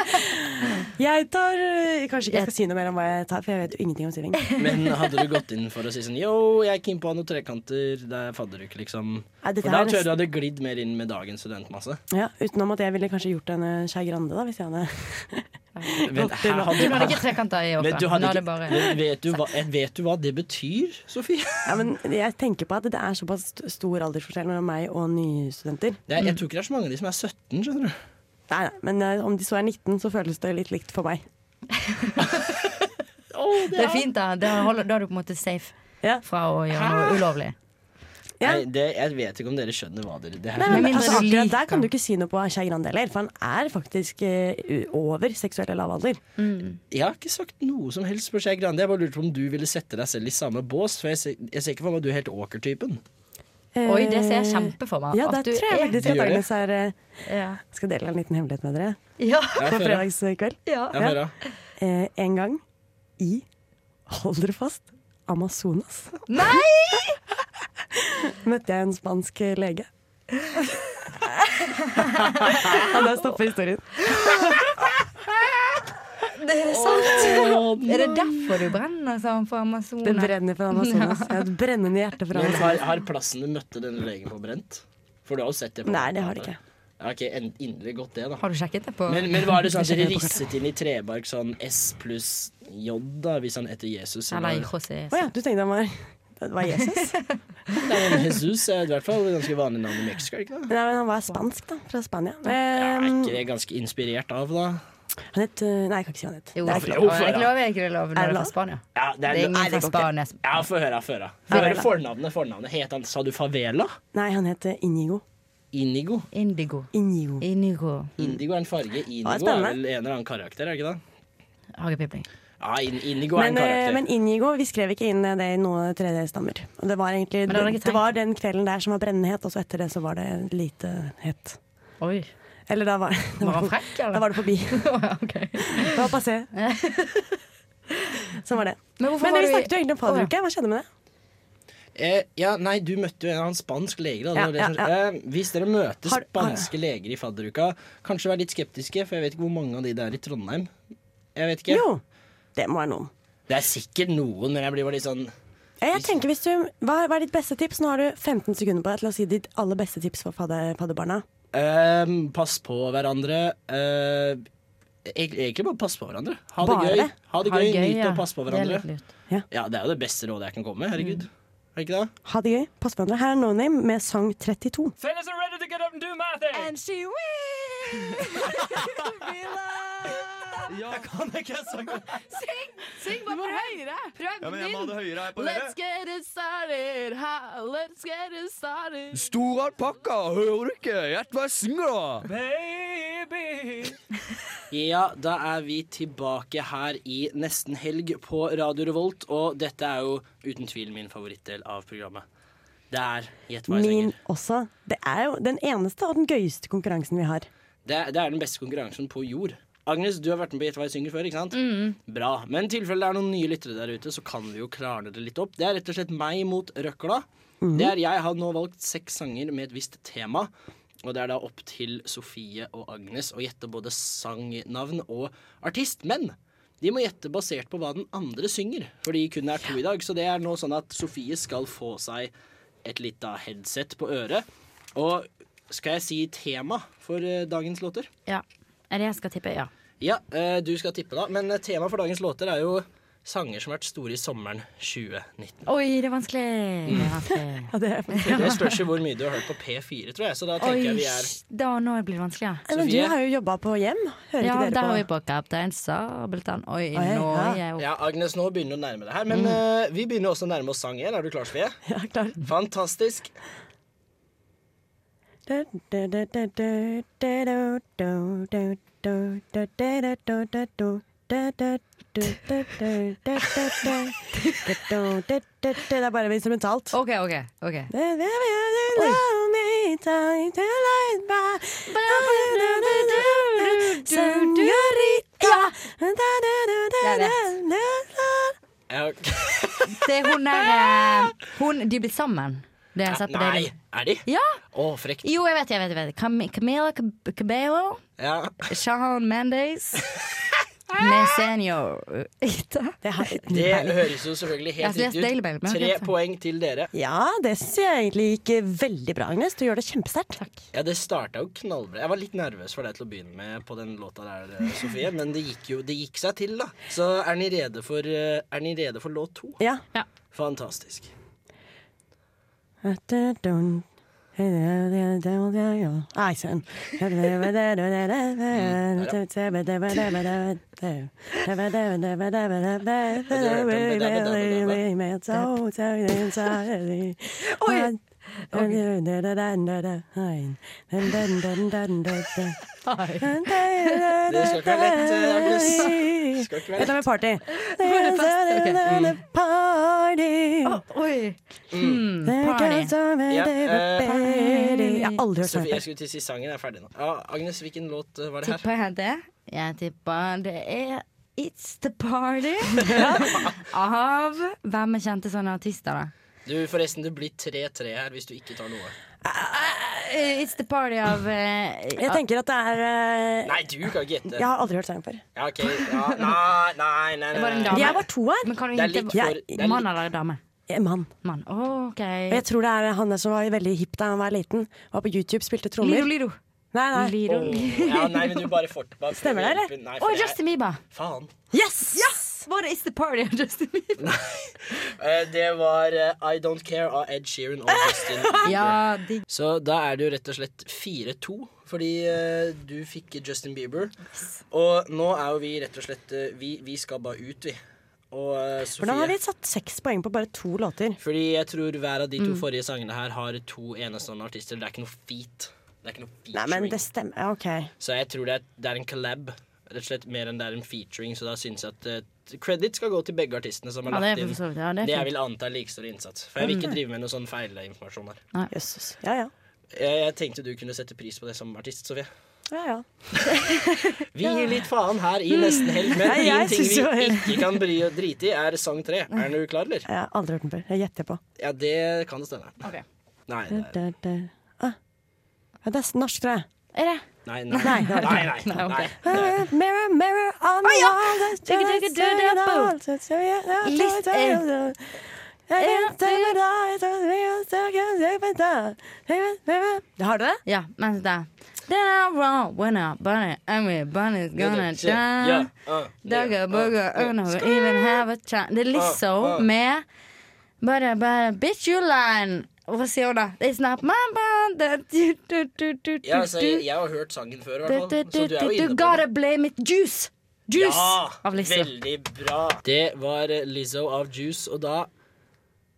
[SPEAKER 3] Jeg tar øh, Kanskje ikke jeg skal si noe mer om hva jeg tar, for jeg vet jo ingenting om syving. Nei,
[SPEAKER 1] Men hadde du gått inn for å si sånn Yo, jeg er keen på å ha noen trekanter, det er fadderuke, liksom.
[SPEAKER 3] dette
[SPEAKER 1] For da
[SPEAKER 3] er
[SPEAKER 1] tror jeg du hadde glidd mer inn med dagens studentmasse.
[SPEAKER 3] nesten- ja, Utenom at jeg ville kanskje gjort en øh, Skei Grande, da, hvis jeg hadde
[SPEAKER 1] Vent, her
[SPEAKER 8] Du
[SPEAKER 1] hadde,
[SPEAKER 8] hadde ikke trekanter i
[SPEAKER 1] vet,
[SPEAKER 8] åpet.
[SPEAKER 1] du
[SPEAKER 8] Nå
[SPEAKER 1] hadde
[SPEAKER 8] er det
[SPEAKER 1] ikke,
[SPEAKER 8] bare
[SPEAKER 1] vet, du hva, eh, vet du hva det betyr, Sofie?
[SPEAKER 3] Ja, men jeg tenker på at det er såpass st- stor aldersforskjell mellom meg og nye studenter.
[SPEAKER 1] Det er, jeg tror ikke det er så mange av de som er 17, skjønner du.
[SPEAKER 3] Nei, nei, men øh, om de så er 19, så føles det litt likt for meg.
[SPEAKER 8] Det er fint, da. Da, holder, da er du på en måte safe
[SPEAKER 3] Ja.
[SPEAKER 8] fra å gjøre noe ulovlig.
[SPEAKER 3] Ja.
[SPEAKER 1] Nei, det, jeg vet ikke om dere skjønner hva dere det her.
[SPEAKER 3] Nei, men,
[SPEAKER 8] mindre
[SPEAKER 3] altså,
[SPEAKER 8] du
[SPEAKER 3] akkurat
[SPEAKER 8] liker.
[SPEAKER 3] der kan du ikke si noe på Skei Grande heller, for han er faktisk øh, over seksuell lavalder.
[SPEAKER 1] Jeg har ikke sagt noe som helst på Skei Grande. Jeg bare lurte på om du ville sette deg selv i samme bås. For jeg ser, jeg ser ikke for meg at du er helt åker-typen.
[SPEAKER 8] Oi, det ser jeg kjempe for meg.
[SPEAKER 3] Eh, Ja,
[SPEAKER 8] at
[SPEAKER 3] der
[SPEAKER 8] du
[SPEAKER 3] tror jeg
[SPEAKER 8] er-
[SPEAKER 3] faktisk
[SPEAKER 1] Du
[SPEAKER 3] at
[SPEAKER 1] gjør det?
[SPEAKER 3] Agnes er øh,
[SPEAKER 8] Ja.
[SPEAKER 3] skal dele en liten hemmelighet med dere
[SPEAKER 8] Ja.
[SPEAKER 1] Jeg
[SPEAKER 3] på
[SPEAKER 1] får høre.
[SPEAKER 3] fredagskveld.
[SPEAKER 8] ja.
[SPEAKER 1] Jeg får høre.
[SPEAKER 3] Eh, en gang i Hold dere fast Amazonas
[SPEAKER 8] Nei!
[SPEAKER 3] møtte jeg en spansk lege. Og der stopper historien.
[SPEAKER 8] Det er sant. er det derfor du brenner sånn
[SPEAKER 3] Det
[SPEAKER 8] for Amazonas?
[SPEAKER 3] brenner for Amazonas. Jeg har et brennende hjerte for
[SPEAKER 1] Men
[SPEAKER 3] Amazonas.
[SPEAKER 1] har, har plassen du møtte denne legen på, brent? For du har jo sett det på
[SPEAKER 3] Nei, det har det ikke.
[SPEAKER 1] Ja, Ok, en- inderlig godt det, da.
[SPEAKER 8] Har du sjekket det på
[SPEAKER 1] Men, men var det sånn at
[SPEAKER 3] Jeg
[SPEAKER 1] dere
[SPEAKER 3] kjenner på
[SPEAKER 1] risset inn i trebark sånn S pluss J, da, hvis han heter Jesus?
[SPEAKER 8] Eller
[SPEAKER 1] Eller?
[SPEAKER 8] José?
[SPEAKER 3] Å ja, du tenkte han var Det var Jesus.
[SPEAKER 1] Det er en Jesus er i hvert fall et ganske vanlig navn i Mexico. er det Ikke det?
[SPEAKER 3] Nei, men han var spansk, da. Fra Spania.
[SPEAKER 1] Er
[SPEAKER 3] Eh,
[SPEAKER 1] ikke det ganske inspirert av, da?
[SPEAKER 3] han het eh, Nei, jeg kan ikke si hva han het.
[SPEAKER 8] Jo,
[SPEAKER 3] Det er ikke
[SPEAKER 1] for-
[SPEAKER 3] lov.
[SPEAKER 8] jeg
[SPEAKER 1] jo, for-
[SPEAKER 8] lover ikke det er lov
[SPEAKER 3] Er
[SPEAKER 8] når
[SPEAKER 3] det
[SPEAKER 8] du er
[SPEAKER 3] lov?
[SPEAKER 8] fra Spania.
[SPEAKER 1] Ja, det
[SPEAKER 8] Det
[SPEAKER 1] er,
[SPEAKER 8] er ingen
[SPEAKER 3] Nei, det
[SPEAKER 8] fra
[SPEAKER 3] går ikke.
[SPEAKER 8] Spania som
[SPEAKER 1] ja få høre, få høre. Få
[SPEAKER 3] Ja,
[SPEAKER 1] høre
[SPEAKER 3] da.
[SPEAKER 1] fornavnet. fornavnet. Het han, sa du favela?
[SPEAKER 3] Nei, han het eh, Inigo.
[SPEAKER 1] Inigo.
[SPEAKER 8] Indigo.
[SPEAKER 3] Inigo.
[SPEAKER 8] Indigo.
[SPEAKER 3] Mm.
[SPEAKER 1] Indigo er en farge. Inigo er
[SPEAKER 3] spennende.
[SPEAKER 1] vel en eller annen karakter, er det ikke det?
[SPEAKER 8] Hagepipling.
[SPEAKER 1] Ja, in Inigo er
[SPEAKER 3] Men,
[SPEAKER 1] en
[SPEAKER 3] eh,
[SPEAKER 1] karakter.
[SPEAKER 3] men Inigo, vi skrev ikke inn eh, det i noen tredje stammer. Og det var egentlig
[SPEAKER 8] Men det hadde jeg
[SPEAKER 3] det,
[SPEAKER 8] ikke
[SPEAKER 3] det var den kvelden der som var brennende het, og så etter det så var det lite hett.
[SPEAKER 8] Oi.
[SPEAKER 3] Eller da var, det
[SPEAKER 8] Var han
[SPEAKER 3] for-
[SPEAKER 8] frekk, eller?
[SPEAKER 3] Da var det forbi.
[SPEAKER 8] ok.
[SPEAKER 3] Det var passé. Sånn var det.
[SPEAKER 8] Men hvorfor
[SPEAKER 3] Men dere
[SPEAKER 8] var du i-
[SPEAKER 3] snakket jo egentlig om
[SPEAKER 8] Å, ja.
[SPEAKER 3] fadderuke. Hva skjedde med det?
[SPEAKER 1] Eh, ja, nei, du møtte jo en annen spansk lege. Da. Det
[SPEAKER 3] Ja,
[SPEAKER 1] var det
[SPEAKER 3] ja,
[SPEAKER 1] som-
[SPEAKER 3] ja.
[SPEAKER 1] Eh, hvis dere møter
[SPEAKER 3] Har- har-
[SPEAKER 1] spanske leger i fadderuka, kanskje vær litt skeptiske, for jeg vet ikke hvor mange av de det er i Trondheim. Jeg vet ikke.
[SPEAKER 3] Jo, det må være noen.
[SPEAKER 1] Det er sikkert noen, men jeg blir bare litt sånn
[SPEAKER 3] Ja, Jeg tenker hvis du, hva, hva er ditt beste tips? Nå har du 15 sekunder på deg til å si ditt aller beste tips for fadder, fadderbarna.
[SPEAKER 1] ehm, Pass på hverandre. Eh, eg- egentlig bare pass på hverandre. Ha det
[SPEAKER 3] Bare?
[SPEAKER 1] gøy. Ha det
[SPEAKER 8] Ha
[SPEAKER 1] gøy,
[SPEAKER 8] det gøy,
[SPEAKER 1] Nyt
[SPEAKER 8] ja.
[SPEAKER 1] å passe på
[SPEAKER 8] Det er litt
[SPEAKER 1] hverandre.
[SPEAKER 8] lurt.
[SPEAKER 1] Ja, Det er jo det beste rådet jeg kan komme med. Herregud. Er det ikke det?
[SPEAKER 3] Ha det gøy. Pass på hverandre. Her er No Name med sang 32.
[SPEAKER 2] Fellas are ready to get up and do my thing.
[SPEAKER 3] And she will
[SPEAKER 7] Syng bare høyere! Prøv min!
[SPEAKER 2] høyere her
[SPEAKER 7] Let's get it started, ha, let's get it started.
[SPEAKER 2] Stor alpakka, hører du ikke? Gjett hva jeg synger, da. Baby.
[SPEAKER 1] Ja, da er vi tilbake her i nesten helg på Radio Revolt, og dette er jo uten tvil min favorittdel av programmet. Det er Gjett hva jeg
[SPEAKER 3] Min
[SPEAKER 1] synger.
[SPEAKER 3] også. Det er jo den eneste og den gøyeste konkurransen vi har.
[SPEAKER 1] Det, det er den beste konkurransen på jord. Agnes, du har vært med på Gjett hva jeg synger før, ikke sant? Bra. Men i tilfelle det er noen nye lyttere der ute, så kan vi jo klarne det litt opp. Det er rett og slett meg mot røkla. Det er Jeg har nå valgt seks sanger med et visst tema. Og det er da opp til Sofie og Agnes å gjette både sangnavn og artist. Men de må gjette basert på hva den andre synger, for de kun er to i dag. Så det er nå sånn at Sofie skal få seg et lite headset på øret. Og skal jeg si tema for eh, dagens låter?
[SPEAKER 8] Ja. Er det jeg skal tippe? Ja.
[SPEAKER 1] Ja, eh, du skal tippe da. Men eh, tema for dagens låter er jo sanger som har vært store i sommeren 2019.
[SPEAKER 8] Oi, det er vanskelig! Det er vanskelig.
[SPEAKER 3] Ja, det er faktisk-
[SPEAKER 1] Det spørs jo hvor mye du har hørt på P4, tror jeg. Så da tenker jeg
[SPEAKER 8] Oi,
[SPEAKER 1] vi er
[SPEAKER 8] da nå blir det vanskelig, ja.
[SPEAKER 3] Nei, Men du
[SPEAKER 1] Sofie?
[SPEAKER 3] har jo jobba på hjem. Hører
[SPEAKER 8] Ja,
[SPEAKER 3] ikke
[SPEAKER 8] der har vi
[SPEAKER 3] dere på?
[SPEAKER 8] på Kaptein Sabeltann. Oi,
[SPEAKER 3] Oi,
[SPEAKER 8] nå
[SPEAKER 3] ja.
[SPEAKER 8] er jeg opp.
[SPEAKER 1] Ja, Agnes, nå begynner du å nærme deg her. Men eh, vi begynner også å nærme oss sang igjen. Er du klar, Sofie?
[SPEAKER 3] Ja, klar.
[SPEAKER 1] Fantastisk.
[SPEAKER 3] Det er bare instrumentalt.
[SPEAKER 8] OK, OK. ok
[SPEAKER 1] Ja, ok.
[SPEAKER 8] Det er hun der eh, hun, De er blitt sammen. Det har jeg sett på
[SPEAKER 1] Nei,
[SPEAKER 8] Daily.
[SPEAKER 1] er de?
[SPEAKER 8] Ja!
[SPEAKER 1] Å, frekt.
[SPEAKER 8] Jo, jeg vet, jeg vet. jeg vet Cam Camila Cab- Cabello.
[SPEAKER 1] Ja.
[SPEAKER 8] Shahan Mendes. uh, Mesenio.
[SPEAKER 1] Det høres jo selvfølgelig
[SPEAKER 8] Jeg
[SPEAKER 1] helt
[SPEAKER 8] har lest
[SPEAKER 1] riktig
[SPEAKER 8] Daily Mail,
[SPEAKER 1] ut.
[SPEAKER 8] men jeg
[SPEAKER 1] Tre
[SPEAKER 8] har ikke-
[SPEAKER 1] poeng til dere.
[SPEAKER 3] Ja, det syns jeg egentlig gikk veldig bra, Agnes. Du gjør det kjempesterkt.
[SPEAKER 1] Ja, det starta jo knallbra. Jeg var litt nervøs for deg til å begynne med på den låta der, eh, Sofie, men det gikk jo Det gikk seg til, da. Så er ni rede for, eh, er ni rede for låt to?
[SPEAKER 3] Ja.
[SPEAKER 1] Fantastisk.
[SPEAKER 3] Nei, sønn. Oi!
[SPEAKER 1] Det skal ikke være lett, eh, Agnes. Skal ikke være
[SPEAKER 3] Et
[SPEAKER 1] lett.
[SPEAKER 3] eller annet party. Party.
[SPEAKER 8] Oi! Hmm,
[SPEAKER 1] Ja, eh,
[SPEAKER 3] Jeg har aldri hørt
[SPEAKER 1] Sofie,
[SPEAKER 3] sånn
[SPEAKER 1] jeg skulle til å si sangen er ferdig nå. Ja, Agnes, hvilken låt eh, var det her?
[SPEAKER 8] Tipper jeg det? Jeg tipper det er It's The Party. Av Hvem er kjente sånne artister, da?
[SPEAKER 1] Du, forresten, det blir 3-3 her hvis du ikke tar noe.
[SPEAKER 8] Eh, It's The Party av eh,
[SPEAKER 3] Jeg tenker at det er eh,
[SPEAKER 1] Nei, du kan ikke gjette.
[SPEAKER 3] Jeg har aldri hørt sangen før.
[SPEAKER 1] Ja, OK. Ja, nei, nei, nei.
[SPEAKER 8] Det var
[SPEAKER 1] nei,
[SPEAKER 8] en
[SPEAKER 1] nei.
[SPEAKER 8] dame.
[SPEAKER 3] Jeg var to her.
[SPEAKER 8] Men kan du
[SPEAKER 1] Det er litt
[SPEAKER 8] hinte
[SPEAKER 1] for det er
[SPEAKER 8] Mann
[SPEAKER 1] litt,
[SPEAKER 8] eller dame?
[SPEAKER 3] Eh, Mann.
[SPEAKER 8] Mann. Å, OK.
[SPEAKER 3] Og jeg tror det er han der som var veldig hipp da han var liten. Var på YouTube, spilte
[SPEAKER 8] Lido,
[SPEAKER 3] trommer.
[SPEAKER 8] Lido.
[SPEAKER 3] Nei, nei.
[SPEAKER 8] Lido.
[SPEAKER 1] Åh, ja, nei, men du bare fort, bare
[SPEAKER 3] Stemmer det, eller?
[SPEAKER 1] Nei,
[SPEAKER 8] Å,
[SPEAKER 1] for jeg-
[SPEAKER 8] Justin Bieber.
[SPEAKER 1] Faen.
[SPEAKER 3] Yes!
[SPEAKER 8] Var det Is The Party av Justin Bieber?
[SPEAKER 1] Eh, Det var eh, I Don't Care av Ed Sheeran og Justin Bieber.
[SPEAKER 8] Ja, digg.
[SPEAKER 1] Så da er det jo rett og slett 4-2, fordi eh, du fikk Justin Bieber. Og nå er jo vi rett og slett eh, Vi, vi skal bare ut, vi. Og eh,
[SPEAKER 3] For da har vi
[SPEAKER 1] Sofie
[SPEAKER 3] satt seks poeng på bare to låter.
[SPEAKER 1] Fordi jeg tror hver av de
[SPEAKER 8] Mm.
[SPEAKER 1] to forrige sangene her har to enestående artister. Det er ikke noe feat. Det er ikke noe
[SPEAKER 3] Nei, men
[SPEAKER 1] featuring.
[SPEAKER 3] det stemmer. Ja, OK.
[SPEAKER 1] Så jeg tror det er, det er en collab. Rett og slett mer enn det er en featuring, så da syns jeg at eh, credit skal gå til begge artistene som har
[SPEAKER 8] Ja, det
[SPEAKER 1] lagt
[SPEAKER 8] er for så
[SPEAKER 1] inn
[SPEAKER 8] vidt. Ja, det
[SPEAKER 1] det jeg
[SPEAKER 8] er fint. Mm.
[SPEAKER 1] vil anta er like stor innsats. For jeg vil ikke drive med noe sånn feilinformasjon her.
[SPEAKER 3] Jøsses. Ja ja.
[SPEAKER 1] Jeg, jeg tenkte du kunne sette pris på det som artist, Sofie.
[SPEAKER 3] ja, ja.
[SPEAKER 1] Vi gir litt faen her i nesten helg, men
[SPEAKER 3] Nei,
[SPEAKER 1] én
[SPEAKER 3] jeg
[SPEAKER 1] ting
[SPEAKER 3] synes
[SPEAKER 1] vi
[SPEAKER 3] jo helt-
[SPEAKER 1] ikke kan bry og drite i, er sang tre. Er du klar, eller?
[SPEAKER 3] Jeg har aldri hørt den før. Jeg gjetter på.
[SPEAKER 1] Ja, det kan det stemme.
[SPEAKER 8] Ok.
[SPEAKER 1] Nei,
[SPEAKER 3] Da,
[SPEAKER 1] det er-
[SPEAKER 3] da, da. Ah. Ja, det er norsk, tror jeg.
[SPEAKER 8] Er det?
[SPEAKER 1] nei, nei. nei,
[SPEAKER 3] det er
[SPEAKER 1] nei, nei,
[SPEAKER 8] Nei, ok.
[SPEAKER 3] Mirror, mirror on the wall that's
[SPEAKER 8] Digga, digga,
[SPEAKER 3] just
[SPEAKER 8] digga,
[SPEAKER 3] saying
[SPEAKER 8] boom.
[SPEAKER 3] all that's saying all
[SPEAKER 8] At least,
[SPEAKER 3] that's saying
[SPEAKER 8] eh,
[SPEAKER 3] all. I can't take it all, it's all the real stuff, can't take it all. Mirror, mirror. Har du det?
[SPEAKER 8] Ja, mens det There are wrong when I burn it, and we burn it's gonna die.
[SPEAKER 1] Ja, ah,
[SPEAKER 8] Dugga,
[SPEAKER 1] ja,
[SPEAKER 8] bugga,
[SPEAKER 1] ah,
[SPEAKER 8] ugga, oh we even have a chance. Det er
[SPEAKER 1] Ah, ah.
[SPEAKER 8] Lizzo med Bare, bare, bitch you line. Og Hva sier hun da? It's not my band. that you do, do, do, do,
[SPEAKER 1] Ja, altså, jeg,
[SPEAKER 8] do.
[SPEAKER 1] jeg har hørt sangen før, i
[SPEAKER 8] Du,
[SPEAKER 1] hvert
[SPEAKER 8] du,
[SPEAKER 1] fall. Så
[SPEAKER 8] du,
[SPEAKER 1] du er jo
[SPEAKER 8] du,
[SPEAKER 1] inne på
[SPEAKER 8] du
[SPEAKER 1] det.
[SPEAKER 8] gotta blame it. Juice! Juice! av Lizzo.
[SPEAKER 1] veldig bra. Det var eh, Lizzo av Juice, og da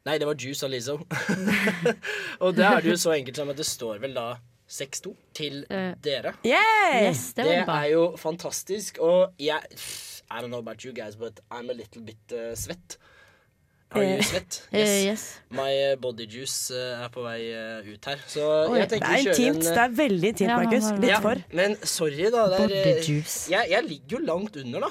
[SPEAKER 1] Nei, det var Juice av Lizzo. og da er det jo så enkelt som at det står vel da 6-2 til
[SPEAKER 8] Eh,
[SPEAKER 1] dere.
[SPEAKER 3] Yay!
[SPEAKER 8] Yes, det
[SPEAKER 1] Det,
[SPEAKER 8] var bra.
[SPEAKER 1] er jo fantastisk, og jeg I don't know about you guys, but I'm a little bit eh, svett. Are
[SPEAKER 3] Eh,
[SPEAKER 1] you svett?
[SPEAKER 8] Eh,
[SPEAKER 1] Yes.
[SPEAKER 8] yes.
[SPEAKER 1] My eh, body juice eh, er på vei eh, ut her, så jeg
[SPEAKER 3] Det
[SPEAKER 1] tenker
[SPEAKER 3] er
[SPEAKER 1] vi kjører
[SPEAKER 3] intimt.
[SPEAKER 1] en eh,
[SPEAKER 3] Det er veldig intimt,
[SPEAKER 8] Ja, men
[SPEAKER 3] Markus.
[SPEAKER 8] hva-
[SPEAKER 3] Litt
[SPEAKER 1] ja,
[SPEAKER 3] for.
[SPEAKER 1] Men sorry, da. Det er,
[SPEAKER 8] Body
[SPEAKER 1] eh,
[SPEAKER 8] juice.
[SPEAKER 1] jeg, jeg ligger jo langt under, da.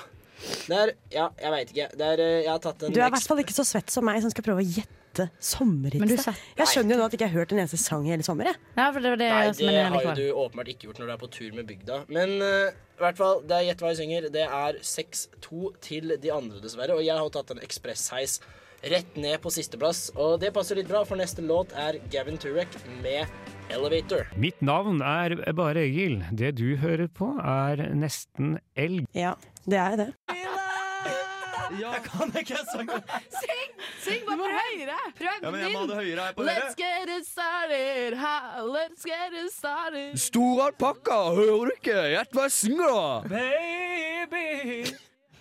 [SPEAKER 1] Det er Ja, jeg veit ikke. Det er, eh, jeg har tatt en
[SPEAKER 3] Du er i
[SPEAKER 1] eks-
[SPEAKER 3] hvert fall ikke så svett som meg, som skal prøve å gjette
[SPEAKER 8] Men du
[SPEAKER 3] sommerhits. da.
[SPEAKER 8] satt-
[SPEAKER 3] Jeg skjønner jo nå at jeg ikke har hørt en eneste sang i hele sommer. Jeg.
[SPEAKER 8] Ja, for det var det
[SPEAKER 1] Nei,
[SPEAKER 8] Eh, som er
[SPEAKER 1] det har jo
[SPEAKER 8] likevel.
[SPEAKER 1] du åpenbart ikke gjort når du er på tur med bygda. Men eh, i hvert fall, det er Gjett hva jeg synger. Det er 6-2 til de andre, dessverre. Og jeg har tatt en ekspressheis rett ned på sisteplass. Og det passer litt bra, for neste låt er Gavin Turek med 'Elevator'.
[SPEAKER 10] Mitt navn er Bare Egil. Det du hører på, er nesten elg.
[SPEAKER 3] Ja, det er jo det.
[SPEAKER 8] Syng bare for høyere! Prøv Let's get it started, ha, let's get it started.
[SPEAKER 7] Stor alpakka, hører du ikke? Gjett hva jeg synger, da!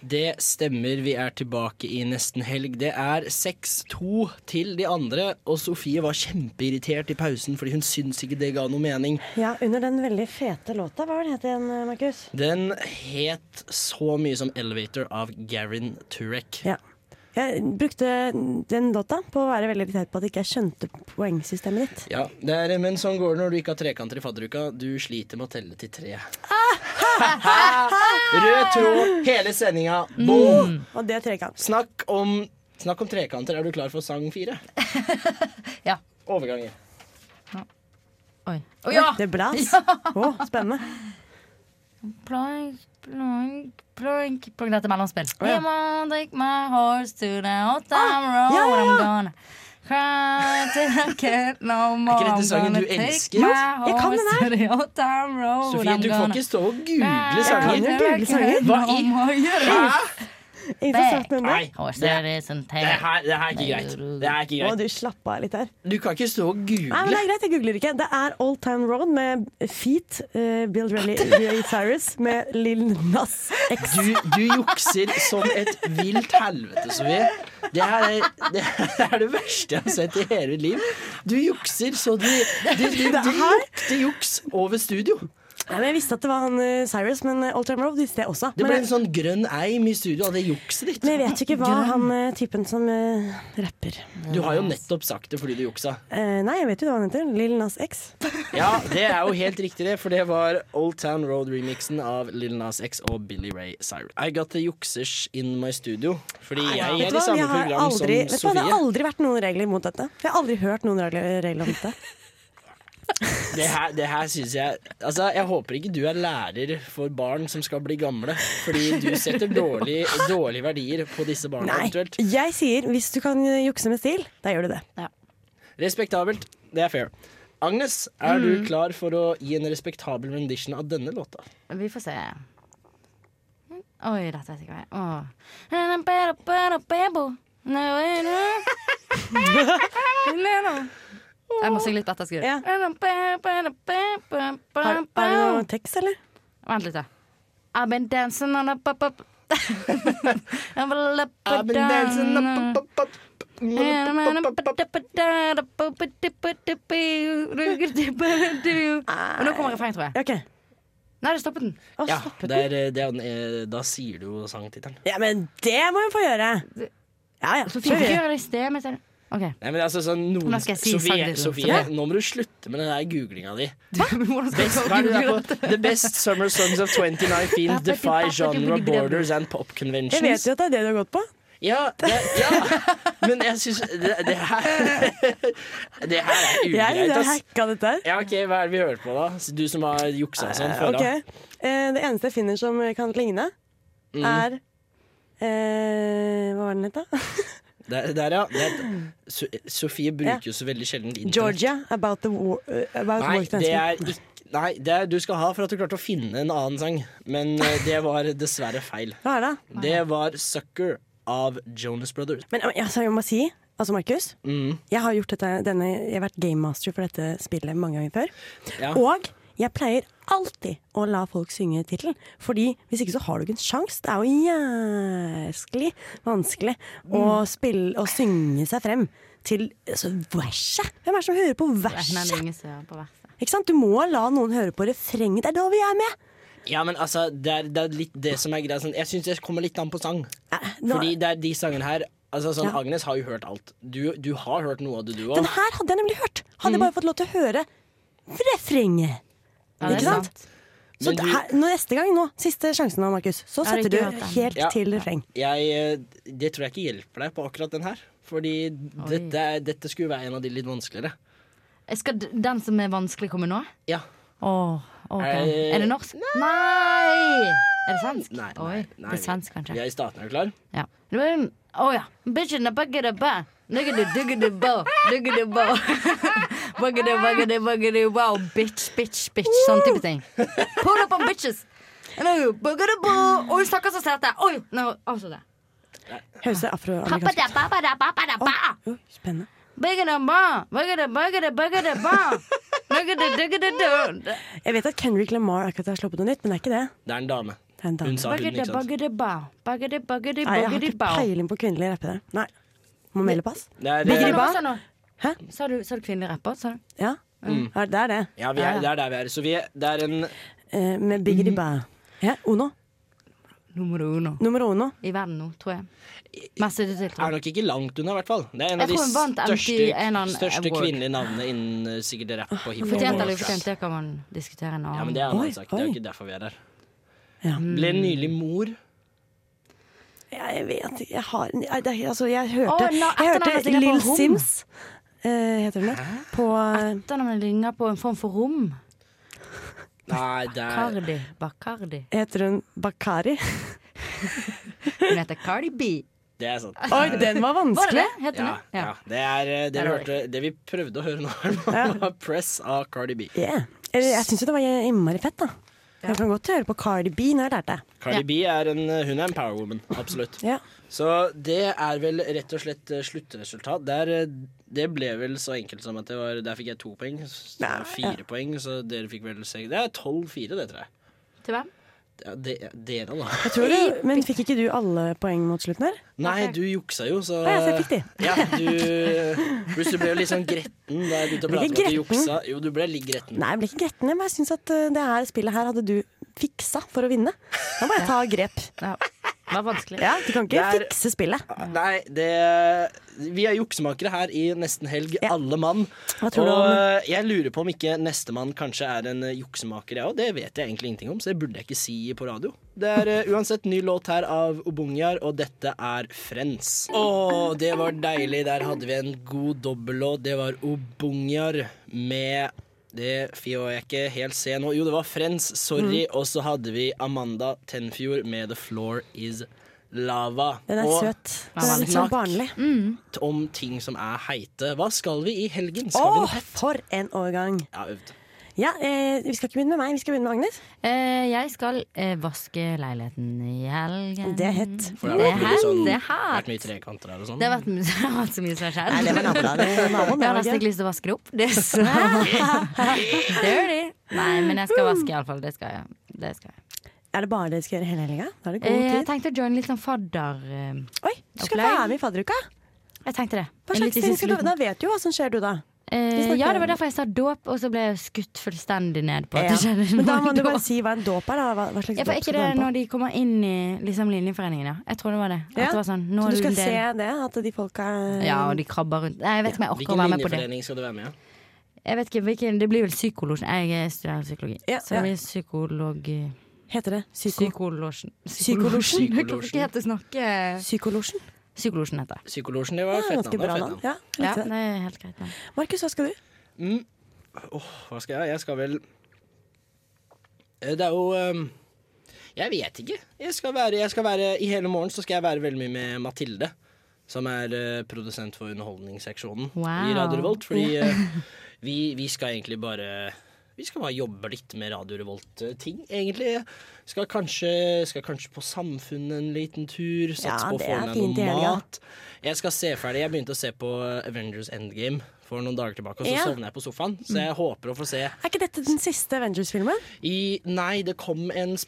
[SPEAKER 1] Det stemmer, vi er tilbake i nesten helg. Det er 6-2 til de andre, og Sofie var kjempeirritert i pausen fordi hun syns ikke det ga noe mening.
[SPEAKER 3] Ja, under den veldig fete låta, hva var den het igjen, Markus?
[SPEAKER 1] Den het så mye som 'Elevator' av Garin Turek.
[SPEAKER 3] Ja. Jeg brukte den låta på å være veldig irritert på at jeg ikke skjønte poengsystemet ditt.
[SPEAKER 1] Ja, det er, men sånn går det når du ikke har trekanter i fadderuka. Du sliter med å telle til tre. Rød tråd hele sendinga. Boom!
[SPEAKER 3] Og det er trekant.
[SPEAKER 1] Snakk om, snakk om trekanter. Er du klar for sang fire?
[SPEAKER 8] Ja.
[SPEAKER 1] Overganger.
[SPEAKER 8] Oi. Å ja!
[SPEAKER 3] Det blæs. Å, spennende.
[SPEAKER 8] Plank, plank, plank, plank. Dette er mellomspill.
[SPEAKER 3] Å, ja.
[SPEAKER 8] You won't take my horse to the hot time road.
[SPEAKER 3] ja, ja, ja.
[SPEAKER 8] I'm gonna cry till I can't no more.
[SPEAKER 1] dette
[SPEAKER 8] I'm
[SPEAKER 1] sangen
[SPEAKER 8] gonna
[SPEAKER 1] du
[SPEAKER 8] take
[SPEAKER 1] elsker?
[SPEAKER 8] my
[SPEAKER 1] Jo,
[SPEAKER 3] jeg kan
[SPEAKER 8] horse
[SPEAKER 3] den
[SPEAKER 8] to the hot time road.
[SPEAKER 1] Sofie,
[SPEAKER 8] I'm
[SPEAKER 1] du får
[SPEAKER 8] gonna
[SPEAKER 1] ikke stå og google
[SPEAKER 8] cry
[SPEAKER 1] sanger.
[SPEAKER 3] jo
[SPEAKER 8] till I
[SPEAKER 3] google sanger.
[SPEAKER 8] can't
[SPEAKER 1] Hva
[SPEAKER 8] no
[SPEAKER 1] i-
[SPEAKER 8] more.
[SPEAKER 3] Interessant nummer.
[SPEAKER 1] Nei,
[SPEAKER 8] Horse
[SPEAKER 1] det,
[SPEAKER 8] that isn't
[SPEAKER 1] det,
[SPEAKER 8] taken.
[SPEAKER 1] her, det her er ikke greit. Det her er ikke
[SPEAKER 3] Å,
[SPEAKER 1] greit.
[SPEAKER 3] du slapp av litt her.
[SPEAKER 1] Du kan ikke stå og
[SPEAKER 3] Nei, men
[SPEAKER 1] google.
[SPEAKER 3] Det er greit, jeg googler ikke. Det er Old Town Road med Feet, eh, Bill Riley, Ray Cyrus med Lil Nas X.
[SPEAKER 1] Du, du jukser som et vilt helvete, Sofie. Det her er det, her er det verste jeg har sett i hele mitt liv. Du jukser så du Du, du, du lukter juks over studio.
[SPEAKER 3] Nei, men jeg visste at det var han eh, Cyrus, men eh, Old Town Road visste jeg også.
[SPEAKER 1] Det
[SPEAKER 3] Men
[SPEAKER 1] ble
[SPEAKER 3] jeg-
[SPEAKER 1] en sånn grønn eim i studio av det jukset ditt.
[SPEAKER 3] men jeg vet jo ikke hva han eh, typen som eh, rapper
[SPEAKER 1] Du har jo nettopp sagt det fordi du juksa.
[SPEAKER 3] Eh, Nei, jeg vet jo hva han heter. Lil Nas X.
[SPEAKER 1] Ja, det er jo helt riktig, det, for det var Old Town Road-remixen av Lil Nas X og Billy Ray Cyrus. I got the juksers in my studio, fordi jeg er
[SPEAKER 3] Vet
[SPEAKER 1] i
[SPEAKER 3] du hva?
[SPEAKER 1] samme
[SPEAKER 3] Jeg har
[SPEAKER 1] program som
[SPEAKER 3] aldri, vet du hva? Det har
[SPEAKER 1] Sofie.
[SPEAKER 3] aldri vært noen regler mot dette. Jeg har aldri hørt noen regler, regler om dette.
[SPEAKER 1] Det her, det her synes jeg Altså, jeg håper ikke du er lærer for barn som skal bli gamle. Fordi du setter dårlig- dårlige verdier på disse barna
[SPEAKER 3] Nei,
[SPEAKER 1] eventuelt.
[SPEAKER 3] jeg sier hvis du kan jukse med stil, da gjør du det.
[SPEAKER 1] Respektabelt. Det er fair. Agnes, er du klar for å gi en respektabel rendition av denne låta?
[SPEAKER 8] Vi får se. Oi, dette vet jeg ikke hva jeg er. Jeg må synge litt bedre, Sigrid.
[SPEAKER 3] Har, har du noe tekst, eller?
[SPEAKER 8] Vent litt, da. I've been dancing on a pop-up I've been dancing on a pop-up Og nå kommer refrenget, tror jeg. Nei, du stoppet den.
[SPEAKER 1] Ja, det er, eh, det er, den, eh, da sier du jo sangtittelen.
[SPEAKER 3] Ja, men det må hun få gjøre! Ja, ja.
[SPEAKER 8] Sofie, hvorfor gjør jeg det i sted? men jeg- Ok.
[SPEAKER 1] Nei, men altså, sånn, noen,
[SPEAKER 8] Nå skal jeg si
[SPEAKER 1] Sofie,
[SPEAKER 8] sangtittelen.
[SPEAKER 1] Sofie
[SPEAKER 8] Ja.
[SPEAKER 1] nå må du slutte med den der googlinga di.
[SPEAKER 8] skal jeg
[SPEAKER 1] Best,
[SPEAKER 8] google
[SPEAKER 1] hva er det der
[SPEAKER 8] dette?
[SPEAKER 1] på? The best summer songs of 2019 defy genre borders and pop conventions.
[SPEAKER 3] Jeg vet jo at det er det du har gått på.
[SPEAKER 1] Ja, det, ja. men jeg syns det, det her Det her er
[SPEAKER 3] Jeg
[SPEAKER 1] ugreit,
[SPEAKER 3] har
[SPEAKER 1] ass.
[SPEAKER 3] hacka dette her.
[SPEAKER 1] Ja, ok, Hva er det vi hører på, da? Du som har juksa og sånn før.
[SPEAKER 3] Ok. Eh, det eneste jeg finner som kan ligne,
[SPEAKER 1] Mm.
[SPEAKER 3] er eh, Hva var den het, da?
[SPEAKER 1] Der, der, ja. Det, So- Sofie bruker jo så veldig sjelden internett.
[SPEAKER 3] Georgia. About the war, eh, about
[SPEAKER 1] Nei,
[SPEAKER 3] work
[SPEAKER 1] det er ikke Nei, det er, du skal ha for at du klarte å finne en annen sang, men eh, det var dessverre feil.
[SPEAKER 3] Hva er det?
[SPEAKER 1] Det var 'Sucker' av Jonas Brothers.
[SPEAKER 3] Men eh, altså, jeg må si, altså Markus,
[SPEAKER 1] Mm.
[SPEAKER 3] jeg har gjort dette, denne, jeg har vært gamemaster for dette spillet mange ganger før.
[SPEAKER 1] Ja.
[SPEAKER 3] Og jeg pleier alltid å la folk synge tittelen, fordi hvis ikke så har du ikke en sjanse. Det er jo jæsklig vanskelig å,
[SPEAKER 1] Mm.
[SPEAKER 3] spille, å synge seg frem til altså, verset. Hvem er det som hører på
[SPEAKER 8] Nei, det er
[SPEAKER 3] verset?
[SPEAKER 8] ingen som hører på verset.
[SPEAKER 3] Ikke sant? Du må la noen høre på refrenget. Det er da vi er med!
[SPEAKER 1] Ja, men altså, det er, det er litt det som er greia. Sånn, jeg syns det kommer litt an på sang.
[SPEAKER 3] nå-
[SPEAKER 1] Fordi det er de sangene her Altså, sånn,
[SPEAKER 3] Ja.
[SPEAKER 1] Agnes har jo hørt alt. Du, du har hørt noe av det, du òg.
[SPEAKER 3] Den her hadde jeg nemlig hørt.
[SPEAKER 1] Mm.
[SPEAKER 3] Hadde jeg bare fått lov til å høre refrenget.
[SPEAKER 1] Ja, det er
[SPEAKER 3] ikke sant? Så
[SPEAKER 1] Men du-
[SPEAKER 3] her, nå, neste gang nå, siste sjansen nå, Markus, så
[SPEAKER 8] Ja, det er
[SPEAKER 3] setter du
[SPEAKER 8] ikke rart, det.
[SPEAKER 3] helt
[SPEAKER 1] Ja.
[SPEAKER 3] til refreng.
[SPEAKER 1] Jeg, eh, det tror jeg ikke hjelper deg på akkurat den her. Fordi dette, er- dette skulle være en av de litt vanskeligere.
[SPEAKER 8] Jeg skal, den som er vanskelig, komme nå?
[SPEAKER 1] Ja.
[SPEAKER 8] Åh, ok.
[SPEAKER 1] Eh,
[SPEAKER 8] er det norsk? Nei! Er det svensk?
[SPEAKER 1] Nei,
[SPEAKER 8] Oi,
[SPEAKER 1] nei,
[SPEAKER 8] det er svensk, kanskje.
[SPEAKER 1] Vi er i staten, er du klar?
[SPEAKER 8] Ja. Det var en- Å ja. Bitch in the bucket of ba. Duggedy duggedy bo. Duggedy bo. Buggedy buggedy buggedy wow. Bitch, bitch, bitch. Sånn type ting. Pull up on bitches. No, buggedy bo. Oi, stakkars så sete. Oi, nå avslutter jeg.
[SPEAKER 3] Høres det
[SPEAKER 8] Pappa
[SPEAKER 3] afroamerikansk
[SPEAKER 8] da, pappa da, pappa da, ba.
[SPEAKER 3] ut? Spennende.
[SPEAKER 8] Buggedy ba. Buggedy buggedy buggedy ba. Duggedy duggedy do.
[SPEAKER 3] Jeg vet at Kendrick Lamar akkurat har sluppet noe nytt, men det er ikke det.
[SPEAKER 1] Det er en dame.
[SPEAKER 3] Det er en dame.
[SPEAKER 1] Hun sa hun,
[SPEAKER 8] Buggedy
[SPEAKER 1] ikke sant?
[SPEAKER 8] buggedy ba. Buggedy buggedy
[SPEAKER 3] Nei, jeg har
[SPEAKER 8] buggedy
[SPEAKER 3] ikke
[SPEAKER 8] ba.
[SPEAKER 3] peiling på kvinnelige rappere. Nei. Må melde pass.
[SPEAKER 1] Det er, eh,
[SPEAKER 3] Bigger i ba?
[SPEAKER 8] Sa du-
[SPEAKER 3] Hæ?
[SPEAKER 8] Sa du, sa du kvinnelig rapper? Sa du?
[SPEAKER 3] Ja. Ja, det er det.
[SPEAKER 1] ja, vi er, det er der vi er. Så vi er, det er en
[SPEAKER 3] Eh, med Bigger Ba. Ja, Uno.
[SPEAKER 8] Nummer uno.
[SPEAKER 3] Nummer uno.
[SPEAKER 8] I verden nå, tror jeg. Mest er det til, tror
[SPEAKER 1] er
[SPEAKER 8] jeg.
[SPEAKER 1] nok ikke langt unna, i hvert fall. Det er en
[SPEAKER 8] Jeg
[SPEAKER 1] av de
[SPEAKER 8] tror hun vant MTV
[SPEAKER 1] største,
[SPEAKER 8] en eller annen
[SPEAKER 1] største
[SPEAKER 8] award.
[SPEAKER 1] kvinnelige navnene innen eh, sikkert rap og hiphop.
[SPEAKER 8] Fortjent eller
[SPEAKER 1] og trap.
[SPEAKER 8] ufortjent, det kan man diskutere en
[SPEAKER 1] Ja, men
[SPEAKER 8] annen
[SPEAKER 1] det er en
[SPEAKER 3] Oi,
[SPEAKER 1] annen sak. Det er
[SPEAKER 3] oi.
[SPEAKER 1] jo ikke derfor vi er her.
[SPEAKER 3] Ja.
[SPEAKER 1] Ble nylig mor.
[SPEAKER 3] Ja, jeg vet ikke. Jeg har Nei, det, er- Altså, jeg hørte,
[SPEAKER 8] Å, la-
[SPEAKER 3] jeg
[SPEAKER 8] etternavnet
[SPEAKER 3] hørte
[SPEAKER 8] ligner på
[SPEAKER 3] Lill
[SPEAKER 8] Rom.
[SPEAKER 3] Sims, eh, heter hun det, på eh,
[SPEAKER 8] Etternavnet ligner på en form for rom.
[SPEAKER 1] Nei, det er
[SPEAKER 8] Cardi. Bacardi.
[SPEAKER 3] Heter hun Bakari?
[SPEAKER 8] Hun heter Cardi B.
[SPEAKER 1] Det er sant.
[SPEAKER 3] Oi, den var
[SPEAKER 8] Var det
[SPEAKER 3] vanskelig!
[SPEAKER 8] det? Heter
[SPEAKER 1] Ja,
[SPEAKER 8] hun det?
[SPEAKER 1] ja.
[SPEAKER 8] Ja.
[SPEAKER 1] Det er eh, det
[SPEAKER 8] Der
[SPEAKER 1] vi,
[SPEAKER 8] var
[SPEAKER 1] hørte, det vi prøvde å høre nå, var Press av Cardi B.
[SPEAKER 3] Yeah. Eller, Jeg syns jo det var innmari fett, da. Jeg kan godt høre på Cardi B når jeg lærte det.
[SPEAKER 1] Cardi B er en, eh, hun er en power woman, absolutt.
[SPEAKER 3] Ja.
[SPEAKER 1] Så det er vel rett og slett eh, sluttresultat. Der, eh, det ble vel så enkelt som at det var Der fikk jeg to poeng. Så det var fire poeng, så dere fikk vel seks. Det er tolv-fire, det, tror jeg.
[SPEAKER 8] Til hvem?
[SPEAKER 1] Ja, det, dere, da.
[SPEAKER 3] Jeg tror du, men fikk ikke du alle poeng mot slutten her?
[SPEAKER 1] Nei, du juksa jo, så
[SPEAKER 3] Nei, altså, jeg fikk de.
[SPEAKER 1] Ja, du Plutselig ble jo litt sånn gretten da jeg begynte å
[SPEAKER 3] Ble
[SPEAKER 1] prate om
[SPEAKER 3] ikke
[SPEAKER 1] at du
[SPEAKER 3] gretten.
[SPEAKER 1] juksa. Jo, du ble litt gretten.
[SPEAKER 3] Nei, jeg ble ikke gretten. Jeg bare syns at eh, det her spillet her hadde du fiksa for å vinne. Da må jeg ta grep.
[SPEAKER 8] Ja. Det var vanskelig.
[SPEAKER 3] Ja, du kan ikke
[SPEAKER 1] Det er-
[SPEAKER 3] fikse spillet.
[SPEAKER 1] Nei, det Vi er juksemakere her i Nesten helg, alle mann.
[SPEAKER 3] Hva
[SPEAKER 1] Og
[SPEAKER 3] tror du om
[SPEAKER 1] eh, jeg lurer på om ikke nestemann kanskje er en eh, juksemaker, jeg òg. Det vet jeg egentlig ingenting om, så det burde jeg ikke si på radio. Det er eh, uansett ny låt her av Obungyar, og dette er Friends. Å, det var deilig. Der hadde vi en god dobbellåt. Det var Obungyar med det får jeg ikke helt se nå. Jo, det var Friends, sorry.
[SPEAKER 3] Mm.
[SPEAKER 1] Og så hadde vi Amanda Tenfjord med The Floor Is Lava.
[SPEAKER 3] Den er
[SPEAKER 1] og
[SPEAKER 3] søt. Den er litt sånn
[SPEAKER 1] snakk-
[SPEAKER 3] barnlig.
[SPEAKER 1] om ting som er heite. Hva skal vi i helgen? Skal vi
[SPEAKER 3] Åh,
[SPEAKER 1] noe?
[SPEAKER 3] for en årgang!
[SPEAKER 1] Jeg har øvd.
[SPEAKER 3] Ja, eh, Vi skal ikke begynne med meg, vi skal begynne med Agnes.
[SPEAKER 8] Eh, jeg skal eh, vaske leiligheten i helgen.
[SPEAKER 3] Det er hett.
[SPEAKER 1] For det har vært mye sånn-
[SPEAKER 8] Det er hett.
[SPEAKER 1] vært mye trekanter her og sånn.
[SPEAKER 8] Det har vært, det har vært så mye som har skjedd.
[SPEAKER 3] Nei, det var naboen, det var naboen, det
[SPEAKER 8] jeg har
[SPEAKER 3] var
[SPEAKER 8] nesten
[SPEAKER 3] gøy.
[SPEAKER 8] ikke lyst til å vaske det opp. Det er så dirty. Nei, men jeg skal vaske iallfall. Det skal jeg. Det skal jeg.
[SPEAKER 3] Er det bare det du skal gjøre hele helga? Da er det
[SPEAKER 8] Eh,
[SPEAKER 3] god
[SPEAKER 8] jeg
[SPEAKER 3] tid.
[SPEAKER 8] tenkte å joine litt sånn fadder... eh,
[SPEAKER 3] Oi, du skal
[SPEAKER 8] opplegg.
[SPEAKER 3] være med i fadderuka?
[SPEAKER 8] Jeg tenkte det.
[SPEAKER 3] Hva
[SPEAKER 8] Litt
[SPEAKER 3] slags
[SPEAKER 8] i
[SPEAKER 3] ting
[SPEAKER 8] siste
[SPEAKER 3] skal du
[SPEAKER 8] liten.
[SPEAKER 3] Da vet du jo hva som skjer, du da.
[SPEAKER 8] Eh,
[SPEAKER 3] snakker
[SPEAKER 8] ja, det
[SPEAKER 3] om-
[SPEAKER 8] var derfor jeg sa dåp, og så ble jeg skutt fullstendig ned på at
[SPEAKER 3] Ja.
[SPEAKER 8] det skjedde
[SPEAKER 3] Men da
[SPEAKER 8] noe
[SPEAKER 3] må du
[SPEAKER 8] dåp.
[SPEAKER 3] bare si hva en dåp er. Da. Hva, hva slags
[SPEAKER 8] Ja, for
[SPEAKER 3] dåp
[SPEAKER 8] ikke
[SPEAKER 3] skal du
[SPEAKER 8] det
[SPEAKER 3] være med på?
[SPEAKER 8] når de kommer inn i liksom linjeforeningen, ja. Jeg tror det var det. At
[SPEAKER 3] Ja.
[SPEAKER 8] det var sånn, nå
[SPEAKER 3] Så
[SPEAKER 8] er
[SPEAKER 3] du
[SPEAKER 8] det
[SPEAKER 3] skal
[SPEAKER 8] en del-
[SPEAKER 3] se det, at de folka
[SPEAKER 8] Ja, og de krabber rundt. Nei, jeg vet ikke om jeg orker å
[SPEAKER 1] Hvilken
[SPEAKER 8] være med på det.
[SPEAKER 1] linjeforening skal du være med i?
[SPEAKER 8] Jeg vet ikke, hvilken, Det blir vel psykolosjen. Jeg eh, studerer psykologi.
[SPEAKER 3] Ja,
[SPEAKER 8] så det
[SPEAKER 3] ja.
[SPEAKER 8] blir psykolog...
[SPEAKER 3] Heter det psyko...
[SPEAKER 8] Psykolosjen.
[SPEAKER 3] Psykolosjen?
[SPEAKER 8] Jeg klarer ikke helt å snakke
[SPEAKER 3] psykolosjen?
[SPEAKER 8] Psykolosjen heter det.
[SPEAKER 1] Psykolosjen, det
[SPEAKER 3] Ja,
[SPEAKER 1] var fett
[SPEAKER 3] ganske bra
[SPEAKER 1] navn.
[SPEAKER 3] navn. Ja, jeg
[SPEAKER 8] Ja,
[SPEAKER 3] likte det.
[SPEAKER 8] det er helt greit. navn.
[SPEAKER 3] Markus, hva skal du?
[SPEAKER 1] Hva skal jeg? Jeg skal vel Eh, Det er jo ehm, Jeg vet ikke. Jeg skal være, jeg skal være I hele morgen så skal jeg være veldig mye med Mathilde. Som er eh, produsent for underholdningsseksjonen i
[SPEAKER 8] Wow.
[SPEAKER 1] Radio Revolt. Fordi eh, vi, vi skal egentlig bare Vi skal bare jobbe litt med Radio Revolt-ting, egentlig. Skal kanskje, skal kanskje på Samfunnet en liten tur. Satse
[SPEAKER 3] Ja,
[SPEAKER 1] på å
[SPEAKER 3] det
[SPEAKER 1] få
[SPEAKER 3] er
[SPEAKER 1] med
[SPEAKER 3] fint i
[SPEAKER 1] noe
[SPEAKER 3] helga.
[SPEAKER 1] mat. Jeg skal se ferdig. Jeg begynte å se på Avengers Endgame for noen dager tilbake, og så
[SPEAKER 3] Ja.
[SPEAKER 1] sovna jeg på sofaen. Så jeg håper å få se
[SPEAKER 3] Er ikke dette den siste Avengers-filmen?
[SPEAKER 1] i, nei, det kom en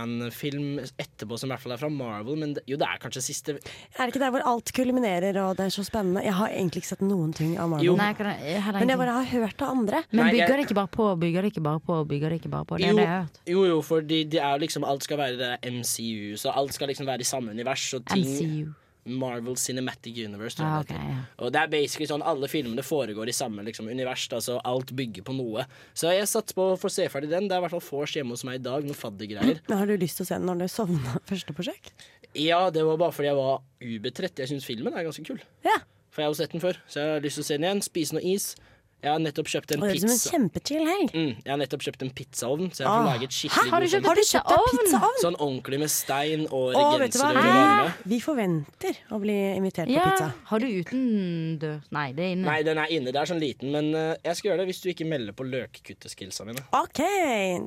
[SPEAKER 1] Spiderman-film etterpå som i hvert fall er fra Marvel, men det, jo, det er kanskje siste
[SPEAKER 3] Er det ikke der hvor alt kulminerer og det er så spennende? Jeg har egentlig ikke sett noen ting av Marvel.
[SPEAKER 1] Jo.
[SPEAKER 8] Nei, jeg kan, jeg har
[SPEAKER 3] Men jeg
[SPEAKER 8] ingenting.
[SPEAKER 3] bare har hørt av andre.
[SPEAKER 8] Men
[SPEAKER 1] Nei,
[SPEAKER 8] bygger
[SPEAKER 1] jeg-
[SPEAKER 8] det ikke bare på, bygger det ikke bare på, bygger det ikke bare på. Det er
[SPEAKER 1] jo,
[SPEAKER 8] det jeg har hørt.
[SPEAKER 1] jo, jo, fordi det er jo liksom Alt skal være det der MCU, så alt skal liksom være i samme univers. Og ting,
[SPEAKER 8] MCU.
[SPEAKER 1] Marvel Cinematic Universe. tror jeg
[SPEAKER 8] Ah,
[SPEAKER 1] det
[SPEAKER 8] ok,
[SPEAKER 1] heter.
[SPEAKER 8] ja.
[SPEAKER 1] Og det er basically sånn alle filmene foregår i samme liksom, univers, da, så alt bygger på noe. Så jeg satser på å få se ferdig den. Det er i hvert fall vors hjemme hos meg i dag, noen faddergreier.
[SPEAKER 3] Men Har du lyst til å se den når du sovna første forsøk?
[SPEAKER 1] Ja, det var bare fordi jeg var ubetrett. Jeg syns filmen er ganske kul.
[SPEAKER 3] Ja.
[SPEAKER 1] For jeg har jo sett den før, så jeg har lyst til å se den igjen. Spise noe is. Jeg har nettopp kjøpt en
[SPEAKER 3] Og det høres ut som en
[SPEAKER 1] pizza.
[SPEAKER 3] kjempechill helg.
[SPEAKER 1] Mm, jeg har nettopp kjøpt en pizzaovn, så jeg får
[SPEAKER 3] Ah.
[SPEAKER 1] lage et skikkelig
[SPEAKER 8] Har du
[SPEAKER 1] god
[SPEAKER 8] kjøpt
[SPEAKER 1] sånn,
[SPEAKER 8] en
[SPEAKER 3] Har du kjøpt deg
[SPEAKER 8] Pizzaovn?
[SPEAKER 3] pizzaovn?
[SPEAKER 1] sånn ordentlig med stein og
[SPEAKER 3] Å, vet du
[SPEAKER 1] regenser
[SPEAKER 3] hva?
[SPEAKER 1] og varme.
[SPEAKER 3] Vi forventer å bli invitert på
[SPEAKER 8] Ja,
[SPEAKER 3] pizza.
[SPEAKER 8] har du utendørs Nei, det er inne.
[SPEAKER 1] Nei, den er inne. Det er sånn liten, men eh, jeg skal gjøre det hvis du ikke melder på løkkutteskillsa mine.
[SPEAKER 3] OK!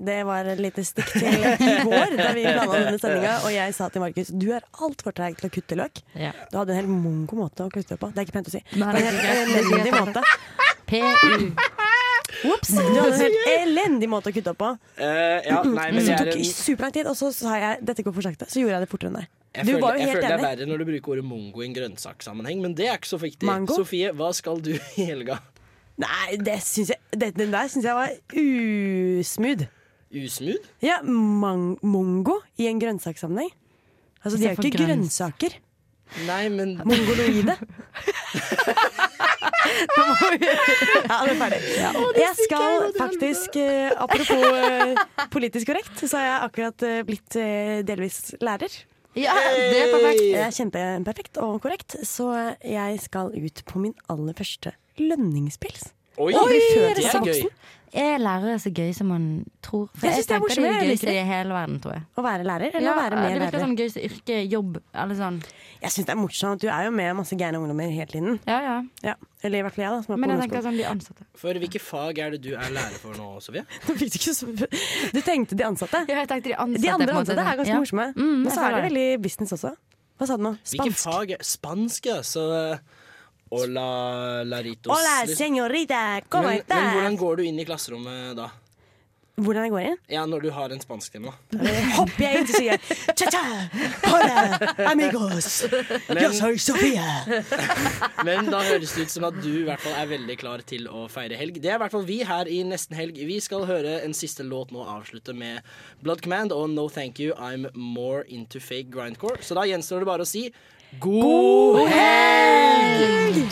[SPEAKER 3] Det var et lite stikk til i går, da vi planla denne sendinga, og jeg sa til Markus du er altfor treig til å kutte løk.
[SPEAKER 8] Ja.
[SPEAKER 3] Du hadde en helt mongo måte å kutte på. Det er ikke pent å si.
[SPEAKER 8] Nei,
[SPEAKER 3] Men
[SPEAKER 8] det er
[SPEAKER 3] en
[SPEAKER 8] ikke
[SPEAKER 3] helt
[SPEAKER 8] det.
[SPEAKER 3] elendig måte.
[SPEAKER 8] PU.
[SPEAKER 3] Ops! Du hadde en helt elendig måte å kutte opp på.
[SPEAKER 1] Eh, ja, nei, men
[SPEAKER 3] Så
[SPEAKER 1] jeg
[SPEAKER 3] det
[SPEAKER 1] er en,
[SPEAKER 3] tok superlang tid, og så sa jeg dette går for sakte. Så gjorde jeg det fortere enn deg.
[SPEAKER 1] jeg
[SPEAKER 3] Du
[SPEAKER 1] føler,
[SPEAKER 3] var jo
[SPEAKER 1] jeg
[SPEAKER 3] helt
[SPEAKER 1] føler det er
[SPEAKER 3] enig.
[SPEAKER 1] verre når du bruker ordet mongo i en grønnsakssammenheng, men det er ikke så viktig.
[SPEAKER 3] Mango?
[SPEAKER 1] Sofie, hva skal du i helga?
[SPEAKER 3] Nei, det syns jeg, det, den der syns jeg var usmooth.
[SPEAKER 1] Usmooth?
[SPEAKER 3] Ja, mang, mongo i en grønnsakssammenheng. Altså, de er jo
[SPEAKER 8] Istedenfor
[SPEAKER 3] ikke
[SPEAKER 8] grønns-
[SPEAKER 3] grønnsaker.
[SPEAKER 1] Nei, men
[SPEAKER 3] Mongoloide. ja, det er ferdig. Jeg skal faktisk, eh, apropos eh, politisk korrekt, så har jeg akkurat eh, blitt eh, delvis lærer.
[SPEAKER 8] Ja, det er perfekt.
[SPEAKER 3] Jeg er kjempeperfekt og korrekt, så jeg skal ut på min aller første lønningspils.
[SPEAKER 1] Oi,
[SPEAKER 3] Aldri før
[SPEAKER 1] det
[SPEAKER 3] til
[SPEAKER 1] er gøy.
[SPEAKER 3] voksen
[SPEAKER 8] Er lærere så gøy som man tror? For
[SPEAKER 3] Jeg synes det er
[SPEAKER 8] tenker
[SPEAKER 3] morsomt,
[SPEAKER 8] det
[SPEAKER 3] jeg
[SPEAKER 8] er
[SPEAKER 3] liker
[SPEAKER 8] gøyeste
[SPEAKER 3] det.
[SPEAKER 8] i hele verden, tror jeg.
[SPEAKER 3] Å være lærer, eller å være med
[SPEAKER 8] det virker
[SPEAKER 3] lærer.
[SPEAKER 8] sånn gøyeste yrke, jobb, eller sånn.
[SPEAKER 3] Jeg syns det er morsomt. Du er jo med masse gærne ungdommer hele tiden.
[SPEAKER 8] Ja, ja.
[SPEAKER 3] Ja. Eller i hvert fall jeg, da. Som er på
[SPEAKER 8] Men jeg
[SPEAKER 3] ungdomsskolen.
[SPEAKER 8] tenker sånn de ansatte.
[SPEAKER 1] For hvilke fag er det du er lærer for nå, Sofie?
[SPEAKER 3] Nå fikk du, ikke så... du tenkte de ansatte?
[SPEAKER 8] Ja, jeg tenkte de ansatte.
[SPEAKER 3] De
[SPEAKER 8] på
[SPEAKER 3] andre
[SPEAKER 8] en måte,
[SPEAKER 3] ansatte er
[SPEAKER 8] sånn.
[SPEAKER 3] ganske
[SPEAKER 8] Ja.
[SPEAKER 3] morsomme.
[SPEAKER 8] Mm,
[SPEAKER 3] Men så
[SPEAKER 8] jeg
[SPEAKER 3] er det
[SPEAKER 8] føler det.
[SPEAKER 3] veldig business også. Hva sa du nå?
[SPEAKER 1] Hvilke
[SPEAKER 3] Spansk.
[SPEAKER 1] fag? Spansk, ja. Så eh, Hola, laritos.
[SPEAKER 3] Hola,
[SPEAKER 1] liksom.
[SPEAKER 3] señorita, ¿cómo
[SPEAKER 1] men, men hvordan
[SPEAKER 3] estás?
[SPEAKER 1] går du inn i klasserommet da?
[SPEAKER 3] Hvordan jeg går inn?
[SPEAKER 1] Ja, Når du har en spansktime, da.
[SPEAKER 3] Hopper jeg inn og sier cha-cha, hola, amigos, yo soy Sofia.
[SPEAKER 1] Men da høres det ut som at du i hvert fall er veldig klar til å feire helg. Det er i hvert fall vi her i Nesten Helg. Vi skal høre en siste låt nå avslutte med Blood Command og No Thank You, I'm More Into Fake Grindcore. Så da gjenstår det bare å si god helg!